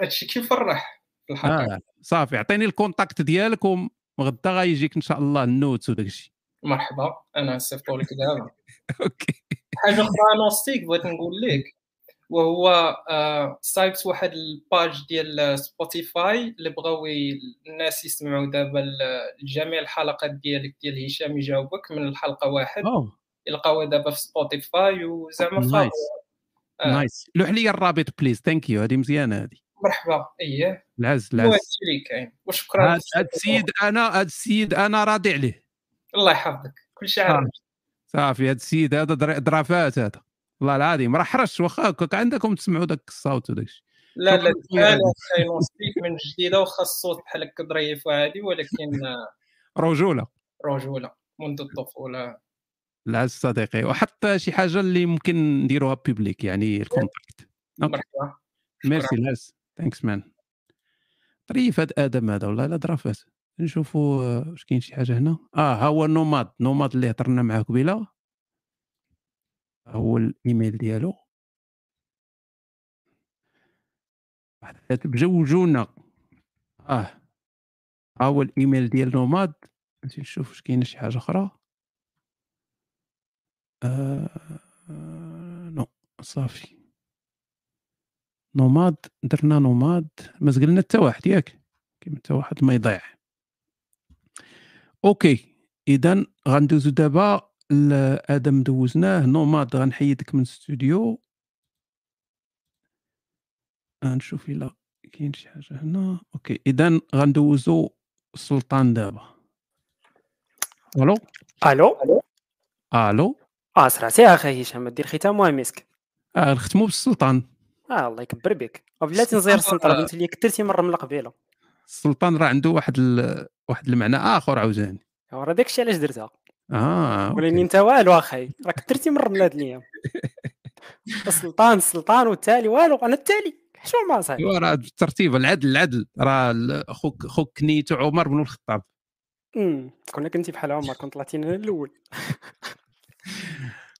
هادشي كيفرح في الحقيقه آه صافي عطيني الكونتاكت ديالك وغدا غايجيك ان شاء الله النوت وداك الشيء مرحبا *laughs* انا نصيفطوا لك دابا اوكي حاجه اخرى نوستيك بغيت نقول لك وهو آه، صايبت واحد الباج ديال سبوتيفاي اللي بغاو ي- الناس يسمعوا دابا ال- جميع الحلقات ديالك ديال هشام يجاوبك من الحلقه واحد أوه. يلقاوها دابا في سبوتيفاي وزعما Nice. فاضي آه. نايس لوح لي الرابط بليز ثانك يو هذه مزيانه هذه مرحبا اييه العز هو العز هادشي اللي كاين وشكرا هاد هاد السيد انا هاد السيد انا راضي عليه الله يحفظك كلشي عارف صافي هاد السيد هذا در- درافات هذا والله العظيم راه حرش واخا كنت عندكم تسمعوا داك الصوت وداك الشيء لا شكراً لا خويا انا عادل. سايلونسيك من جديده وخا الصوت بحال هكا ظريف وعادي ولكن آه، رجوله رجوله منذ الطفوله العز صديقي وحط شي حاجه اللي ممكن نديروها بيبليك يعني الكونتاكت مرحبا ميرسي العز ثانكس مان طريف هاد ادم هذا والله لا درافات نشوفوا آه، واش كاين شي حاجه هنا اه ها هو نوماد نوماد اللي هضرنا معاه قبيله هو الايميل ديالو واحد كاتب جوجونا اه ها هو الايميل ديال نوماد نمشي نشوف واش كاين شي حاجه اخرى آه... آه، نو صافي نوماد درنا نوماد ما زقلنا حتى واحد ياك كيما حتى واحد ما يضيع اوكي اذا غندوزو دابا لادم دوزناه نوماد غنحيدك من الاستوديو غنشوف الا كاين شي حاجه هنا اوكي اذا غندوزو سلطان دابا الو الو الو اه سرعتي اخي هشام دير ختام مسك آه نختمو بالسلطان اه الله يكبر بك وبلاتي نزير السنطر بنت اللي كثرتي مره من القبيله السلطان راه عنده واحد ال... واحد المعنى اخر عاوتاني ورا داكشي علاش درتها اه ولاني انت والو اخي راك كثرتي مره من هاد *laughs* الايام السلطان السلطان والتالي والو انا التالي شو ما صاحبي ايوا راه بالترتيب العدل العدل راه ال- خوك خوك كنيتو عمر بن الخطاب أمم، كنا كنتي بحال عمر كنت طلعتينا انا الاول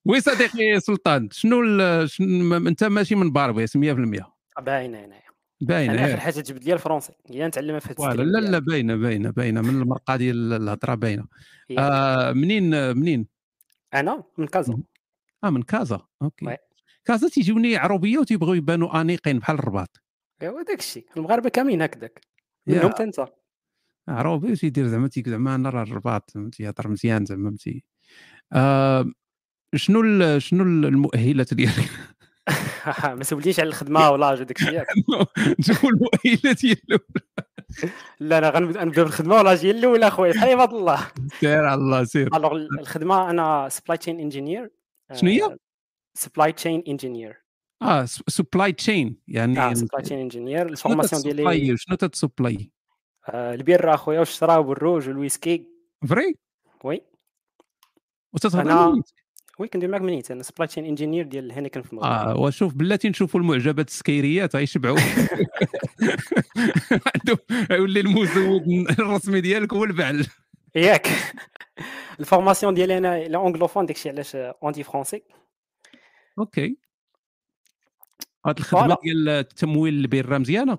وي صديقي سلطان شنو, ال... شنو م- انت ماشي من باربيس 100% باينه آه، هنايا باينه انا اخر ياك. حاجه جبت لي الفرونسي هي نتعلمها في هاد فوالا السكريبت إيه. لا ديالك. لا باينه باينه باينه من المرقه ديال الهضره باينه ياك. آه منين منين انا من كازا اه من كازا اوكي وي. كازا تيجوني عروبيه وتيبغيو يبانوا انيقين بحال الرباط ايوا داك الشيء المغاربه كاملين هكذاك يا. منهم حتى *laughs* انت *laughs* عروبي وتيدير زعما تيك زعما انا راه الرباط زعما تيهضر مزيان زعما فهمتي آه شنو ال- شنو ال- المؤهلات ديالك *laughs* ما سوليش على الخدمه ولا وداك الشيء ياك شنو المؤهلات ديالو *laughs* لا انا غنبدا نبدا بالخدمه ولا جي الاولى اخويا صحيح بفضل الله سير على الله سير الوغ الخدمه انا سبلاي تشين انجينير شنو هي؟ سبلاي تشين انجينير اه سبلاي تشين يعني اه سبلاي تشين انجينير شنو الفورماسيون ديالي تتسبلاي شنو تتسبلاي آه، البير اخويا والشراب والروج والويسكي فري وي وتتهضر انا من وي كندير معاك من نيت انا سبلاي تشين انجينير ديال هينيكن في المغرب اه وشوف بلاتي نشوفوا المعجبات السكيريات غيشبعوا عندهم يولي المزود الرسمي ديالك هو البعل *laughs* ياك الفورماسيون ديالي انا لا انجلوفون داكشي علاش اونتي فرونسي اوكي هاد الخدمه فوالا. ديال التمويل البير مزيانه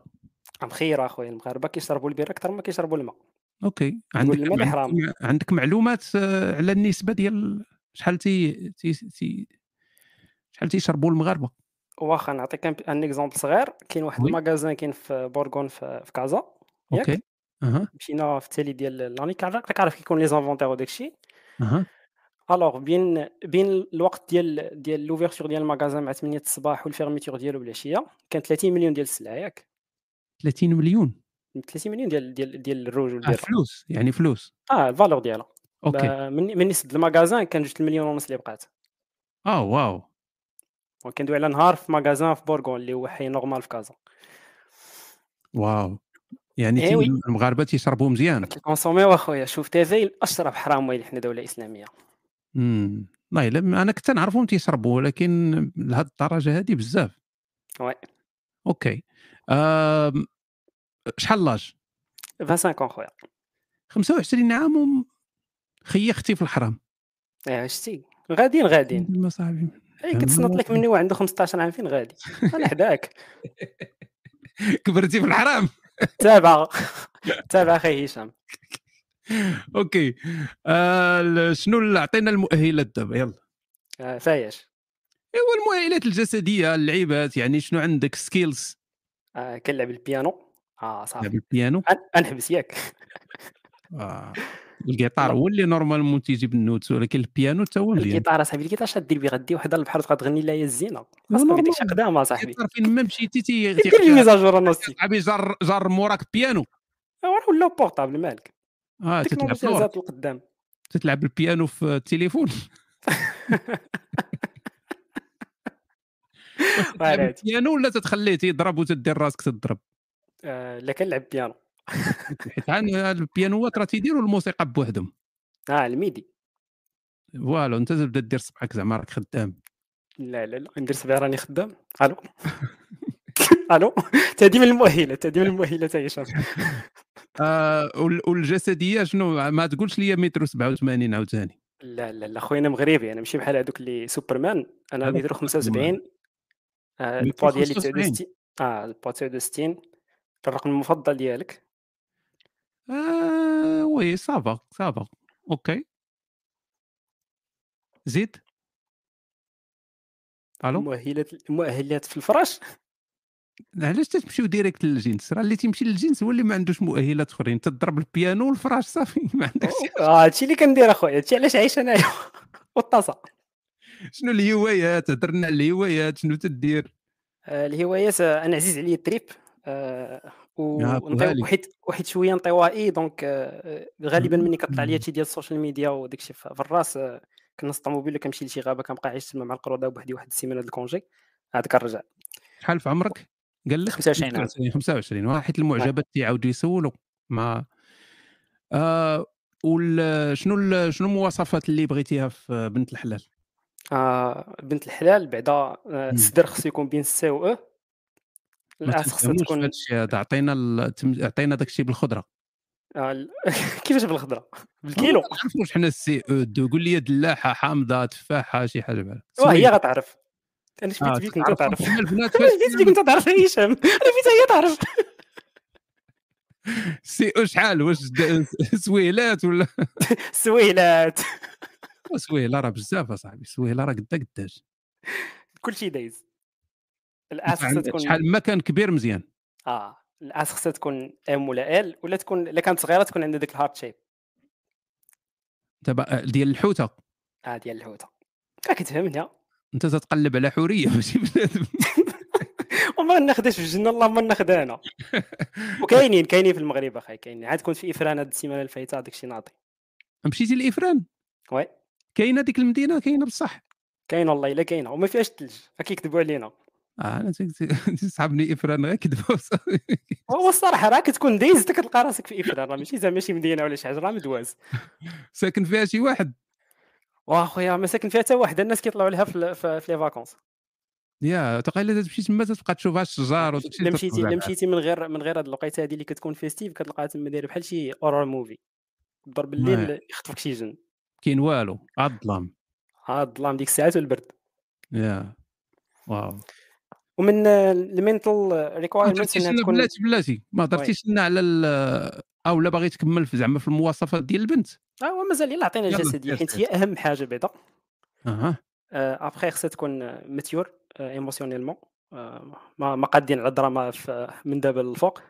مخير اخويا المغاربه كيشربوا البير اكثر ما كيشربوا الماء اوكي نقول عندك الماء اللي حرام عندك, عندك معلومات آه، على النسبه ديال شحال تي تي, تي شحال تيشربوا المغاربه واخا نعطيك ان ان اكزومبل صغير كاين واحد وي. المغازان كاين في بورغون في, في كازا ياك اوكي اها مشينا في التالي ديال لاني راك عارف كيكون لي زانفونتير وداك الشيء اها الوغ بين بين الوقت ديال ديال لوفيرتور ديال المغازان مع 8 الصباح والفيرميتور ديالو بالعشيه كان 30 مليون ديال السلعه ياك 30 مليون 30 مليون ديال ديال ديال الروج آه والبير فلوس يعني فلوس اه الفالور ديالها أوكي. با- من من نسبه المغازان كان جوج المليون ونص اللي بقات اه واو وكندوي على نهار في مغازان في بورغون اللي هو حي نورمال في كازا واو يعني تي إيوي. المغاربه تيشربوا مزيان كونسوميو اخويا شوف تازايل اشرف حرام ويلي حنا دوله اسلاميه امم والله الا انا كنت نعرفهم تيشربوا ولكن لهاد الدرجه هذه بزاف وي اوكي أم... شحال لاج 25 خويا 25 عام وم- خيختي في الحرام ايه شتي غاديين غاديين *laughs* ما صاحبي اي كتصنط إيه، لك مني واحد عنده 15 عام فين غادي انا حداك *laughs* كبرتي في الحرام تابع *laughs* تابع اخي هشام اوكي آه ال- شنو اللي عطينا المؤهلات دابا يلا آه، فايش ايوا المؤهلات الجسديه اللعيبات يعني شنو عندك سكيلز آه كنلعب البيانو اه لعب صافي البيانو أن- انحبس ياك آه. الجيتار هو اللي نورمالمون تيجيب النوتس ولكن البيانو تا هو يعني. مزيان الجيتار صاحبي الجيتار شاد دير بيه غدي وحده البحر غتغني لها هي الزينه خاصك ديك شي قدامه صاحبي الجيتار فين ما مشيتي تي دير الميزاجور النصي صاحبي جر جر موراك بيانو وراه ولا بورطابل مالك اه تتلعب التكنولوجيا لورا زادت *laughs* القدام تتلعب البيانو في التليفون تلعب واعر هادي. البيانو ولا تتخليه تيضرب وتدير راسك تضرب آه، لا كنلعب بيانو حيت عن البيانوات راه تيديروا الموسيقى بوحدهم اه الميدي فوالا انت تبدا دير صبعك زعما راك خدام لا لا لا ندير صبعي راني خدام *laughs* الو الو تادي من المؤهله تادي من المؤهله تا هشام آه وال- والجسديه شنو ما تقولش لي متر 87 عاوتاني لا لا لا خويا انا مغربي انا ماشي بحال هذوك اللي سوبرمان انا هذا متر 75 آه، متر البوا ديالي 65. 69 اه البوا 69 الرقم المفضل ديالك آه وي صافا صافا اوكي زيد الو المؤهلات المؤهلات في الفراش علاش تتمشيو ديريكت للجنس راه اللي تيمشي للجنس هو اللي ما عندوش مؤهلات اخرين تضرب البيانو والفراش صافي *laughs* ما عندكش *laughs* اه هادشي اللي كندير اخويا هادشي علاش عايش *laughs* انايا والطاسه شنو الهوايات هضرنا على الهوايات شنو تدير آه، الهوايات آه، انا عزيز عليا التريب آه، آه، ونطيو طوالي. وحيت وحيت شويه انطوائي دونك آه، آه، غالبا ملي كطلع لي شي ديال السوشيال ميديا وداك الشيء في في الراس آه، كنصطا موبيل ولا كنمشي لشي غابه كنبقى عايش تما مع القروده بوحدي واحد السيمانه د الكونجي عاد كنرجع شحال في عمرك قال لك 25 عام. 25 25 واه، حيت المعجبات تيعاودوا يسولوا ما آه وال شنو ال- شنو المواصفات اللي بغيتيها في بنت الحلال آه، بنت الحلال بعدا آه، الصدر خصو يكون بين السي و او ما الاس خصها تفهموش في تكون هادشي هذا عطينا ال- تم- عطينا داكشي بالخضره آه، ال- *laughs* كيفاش بالخضره بالكيلو ما عرفتوش حنا السي او دو قول لي دلاحه حامضه تفاحه شي حاجه بحال واه آه، هي سويدة. غتعرف انا شفت آه، بيك انت تعرف تعرف *laughs* كل البنات انا شفت بيك انت تعرف يا هشام انا بيت هي *laughs* تعرف سي او شحال واش د- سويلات ولا *laughs* سويلات سويله راه بزاف اصاحبي سويله راه قدا قداش كلشي دايز الاس خصها شحال آه، تكون شحال ما كان كبير مزيان اه الاس خصها تكون ام ولا ال ولا تكون الا كانت صغيره تكون عندها ديك الهارت شيب تبع آه، ديال الحوته اه ديال الحوته كا كتهمني انت تتقلب على حوريه *laughs* ماشي بنادم وما ناخذهاش في الجنه الله ما ناخذها *laughs* انا وكاينين كاينين في المغرب اخاي كاينين عاد كنت في افران هاد السيمانه الفايته داكشي ناضي مشيتي لافران وي كاينه ديك المدينه كاينه بصح كاينه والله الا كاينه وما فيهاش الثلج كيكذبوا علينا آه انا *laughs* صحابني افران غير كذبوا هو الصراحه راه كتكون دايز انت كتلقى راسك في افران راه ماشي زعما شي مدينه ولا شي حاجه راه مدواز *laughs* ساكن فيها شي واحد واخويا ما ساكن فيها حتى واحد الناس كيطلعوا لها في ال- في في لي فاكونس *laughs* يا تقيل تمشي تما تبقى تشوفها الشجار وداك الشيء الا مشيتي الا مشيتي من غير من غير هاد الوقيته هادي اللي كتكون فيستيف كتلقاها تما دايره بحال شي اورور موفي ضرب واعر. الليل يخطفك شي جن كاين والو عاد الظلام عاد الظلام ديك الساعات والبرد يا واو ومن المينتال ما ريكوايرمنتس هضرتيش انها لنا تكون بلاتي بلاتي ما وي. هضرتيش لنا على ال- او لا باغي تكمل في زعما في المواصفات ديال البنت اه مازال يلا عطينا يلا، الجسديه سير، حيت سير. هي اهم حاجه بعدا اها ابخي خصها تكون ماتيور ايموسيونيلمون آه، ما ما قادين على الدراما في- من دابا للفوق آه،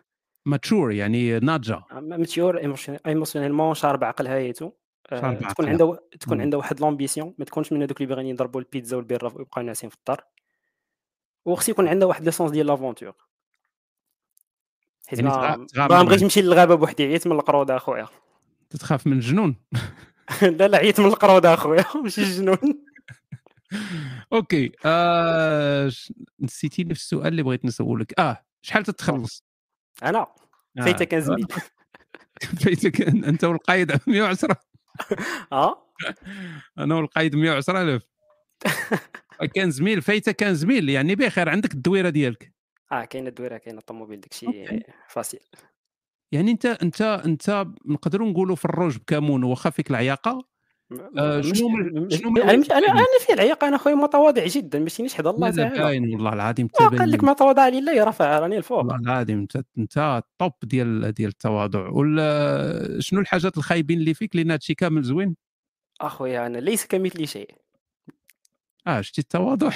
ماتشور يعني ناضجه ماتيور ايموسيونيلمون شارب عقل حياته شارب آه، تكون عقلها. عنده تكون مم. عنده واحد لومبيسيون ما تكونش من هذوك اللي باغيين يضربوا البيتزا والبيرة ويبقاو ناعسين في الدار وخص يكون عنده واحد ليسونس ديال لافونتور حيت يعني تغا- ما تغامر ما معاك. بغيتش نمشي للغابه بوحدي عييت من القروده اخويا تتخاف من الجنون *laughs* *laughs* لا لا عييت من القروده اخويا *laughs* ماشي الجنون اوكي آه ش- نسيتي نفس السؤال اللي بغيت نسولك اه شحال تتخلص انا آه. فايتك 15 *laughs* مليون فايتك أن- انت والقايد *laughs* 110 *laughs* اه انا والقايد 110 كان زميل فايته كان زميل يعني بخير عندك الدويره ديالك اه كاينه الدويره كاينه الطوموبيل داكشي فاسيل يعني انت انت انت نقدروا نقولوا في الروج بكمون واخا فيك العياقه آه، مش شنو من- شنو من انا مش انا انا في العياق انا خويا متواضع جدا ماشي حدا الله لا لا تعالى باين والله العظيم آه، قال لك تبين ما تواضع لله رفع راني الفوق والله العظيم انت انت الطوب ديال ديال التواضع ولا شنو الحاجات الخايبين اللي فيك لان هادشي كامل زوين اخويا انا ليس كمثلي شيء اه شتي التواضع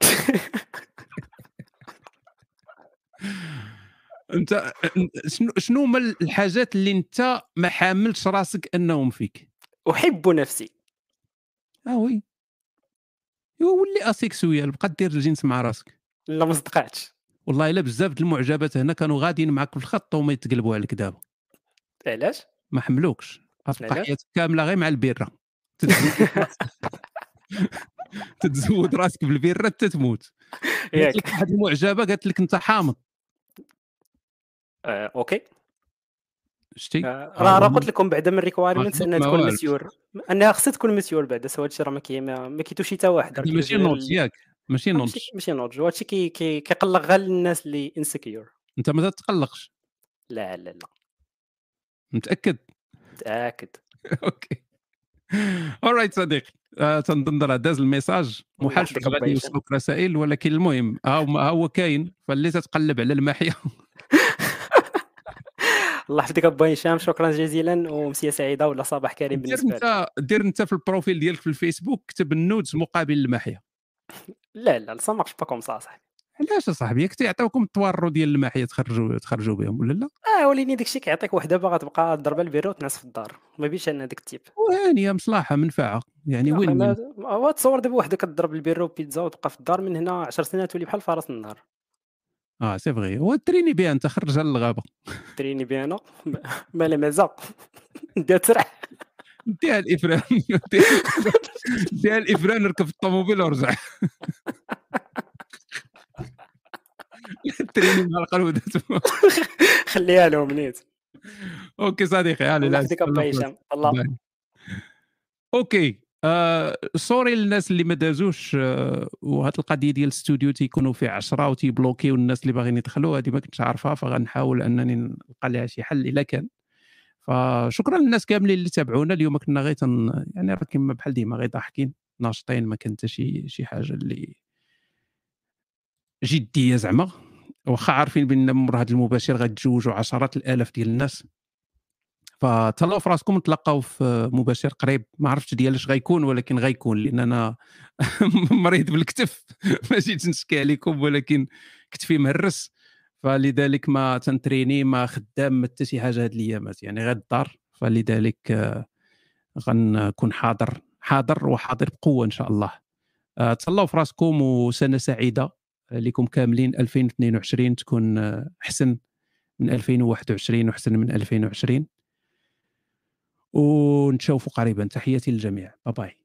*laughs* انت شنو شنو هما الحاجات اللي انت ما حاملش راسك انهم فيك احب نفسي اه وي ايوا ولي اسيكسويال بقى دير الجنس مع راسك لا ما صدقاتش والله الا بزاف د المعجبات هنا كانوا غاديين معك في الخط وما يتقلبوا عليك دابا علاش ما حملوكش غتبقى علاش؟ حياتك كامله غير مع البيره تتزود- *laughs* تتزود راسك بالبيره *laughs* حتى تموت ياك. قالت لك واحد المعجبه قالت لك انت حامض آه، اوكي آه، شتي راه راه قلت لكم بعدا من الريكوايرمنت خاصك انها آه، ما تكون والو. مسيور انها خصها تكون مسيور بعدا سوا هادشي راه ما كي ما ما كيتوش حتى واحد راه هذا ماشي كيدوز غير نوت ال- آه، ياك ماشي نوت ماشي- ماشي نوضج وهادشي كي كي- كيقلق غير الناس اللي انسكيور انت ما تتقلقش لا لا لا متاكد متاكد اورايت صديقي آه، تنظن راه داز الميساج محال يحفظك شويه الله غادي يسلمك. يوصلوك رسائل ولكن المهم ها هو- ها هو كاين فاللي تتقلب على المحيا *laughs* الله يحفظك ابا هشام شكرا جزيلا ومسيه سعيده ولا صباح كريم دير بالنسبه لك انت دير انت في البروفيل ديالك في الفيسبوك كتب النودز مقابل المحيا لا لا لا ماكش باكم صح صاحبي علاش اصاحبي ياك تيعطيوكم التورو ديال المحيا تخرجوا تخرجوا بهم ولا لا اه وليني داكشي كيعطيك وحده باغا تبقى ضربه البيرو وتنعس في الدار ما بيش انا داك التيب وهانيه مصلحه منفعه يعني أخي وين ما وين هو آه، تصور دابا وحده كضرب البيرو بيتزا وتبقى في الدار من هنا 10 سنين تولي بحال فرس النهار اه سي فغي هو تريني بها انت خرجها للغابه تريني بي *laughs* انا ما لا مازال نديها ترح نديها *laughs* الافران نديها الافران نركب الطوموبيل ورجع *laughs* تريني مع القلب داتو. *laughs* خليها لهم نيت اوكي صديقي على الله لا يحفظك أبا هشام. الله. باي. اوكي آه سوري للناس اللي ما دازوش آه وهاد القضيه ديال الاستوديو تيكونوا في 10 وتيبلوكيو الناس اللي باغيين يدخلوا هذه ما كنتش عارفها فغنحاول انني نلقى لها شي حل الا كان فشكرا للناس كاملين اللي تابعونا اليوم كنا غير تن يعني راه كما بحال ديما غير ضاحكين ناشطين ما كان حتى شي شي حاجه اللي جديه زعما واخا عارفين بان مور هذا المباشر غتجوجوا عشرات الالاف ديال الناس فتهلاو في راسكم نتلاقاو في مباشر قريب ما عرفتش ديالاش غيكون ولكن غيكون لان *laughs* انا مريض بالكتف *laughs* ما جيت نشكي عليكم ولكن كتفي مهرس فلذلك ما تنتريني ما خدام ما حتى شي حاجه هاد الايامات يعني غير الدار فلذلك آه، غنكون حاضر حاضر وحاضر بقوه ان شاء الله آه، تهلاو في راسكم وسنه سعيده لكم آه، كاملين 2022 تكون آه، احسن من 2021 واحسن من 2020 ونتشوفوا قريبا تحياتي للجميع باي باي